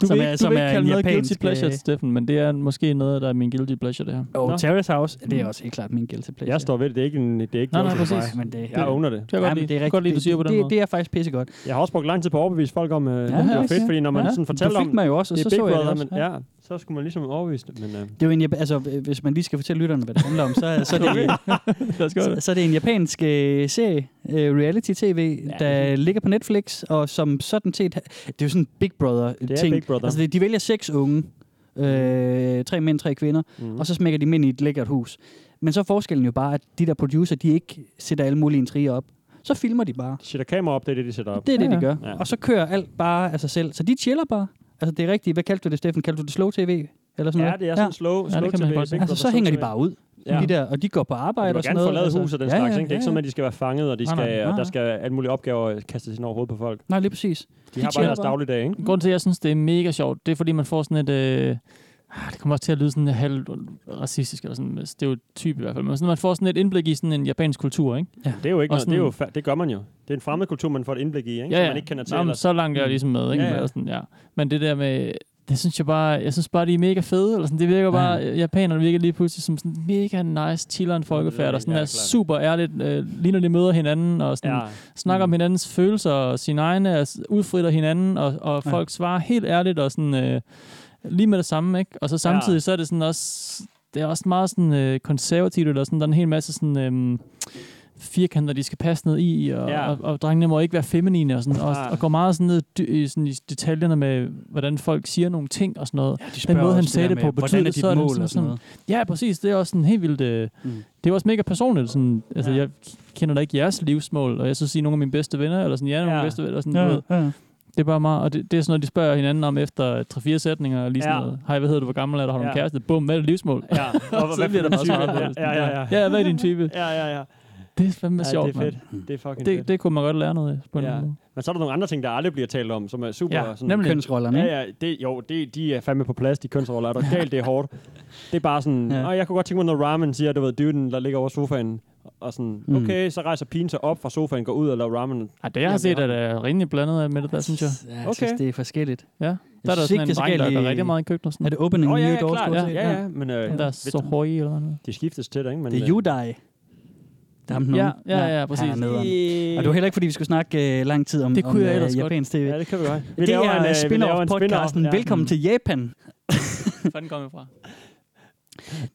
Speaker 6: Du
Speaker 5: Som er-
Speaker 6: vil, ikke, du
Speaker 5: som
Speaker 6: vil
Speaker 5: er
Speaker 6: ikke
Speaker 5: en
Speaker 6: kalde noget
Speaker 5: japansk,
Speaker 6: guilty pleasure,
Speaker 5: øh,
Speaker 6: Steffen, men det er måske noget, der er min guilty pleasure, det her. Mm.
Speaker 5: Og
Speaker 6: Nå.
Speaker 5: Terrace House, det er også helt klart min guilty pleasure.
Speaker 4: Jeg står ved det. Det er ikke, en, det er ikke
Speaker 5: Nej, nej,
Speaker 4: guilty for
Speaker 5: præcis.
Speaker 4: mig.
Speaker 5: Men det-
Speaker 4: jeg owner det.
Speaker 5: Det kan jeg godt Jamen, lide. det er Jeg kan rigtigt. godt lide, du siger på den Det- måde. det er faktisk pissegodt.
Speaker 4: Jeg har også brugt lang tid på at overbevise folk om, øh, ja, det
Speaker 5: ja,
Speaker 4: var fedt,
Speaker 5: ja.
Speaker 4: fordi når man
Speaker 5: Ja.
Speaker 4: sådan
Speaker 5: Du
Speaker 4: fortæller
Speaker 5: fik
Speaker 4: om,
Speaker 5: mig jo også, og
Speaker 4: det er
Speaker 5: så
Speaker 4: Big
Speaker 5: så jeg det
Speaker 4: Brother,
Speaker 5: også.
Speaker 4: men, ja. så skulle man ligesom overbevise det. Men, øh,
Speaker 5: Det er jo en, jap- altså, øh, hvis man lige skal fortælle lytterne, hvad det handler om, så, så, er, det, så, så er det en japansk øh, serie, øh, reality-tv, ja, der ligger på Netflix, og som sådan set, ha- det er jo sådan en Big
Speaker 4: er
Speaker 5: Brother-ting.
Speaker 4: Big Brother.
Speaker 5: Altså, det, de vælger seks unge, øh, tre mænd, tre kvinder,
Speaker 4: Mhm.
Speaker 5: mm. og så smækker de dem ind i et lækkert hus. Men så er forskellen jo bare, at de der producer, de ikke sætter alle mulige intriger op. Så filmer de bare.
Speaker 4: sætter kamera op, det er det, de sætter op.
Speaker 5: Det er det, de gør.
Speaker 4: Ja.
Speaker 5: Og så kører alt bare af sig selv. Så de chiller bare. Altså, det er rigtigt. Hvad kaldte du det, Steffen? Kaldte du det slow tv? Eller sådan
Speaker 4: Ja,
Speaker 5: noget?
Speaker 4: det er sådan slow- slow TV, Big Brother
Speaker 5: Altså, så
Speaker 4: slow
Speaker 5: hænger de
Speaker 4: TV.
Speaker 5: bare ud.
Speaker 4: Ja.
Speaker 5: Ja. De der, og de går på arbejde
Speaker 4: Du
Speaker 5: og
Speaker 4: vil
Speaker 5: sådan
Speaker 4: gerne
Speaker 5: noget.
Speaker 4: få lavet
Speaker 5: altså.
Speaker 4: hus og den
Speaker 5: Ja,
Speaker 4: slags.
Speaker 5: ja,
Speaker 4: ikke? Det er
Speaker 5: ja,
Speaker 4: ikke sådan, at de skal være fanget, og de
Speaker 5: Nej,
Speaker 4: skal,
Speaker 5: nej, nej,
Speaker 4: og
Speaker 5: nej.
Speaker 4: der skal alle mulige opgaver øh, kastes ind over hovedet på folk.
Speaker 5: Nej, lige præcis.
Speaker 4: De har bare
Speaker 6: tjener
Speaker 4: deres dagligdag, ikke?
Speaker 6: Grunden til, at jeg synes, det er mega sjovt, det er, fordi man får sådan et... Øh, ah, det kommer også til at lyde sådan halvt racistisk, eller sådan stereotyp i hvert fald. Men sådan, man får sådan et indblik i sådan en japansk kultur, ikke?
Speaker 5: Ja.
Speaker 4: Det er jo ikke
Speaker 6: Og
Speaker 4: noget, det, er jo,
Speaker 6: sådan-
Speaker 4: fa- det gør man jo. Det er en fremmed kultur, man får et indblik i, ikke?
Speaker 6: Ja,
Speaker 4: Som
Speaker 6: ja.
Speaker 4: man ikke kender til.
Speaker 6: Nå, men
Speaker 4: ellers. Mm.
Speaker 6: så langt er jeg ligesom med, ikke?
Speaker 4: Ja, ja.
Speaker 6: Eller Sådan, ja. Men det der med, det synes jeg bare, jeg synes bare, de er mega fede, eller sådan, det virker bare, ja. japanerne virker lige pludselig som sådan mega nice, chilleren folkefærd,
Speaker 4: Ja,
Speaker 6: og sådan
Speaker 4: ja,
Speaker 6: ja, er
Speaker 4: klart.
Speaker 6: super ærligt, øh, lige når de møder hinanden, og sådan,
Speaker 4: Ja. Mm.
Speaker 6: ja. snakker om hinandens følelser, og sine egne, og s- udfritter hinanden, og, og
Speaker 5: Ja.
Speaker 6: folk svarer helt ærligt, og sådan, øh, lige med det samme, ikke? Og så Altså, samtidig,
Speaker 5: Ja.
Speaker 6: ja. så er det sådan også, det er også meget sådan øh, konservativt, eller sådan, der er en hel masse sådan, øh, firkanter, de skal passe ned i, og,
Speaker 4: Ja.
Speaker 6: ja. og, og drengene må ikke være feminine, og, sådan, og,
Speaker 4: Nej.
Speaker 6: og går meget sådan ned i dy- i, sådan, i detaljerne med, hvordan folk siger nogle ting og sådan noget. Ja,
Speaker 5: spørger
Speaker 6: Den måde, han
Speaker 5: også det
Speaker 6: sagde
Speaker 5: der
Speaker 6: det
Speaker 5: med,
Speaker 6: på,
Speaker 5: hvordan er
Speaker 6: betyder det
Speaker 5: dit
Speaker 6: sådan,
Speaker 5: mål
Speaker 6: sådan,
Speaker 5: og sådan
Speaker 6: sådan. Ja, præcis. Det er også sådan helt vildt... Øh, mm. Det er også mega personligt. Sådan, altså, jeg kender da ikke jeres livsmål, og jeg så sige nogle af mine bedste venner, eller sådan, jeg er nogle
Speaker 5: Ja.
Speaker 6: ja. bedste venner, eller sådan,
Speaker 5: Ja,
Speaker 6: ja. du ved.
Speaker 5: ja.
Speaker 6: Det er bare meget, og det, det er sådan noget, de spørger hinanden om efter 3-4 sætninger, og lige sådan
Speaker 4: Ja.
Speaker 6: ja. noget, hej, hvad hedder du, hvor gammel er du, har du ja.
Speaker 4: Ja.
Speaker 6: en kæreste, bum, hvad er dit livsmål?
Speaker 4: Ja, og hvad for
Speaker 6: så bliver der
Speaker 4: en
Speaker 6: bare
Speaker 4: type?
Speaker 6: svaret på det.
Speaker 4: Ja, ja, ja.
Speaker 6: ja, hvad er din type?
Speaker 4: Ja, ja, ja.
Speaker 6: Det er fandme
Speaker 4: Ja,
Speaker 6: sjovt,
Speaker 4: det er fedt.
Speaker 6: mand.
Speaker 4: Det er fucking
Speaker 6: det,
Speaker 4: fedt.
Speaker 6: Det kunne man godt lære noget af, på en
Speaker 4: Ja.
Speaker 6: ja. måde.
Speaker 4: Men så er der nogle andre ting, der aldrig bliver talt om, som er super...
Speaker 6: Ja,
Speaker 4: sådan,
Speaker 6: nemlig. Kønsrollerne, ikke?
Speaker 4: Ja, ja, det, jo, det, de er fandme på plads, de kønsroller. Er der galt, det er hårdt. Det er bare sådan, ja.
Speaker 5: Ja.
Speaker 4: jeg kunne godt tænke mig noget ramen, siger, du ved, dyden, der ligger over sofaen. Og sådan,
Speaker 6: Mm.
Speaker 4: okay, så rejser pigen sig op fra sofaen, går ud og laver ramen.
Speaker 6: Ej, det jeg har set, at der er rimelig blandet af med det der, synes jeg.
Speaker 5: Jeg synes, det er forskelligt.
Speaker 6: Ja. Der
Speaker 5: Jeg
Speaker 6: er der
Speaker 5: synes
Speaker 6: sådan
Speaker 5: ikke,
Speaker 6: en
Speaker 5: det skal
Speaker 6: dreng, der
Speaker 5: lige-
Speaker 6: gør rigtig meget i køkkenet. og Sådan.
Speaker 5: Er det opening
Speaker 4: Åh, ja,
Speaker 5: new
Speaker 4: ja,
Speaker 5: doors?
Speaker 4: klart.
Speaker 5: stort
Speaker 4: Ja,
Speaker 5: set?
Speaker 4: ja, ja, men, øh,
Speaker 5: Ja.
Speaker 6: Den der
Speaker 4: ved
Speaker 6: så
Speaker 4: du-
Speaker 6: høj eller noget.
Speaker 4: De skiftes til det, ikke? Men,
Speaker 5: Det er
Speaker 4: øh,
Speaker 5: Judai. Der er ham den
Speaker 4: Ja,
Speaker 5: unge.
Speaker 4: ja, ja, præcis.
Speaker 5: han er nederen.
Speaker 4: Yeah.
Speaker 5: Og det var heller ikke, fordi vi skulle snakke øh, lang tid om,
Speaker 4: Det kunne
Speaker 5: om,
Speaker 4: jeg
Speaker 5: øh,
Speaker 4: ellers godt.
Speaker 5: japansk tv.
Speaker 4: Ja, det kan vi godt. Vi
Speaker 5: det
Speaker 4: laver
Speaker 5: er
Speaker 4: en, øh, vi laver en spin-off,
Speaker 5: spin-off-podcasten.
Speaker 4: ja.
Speaker 5: Velkommen til Japan.
Speaker 6: Fanden kom jeg fra?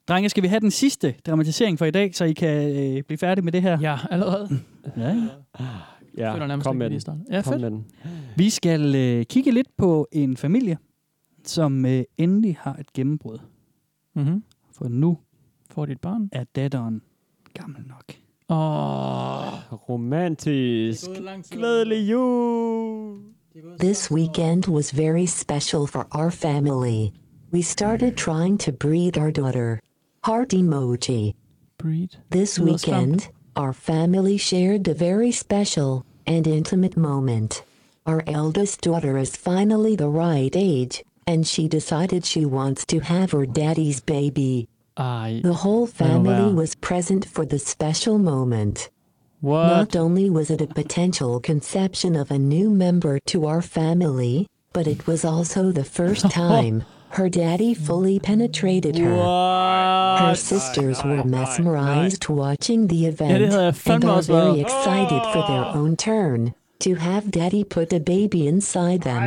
Speaker 5: Drenge, skal vi have den sidste dramatisering for i dag, så I kan øh, blive færdige med det her?
Speaker 6: Ja, allerede.
Speaker 5: ja, ja.
Speaker 4: Ja,
Speaker 6: Føler nærmest
Speaker 4: kom med
Speaker 6: ikke, vi
Speaker 4: den.
Speaker 6: lige startede. Ja,
Speaker 4: Kom
Speaker 6: fedt.
Speaker 4: med den.
Speaker 5: Vi skal øh, kigge lidt på en familie, som øh, endelig har et gennembrud.
Speaker 6: Mm-hmm.
Speaker 5: For nu
Speaker 6: får dit barn.
Speaker 5: er datteren gammel nok.
Speaker 4: Åh, romantisk. Glædelig jul.
Speaker 13: This weekend was very special for our family. We started trying to breed our daughter. Heart emoji.
Speaker 6: Breed.
Speaker 13: This
Speaker 6: Little stamp.
Speaker 13: weekend, our family shared a very special and intimate moment. Our eldest daughter is finally the right age, and she decided she wants to have her daddy's baby.
Speaker 6: Ej.
Speaker 13: The whole
Speaker 6: lad nu
Speaker 13: family
Speaker 6: være.
Speaker 13: was present for the special moment.
Speaker 6: What?
Speaker 13: Not only was it a potential conception of a new member to our family, but it was also the first time her daddy fully penetrated her. Her sisters were mesmerized watching the
Speaker 6: Ja, det
Speaker 13: event,
Speaker 6: havde jeg
Speaker 13: and
Speaker 6: fandme
Speaker 13: are
Speaker 6: også været.
Speaker 13: very excited for their own turn to have daddy put a baby inside them.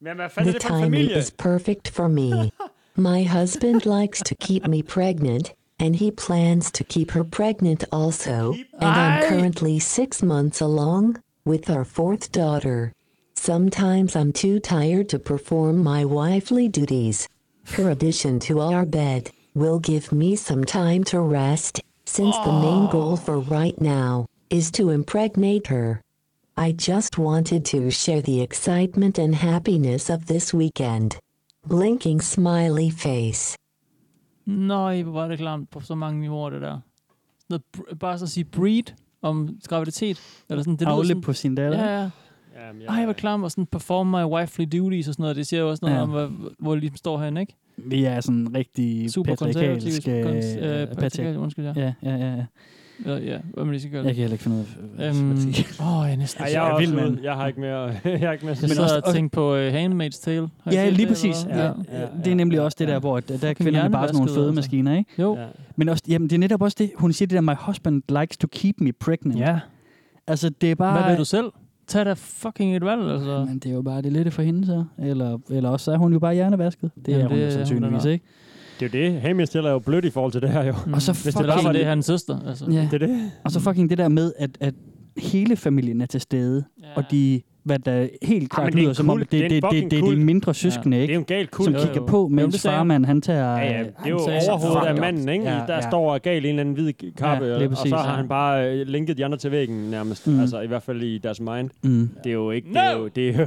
Speaker 4: Hvem er fanden
Speaker 13: The
Speaker 4: er det for en
Speaker 13: timing
Speaker 4: familie?
Speaker 13: is perfect for me. My husband likes to keep me pregnant, and he plans to keep her pregnant also. And I'm currently six months along with our fourth daughter. Sometimes I'm too tired to perform my wifely duties. Her addition to our bed will give me some time to rest, since the main goal for right now is to impregnate her. I just wanted to share the excitement and happiness of this weekend. blinking smiley face.
Speaker 6: Nej, hvor var det klamt på så mange niveauer, det der. Sådan Noget, br- bare så at sige breed om graviditet. Eller sådan, det lyder
Speaker 5: Afle
Speaker 6: sådan-
Speaker 5: på sin datter.
Speaker 6: Ja, ja.
Speaker 4: Jamen,
Speaker 6: Ej, hvor klam, og sådan perform my wifely duties og sådan noget. Det siger jo også noget
Speaker 5: Ja.
Speaker 6: ja. om, hvor, hvor det ligesom står herinde, ikke?
Speaker 5: Vi er sådan rigtig
Speaker 6: Super konservativt.
Speaker 5: patriarkalske...
Speaker 6: Kons- øh,
Speaker 5: patri-
Speaker 6: patriarkal, undskyld, ja.
Speaker 5: Ja, ja, ja. ja.
Speaker 6: Ja, ja, hvad man lige skal gøre.
Speaker 5: Jeg kan heller ikke finde ud af...
Speaker 6: Øhm, åh, jeg er næsten...
Speaker 4: Ej, jeg, er også ude. jeg har ikke mere. jeg har ikke mere.
Speaker 6: Jeg sad og tænkte på uh, Handmaid's Tale. Har I
Speaker 5: Ja,
Speaker 6: set
Speaker 5: lige
Speaker 6: det,
Speaker 5: præcis.
Speaker 6: eller
Speaker 5: Ja,
Speaker 6: hvad?
Speaker 5: ja, det er nemlig også det der, hvor der, der er
Speaker 6: Fucking
Speaker 5: kvinderne bare sådan nogle
Speaker 6: hjernevaskede,
Speaker 5: fede maskiner, ikke?
Speaker 6: Jo.
Speaker 4: Ja.
Speaker 5: Men også, jamen, det er netop også det, hun siger det der, my husband likes to keep me pregnant.
Speaker 6: Ja.
Speaker 5: Altså, det er bare...
Speaker 6: Hvad vil du selv? Tag da fucking et valg, altså.
Speaker 5: Men det er jo bare det lette for hende, så. Eller, eller også så er hun jo bare hjernevasket. Det
Speaker 6: Jamen,
Speaker 5: er hun
Speaker 6: det er
Speaker 5: jo
Speaker 6: hun
Speaker 5: sandsynligvis,
Speaker 6: nok.
Speaker 5: ikke?
Speaker 4: Det er jo det. Hamid stiller jo blødt i forhold til det her, jo.
Speaker 5: Mm. Og så
Speaker 4: Hvis det
Speaker 5: fucking-
Speaker 4: bare var
Speaker 5: Det
Speaker 4: det,
Speaker 5: er
Speaker 4: han
Speaker 6: hans søster. Altså.
Speaker 5: Ja.
Speaker 4: Det er det.
Speaker 5: Og så fucking det der med, at, at hele familien er til stede, ja. og de, hvad der helt klart
Speaker 4: men
Speaker 5: ja,
Speaker 4: det er en
Speaker 5: lyder som om, det,
Speaker 4: kult. Det er
Speaker 5: det,
Speaker 4: en
Speaker 5: det, det,
Speaker 4: fucking
Speaker 5: det er de
Speaker 4: kult.
Speaker 5: mindre
Speaker 4: Ja.
Speaker 5: søskende,
Speaker 4: Det er
Speaker 5: ikke?
Speaker 4: jo en gal kult.
Speaker 5: Som
Speaker 4: Jo,
Speaker 5: kigger
Speaker 4: jo.
Speaker 5: på,
Speaker 4: Jamen, det
Speaker 5: mens
Speaker 4: sagde jeg.
Speaker 5: farmand, han tager... øh,
Speaker 4: Ja, ja, det er jo
Speaker 5: han tager-
Speaker 4: overhovedet af
Speaker 5: Fuck.
Speaker 4: manden, ikke?
Speaker 5: Ja,
Speaker 4: Ja, der
Speaker 5: ja.
Speaker 4: står gal i en eller anden hvid kappe,
Speaker 5: Ja,
Speaker 4: ja,
Speaker 5: lige
Speaker 4: og
Speaker 5: præcis.
Speaker 4: så har han bare øh, linket de andre til væggen nærmest.
Speaker 5: Mm.
Speaker 4: Mm. Altså i hvert fald i deres mind.
Speaker 5: Mm.
Speaker 4: Det er jo ikke... Det er jo, det er,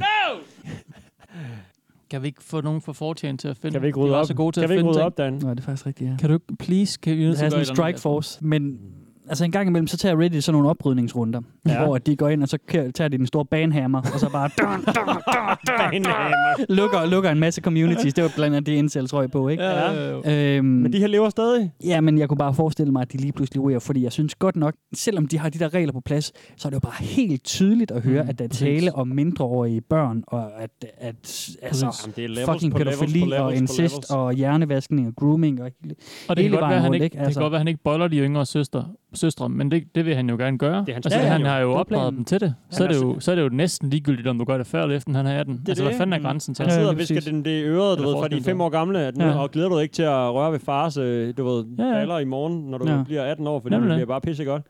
Speaker 6: Kan vi ikke få nogen fra fortjen til at finde?
Speaker 4: Kan vi ikke rydde
Speaker 6: de var
Speaker 4: op?
Speaker 6: så gode til
Speaker 4: Kan
Speaker 6: at
Speaker 4: vi ikke rydde
Speaker 6: finde ting.
Speaker 4: op, Dan?
Speaker 5: Nej, det er faktisk rigtigt, ja.
Speaker 6: Kan du ikke, please, kan vi
Speaker 5: Det er
Speaker 6: nødt til
Speaker 5: sådan
Speaker 6: at gøre
Speaker 5: en
Speaker 6: et eller andet?
Speaker 5: strike force, men altså en gang imellem, så tager Reddit sådan nogle oprydningsrunder, ja.
Speaker 6: Ja.
Speaker 5: hvor at de går ind, og så kører- tager de den store banhammer, og så bare dun, dun, dun, dun, lukker, lukker en masse communities. Det var blandt andet det, incels røg på, ikke?
Speaker 4: Ja,
Speaker 5: Øhm, men
Speaker 4: de her lever stadig?
Speaker 5: Ja, men jeg kunne bare forestille mig, at de lige pludselig ryger, fordi jeg synes godt nok, selvom de har de der regler på plads, så er det jo bare helt tydeligt at høre, mm, at der er tale om mindreårige børn, og at, at altså,
Speaker 4: Jamen, det er levels
Speaker 5: fucking
Speaker 4: på levels på
Speaker 5: pædofili
Speaker 4: levels
Speaker 5: og
Speaker 4: på
Speaker 5: incest
Speaker 4: levels.
Speaker 5: og hjernevaskning og grooming og hele,
Speaker 6: Og det kan,
Speaker 5: hele
Speaker 6: godt være,
Speaker 5: vejen
Speaker 6: han
Speaker 5: rundt,
Speaker 6: ikke, Altså.
Speaker 5: ikke? Altså-
Speaker 6: det kan godt være, han ikke boller de yngre søstre, søstre men det, det vil han jo gerne gøre. Det er
Speaker 5: hans
Speaker 6: altså,
Speaker 5: plan,
Speaker 6: han
Speaker 5: jo.
Speaker 6: har
Speaker 5: Det
Speaker 6: jo
Speaker 5: er
Speaker 6: opdraget
Speaker 5: planen.
Speaker 6: dem til det. Så
Speaker 5: Han
Speaker 6: er det,
Speaker 5: er
Speaker 6: jo, så er det jo næsten ligegyldigt, om du gør det før eller efter, han har 18. Det altså, hvad fanden er grænsen til?
Speaker 4: Han sidder og visker den det i øret, du
Speaker 6: Eller
Speaker 4: ved, fra de er
Speaker 6: forskellen
Speaker 4: fem år gamle, at nu,
Speaker 6: Ja.
Speaker 4: ja. og glæder du dig ikke til at røre ved fars, øh, du ved,
Speaker 6: Ja,
Speaker 4: ja,
Speaker 6: ja.
Speaker 4: baller i morgen, når du
Speaker 6: Ja.
Speaker 4: ja. bliver 18 år, fordi
Speaker 6: Nemlig
Speaker 4: det
Speaker 6: det.
Speaker 4: bliver bare pissegodt.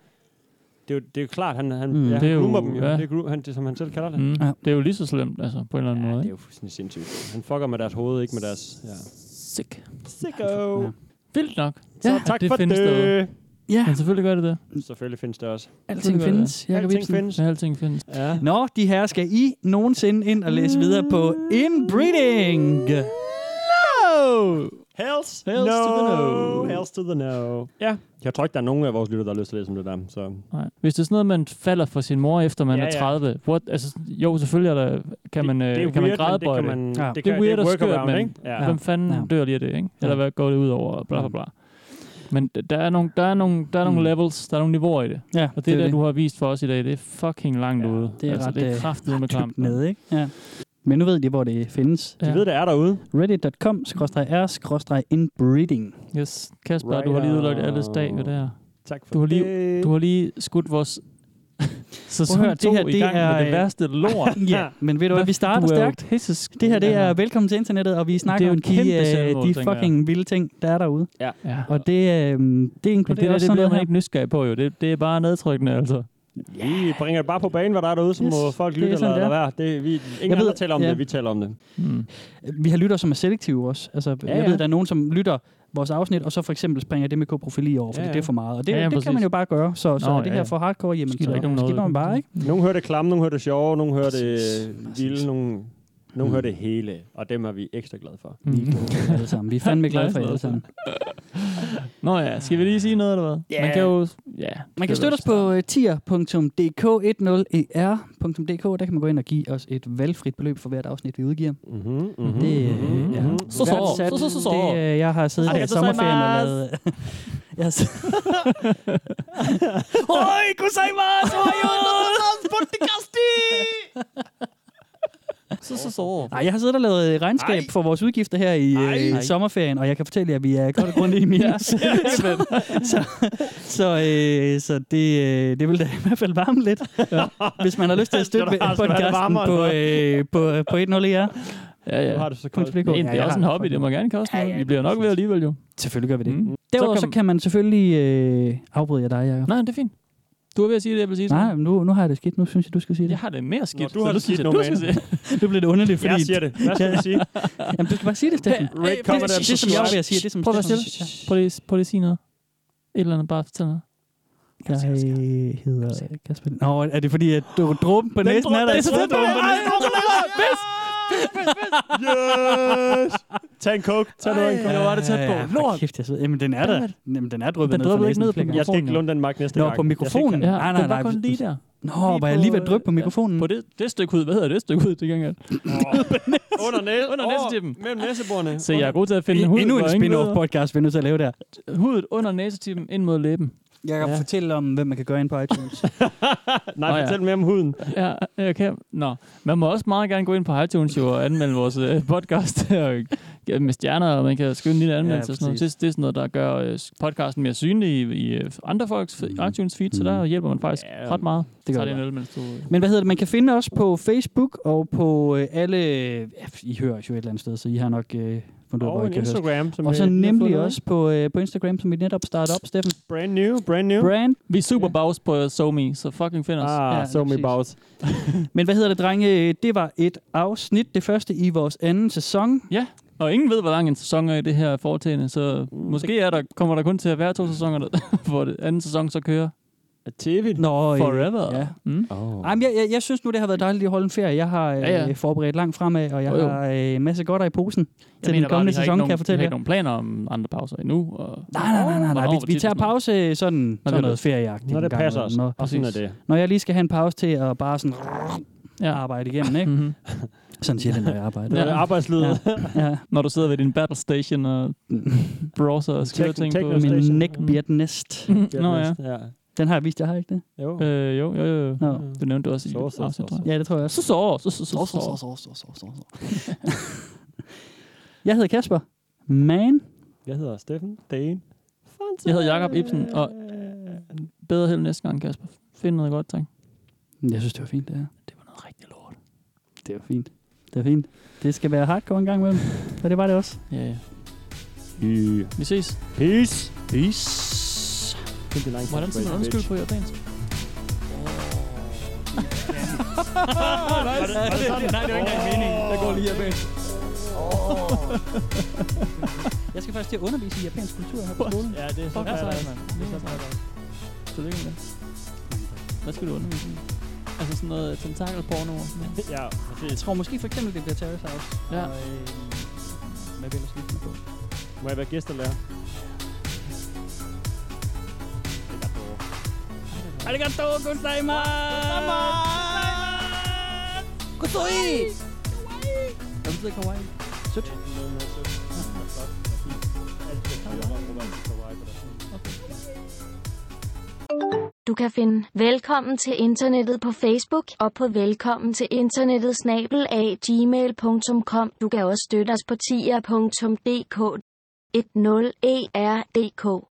Speaker 4: Det er jo, det er jo klart, han, han,
Speaker 6: Mm.
Speaker 4: mm. ja,
Speaker 6: Det er
Speaker 4: han
Speaker 6: jo-
Speaker 4: groomer dem jo.
Speaker 6: ja.
Speaker 4: Ja. Det er gro- han, det, som han selv kalder det.
Speaker 6: Mm.
Speaker 4: Mm.
Speaker 6: Ja. Det er jo lige så slemt, altså, på en eller anden måde. Det er
Speaker 4: jo fuldstændig sindssygt. Han fucker med deres hoved, ikke med deres... Ja.
Speaker 6: Sick.
Speaker 5: altså,
Speaker 4: Sicko. Ja.
Speaker 6: Vildt nok.
Speaker 4: Så tak for det.
Speaker 5: Ja.
Speaker 6: Men selvfølgelig gør det det.
Speaker 4: Selvfølgelig findes det også.
Speaker 6: Alting
Speaker 4: gør det.
Speaker 6: findes, Jacob
Speaker 4: Alting
Speaker 6: Ibsen.
Speaker 4: findes.
Speaker 6: Ja, alting findes.
Speaker 4: Ja.
Speaker 5: Nå, de her skal I nogensinde ind og læse videre på Inbreeding. No!
Speaker 4: Hells,
Speaker 5: Hells to the no.
Speaker 4: Hells to the no. Ja. Jeg tror ikke, der er nogen af vores lytter, der har lyst til at læse om det der. Så.
Speaker 6: Nej. Hvis det er sådan noget, man falder for sin mor, efter man
Speaker 4: Ja,
Speaker 6: ja, er
Speaker 4: ja.
Speaker 6: 30, what? Altså, jo, selvfølgelig er der, kan man, det,
Speaker 4: det er
Speaker 6: kan man
Speaker 4: weird, men
Speaker 6: græde
Speaker 4: det kan man- det
Speaker 6: det,
Speaker 4: kan-
Speaker 6: det,
Speaker 4: det
Speaker 6: er
Speaker 4: er
Speaker 6: weird og skørt,
Speaker 4: workaround,
Speaker 6: men
Speaker 4: ikke? Ja.
Speaker 6: hvem fanden
Speaker 4: Ja.
Speaker 6: dør lige af det, ikke? Eller hvad går det ud over, og bla bla bla. Men d- der er nogle, der er nogle, der er nogle
Speaker 5: Mm.
Speaker 6: levels, der er nogle niveauer i det.
Speaker 5: Ja,
Speaker 6: og det,
Speaker 5: det
Speaker 6: det
Speaker 5: er
Speaker 6: der,
Speaker 5: det.
Speaker 6: du har vist for os i dag, det er fucking langt ja, ude.
Speaker 5: Det er
Speaker 6: altså,
Speaker 5: ret,
Speaker 6: det er
Speaker 5: øh,
Speaker 6: kraftigt med
Speaker 5: ret
Speaker 6: klamt.
Speaker 5: dybt nede, ikke? Ja. Men nu ved de, hvor det findes.
Speaker 6: De Ja. ved,
Speaker 4: det er derude.
Speaker 5: Reddit.com-r-inbreeding.
Speaker 6: Yes. Kasper, du har lige udlagt alles dag ved det her. du har lige, du har lige skudt vores sæson
Speaker 5: Prøv at høre,
Speaker 6: to
Speaker 5: det her,
Speaker 6: i
Speaker 5: det
Speaker 6: gang
Speaker 5: er...
Speaker 6: med det værste lort.
Speaker 5: ja, men ved du hvad, vi starter
Speaker 6: Du er jo
Speaker 5: stærkt.
Speaker 6: Hessisk,
Speaker 5: Det her, det er
Speaker 6: Ja.
Speaker 5: velkommen til internettet, og vi
Speaker 6: Det er
Speaker 5: snakker
Speaker 6: jo
Speaker 5: om
Speaker 6: et kæmpe
Speaker 5: de, øh,
Speaker 6: selvmål,
Speaker 5: de
Speaker 6: tænker jeg.
Speaker 5: fucking vilde ting, der er derude.
Speaker 4: Ja.
Speaker 6: Ja.
Speaker 5: Og det, øh, det
Speaker 6: Men
Speaker 5: inkluderer
Speaker 6: det,
Speaker 5: også
Speaker 6: der, det
Speaker 5: sådan
Speaker 6: bliver
Speaker 5: noget
Speaker 6: man
Speaker 5: her.
Speaker 6: ikke nysgerrig på, jo. Det, det er bare nedtrykkende, altså.
Speaker 4: Vi bringer det bare på banen, hvad der er derude, så
Speaker 5: Yes,
Speaker 4: yes, må folk
Speaker 5: det er
Speaker 4: lytte eller
Speaker 5: sådan, det
Speaker 4: lade
Speaker 5: er.
Speaker 4: være. Det, vi, ingen
Speaker 5: Jeg ved-
Speaker 4: andre taler om
Speaker 5: ja.
Speaker 4: det, vi taler om det.
Speaker 5: Øh, Vi har lytter, som er selektive også. Altså, ja,
Speaker 4: Ja,
Speaker 5: jeg
Speaker 4: ja.
Speaker 5: ved, der er nogen, som lytter vores afsnit, og så for eksempel springer det med koprofil i over, fordi ja,
Speaker 4: Ja,
Speaker 5: ja.
Speaker 4: ja.
Speaker 5: det er for meget. Og det,
Speaker 4: Ja,
Speaker 5: ja,
Speaker 4: ja,
Speaker 5: det kan
Speaker 4: præcis.
Speaker 5: man jo bare gøre. Så, så
Speaker 4: Nå,
Speaker 5: er det
Speaker 4: ja,
Speaker 5: her
Speaker 4: ja.
Speaker 5: for hardcore, jamen,
Speaker 4: Skidt
Speaker 5: så
Speaker 4: ikke nogen
Speaker 5: skipper man bare, ikke?
Speaker 4: Nogle hører det klamme, nogle hører det sjove, nogle hører det øh, vilde, nogle, nogle
Speaker 5: Mm.
Speaker 4: hører det hele. Og dem er vi ekstra glade for.
Speaker 5: Mm. Vi er glade for jer alle sammen. Vi er fandme glade for jer alle sammen.
Speaker 6: Nå ja, skal vi lige sige noget, eller hvad?
Speaker 5: Ja.
Speaker 6: Man kan jo... Ja.
Speaker 5: Man kan støtte os på øh, tier.dk10er.dk. Der kan man gå ind og give os et valgfrit beløb for hvert afsnit, vi udgiver.
Speaker 4: Mm-hmm,
Speaker 5: mm-hmm, det, øh, ja.
Speaker 6: Så, så,
Speaker 5: Værdsat,
Speaker 6: så, så, så, så.
Speaker 5: Det, øh, jeg har siddet her i
Speaker 6: Arigatou
Speaker 5: sommerferien og
Speaker 6: gozaimasu.
Speaker 5: lavet... jeg har siddet-
Speaker 6: Oi, gozaimasu, ohayo, Så, så, så.
Speaker 5: Nej, jeg har siddet og lavet øh, regnskab Ej. for vores udgifter her i
Speaker 6: Ej.
Speaker 5: øh, sommerferien, og jeg kan fortælle jer, at vi er godt og grundigt i minus.
Speaker 6: Ja,
Speaker 5: så,
Speaker 6: det er
Speaker 5: så, så, øh, så det, øh, det vil da i hvert fald varme lidt, ja. hvis man har lyst til at støtte
Speaker 6: Skal der altså være
Speaker 5: podcasten
Speaker 6: varmere
Speaker 5: på,
Speaker 6: end
Speaker 5: øh, på, på 1.0 Ja,
Speaker 6: Ja, ja.
Speaker 5: Nu har du så koldt.
Speaker 6: Det er
Speaker 5: Ja, jeg
Speaker 6: egentlig også en
Speaker 5: har-
Speaker 6: hobby, det må gerne koste noget. Vi bliver nok ved alligevel, jo.
Speaker 5: Selvfølgelig gør vi det.
Speaker 6: Mm.
Speaker 5: Derudover så kan, så kan man selvfølgelig... Øh, afbryde jeg dig, Jacob?
Speaker 6: Nej, det er fint. Du er ved at sige det, jeg vil sige.
Speaker 5: Nej, men nu, nu har jeg det skidt. Nu synes jeg, du skal sige det.
Speaker 6: Jeg har det mere skidt.
Speaker 5: du har
Speaker 6: så
Speaker 5: det
Speaker 6: synes
Speaker 5: skidt
Speaker 6: jeg,
Speaker 5: nu,
Speaker 6: du skal
Speaker 5: man.
Speaker 6: sige det.
Speaker 5: Det blev lidt underligt, fordi...
Speaker 6: Jeg siger det. Hvad skal vi sige?
Speaker 5: Jamen, du skal bare sige det, Steffen.
Speaker 6: Hey, hey,
Speaker 5: det, det, det, som jeg var ved at sige, det som
Speaker 6: Prøv at
Speaker 5: Steffen-
Speaker 6: være stille. Prøv lige, prøv lige at sige noget. Et eller andet, bare fortæl noget.
Speaker 5: Jeg hedder Kasper. Nå, er det fordi, at du dråben på næsen er der?
Speaker 6: dråbe- det er så fedt,
Speaker 5: Dråben på
Speaker 6: det er-
Speaker 5: næsen.
Speaker 6: Yes!
Speaker 4: Tag en coke. Tag nu en coke. Jeg var det tæt på.
Speaker 5: Lort. Kæft, jeg sidder. Jamen, den er der.
Speaker 4: Jamen.
Speaker 5: Jamen, den er dryppet
Speaker 4: Den
Speaker 5: ned fra
Speaker 4: dryppede ikke
Speaker 5: næsen,
Speaker 4: ned på
Speaker 5: Flemming.
Speaker 4: Jeg skal ikke låne den mark næste
Speaker 5: Nå, på
Speaker 4: gang. Jeg skal
Speaker 5: mikrofonen.
Speaker 4: ikke- Ja,
Speaker 5: nej, nej,
Speaker 4: den var
Speaker 5: nej.
Speaker 4: kun lige der.
Speaker 5: Nå, var jeg lige ved at dryppe på mikrofonen?
Speaker 6: På det, det stykke hud. Hvad hedder det stykke hud, det gang?
Speaker 4: Under, næ-
Speaker 6: Under næsetippen.
Speaker 4: Mellem næseborene.
Speaker 6: Så jeg er god til at finde hud.
Speaker 5: E- Endnu en spin-off podcast, vi er nødt til at lave der.
Speaker 6: Hudet under næsetippen, ind mod læben.
Speaker 5: Jeg kan ja. fortælle om, hvem man kan gøre ind på iTunes.
Speaker 6: Nej,
Speaker 5: fortæl
Speaker 4: mere om huden.
Speaker 6: Ja, jeg kan. Nå, man må også meget gerne gå ind på iTunes jo, og anmelde vores øh, podcast og, ja, med stjerner, og man kan skrive en lille anmeldelse
Speaker 5: Ja,
Speaker 6: ja, og sådan noget.
Speaker 5: præcis.
Speaker 6: Det, det er sådan noget, der gør øh, podcasten mere synlig i, i øh, andre folks iTunes feed, så der hjælper man faktisk ja, ret meget.
Speaker 5: Mm. det gør
Speaker 6: Tager
Speaker 5: det
Speaker 6: en
Speaker 5: bare.
Speaker 6: øl, mens du... øh,
Speaker 5: Men hvad hedder det? Man kan finde os på Facebook og på øh, alle... Ja, I hører os jo et eller andet sted, så I har nok øh, fundet ud af,
Speaker 4: Og
Speaker 5: hvor I
Speaker 4: en
Speaker 5: kan høre os.
Speaker 4: Instagram, som
Speaker 5: Og så
Speaker 4: vi lige har
Speaker 5: nemlig
Speaker 4: fundet,
Speaker 5: også på, øh, på Instagram, som vi netop startede op, Steffen.
Speaker 4: Brand new, brand new.
Speaker 5: Brand.
Speaker 6: Vi er super bags på SoMe, så fucking find os.
Speaker 5: Ah, SoMe
Speaker 4: bags.
Speaker 5: Men hvad hedder det, drenge? Det var et afsnit, det første i vores anden sæson.
Speaker 6: Ja, og ingen ved, hvor lang en sæson er i det her foretagende, så måske er der, kommer der kun til at være to sæsoner, der- hvor det anden sæson så kører.
Speaker 4: TV.
Speaker 5: Nå, øh,
Speaker 6: Forever.
Speaker 5: ja.
Speaker 6: Mm.
Speaker 4: Oh.
Speaker 5: Ej, men jeg, jeg, jeg synes nu, det har været dejligt lige at holde en ferie. Jeg har øh,
Speaker 6: Ja,
Speaker 5: ja,
Speaker 6: ja.
Speaker 5: ja. forberedt langt fremad, og jeg
Speaker 6: Jo, jo.
Speaker 5: har øh, en masse godter i posen jeg til
Speaker 6: mener
Speaker 5: den kommende
Speaker 6: vi har ikke
Speaker 5: sæson,
Speaker 6: nogen,
Speaker 5: kan jeg fortælle
Speaker 6: Vi har
Speaker 5: jer.
Speaker 6: ikke nogen planer om andre pauser endnu. Og...
Speaker 5: Nej, nej, nej, nej, nej. Vi, vi tager pause sådan, sådan
Speaker 6: det-
Speaker 5: noget ferieagtigt.
Speaker 6: når
Speaker 5: en
Speaker 6: det
Speaker 5: gang
Speaker 6: passer
Speaker 5: imellem.
Speaker 6: os, og sådan er
Speaker 5: præcis.
Speaker 6: det.
Speaker 5: Når jeg lige skal have en pause til at bare sådan ja. arbejde igennem, ikke? sådan siger det, når jeg arbejder.
Speaker 6: Mhm. Ja. Arbejdslivet.
Speaker 5: Ja. ja.
Speaker 6: Når du sidder ved din battle station og browser og skriver ting på
Speaker 5: min neckbeard nest.
Speaker 6: Nå ja.
Speaker 5: Den har jeg vist, jeg har ikke det?
Speaker 4: Jo.
Speaker 6: Øh, jo, jo, jo.
Speaker 5: Nå.
Speaker 6: Det nævnte du også i
Speaker 5: Så, så, så,
Speaker 6: afsnit, tror jeg.
Speaker 5: Ja, det tror jeg også.
Speaker 6: Så så, så så, så, så, så.
Speaker 5: Jeg hedder Kasper. Man.
Speaker 4: Jeg hedder Steffen Dane.
Speaker 6: Jeg hedder Jakob Ibsen, og bedre held næste gang, Kasper. Find noget godt, tak.
Speaker 5: Jeg synes, det var fint, det her. Det var noget rigtig lort. Det var fint. Det var fint. Det skal være hardcore en gang imellem. Og det var det også.
Speaker 6: Ja, ja.
Speaker 4: Yeah.
Speaker 6: Vi ses.
Speaker 4: Peace.
Speaker 5: Peace.
Speaker 6: Hvordan skal man undskylde på japansk?
Speaker 4: Var det- var det sådan?
Speaker 5: Nej, det var ikke engang meningen. Der går lige japansk. Jeg skal faktisk til at undervise i japansk kultur her på skolen.
Speaker 6: Ja, det er så
Speaker 5: Fuck, hvor
Speaker 6: sejt,
Speaker 5: dejligt.
Speaker 6: mand. Det er så sejt. Tillykke med det. Hvad skal du undervise i? Altså sådan noget tentakelporno og sådan noget?
Speaker 4: Ja, præcis.
Speaker 5: øh, Jeg tror måske for eksempel, det bliver Terrace House. Og,
Speaker 6: Ja.
Speaker 5: øh, hvad vil jeg ellers lige finde på?
Speaker 4: Må jeg være gæstelærer?
Speaker 5: Arigatou gozaimasu! Kawaii! Hvad betyder kawaii? Sødt.
Speaker 14: Du kan finde Velkommen til internettet på Facebook og på velkommen til internettet snabel af gmail.com. Du kan også støtte os på tier.dk E 10erdk.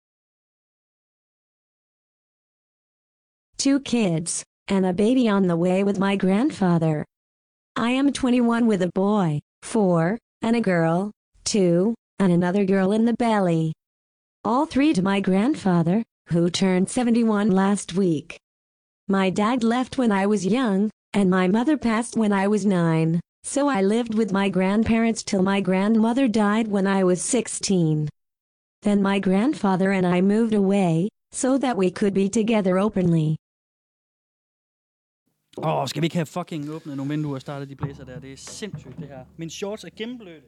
Speaker 15: Two kids, and a baby on the way with my grandfather. I am 21 with a boy, 4, and a girl, 2, and another girl in the belly. All three to my grandfather, who turned 71 last week. My dad left when I was young, and my mother passed when I was 9, so I lived with my grandparents till my grandmother died when I was 16. Then my grandfather and I moved away, so that we could be together openly.
Speaker 5: Åh, oh, skal vi ikke have fucking åbnet nogle vinduer og startet de blæser der? Det er sindssygt, det her. Min shorts er gennemblødt.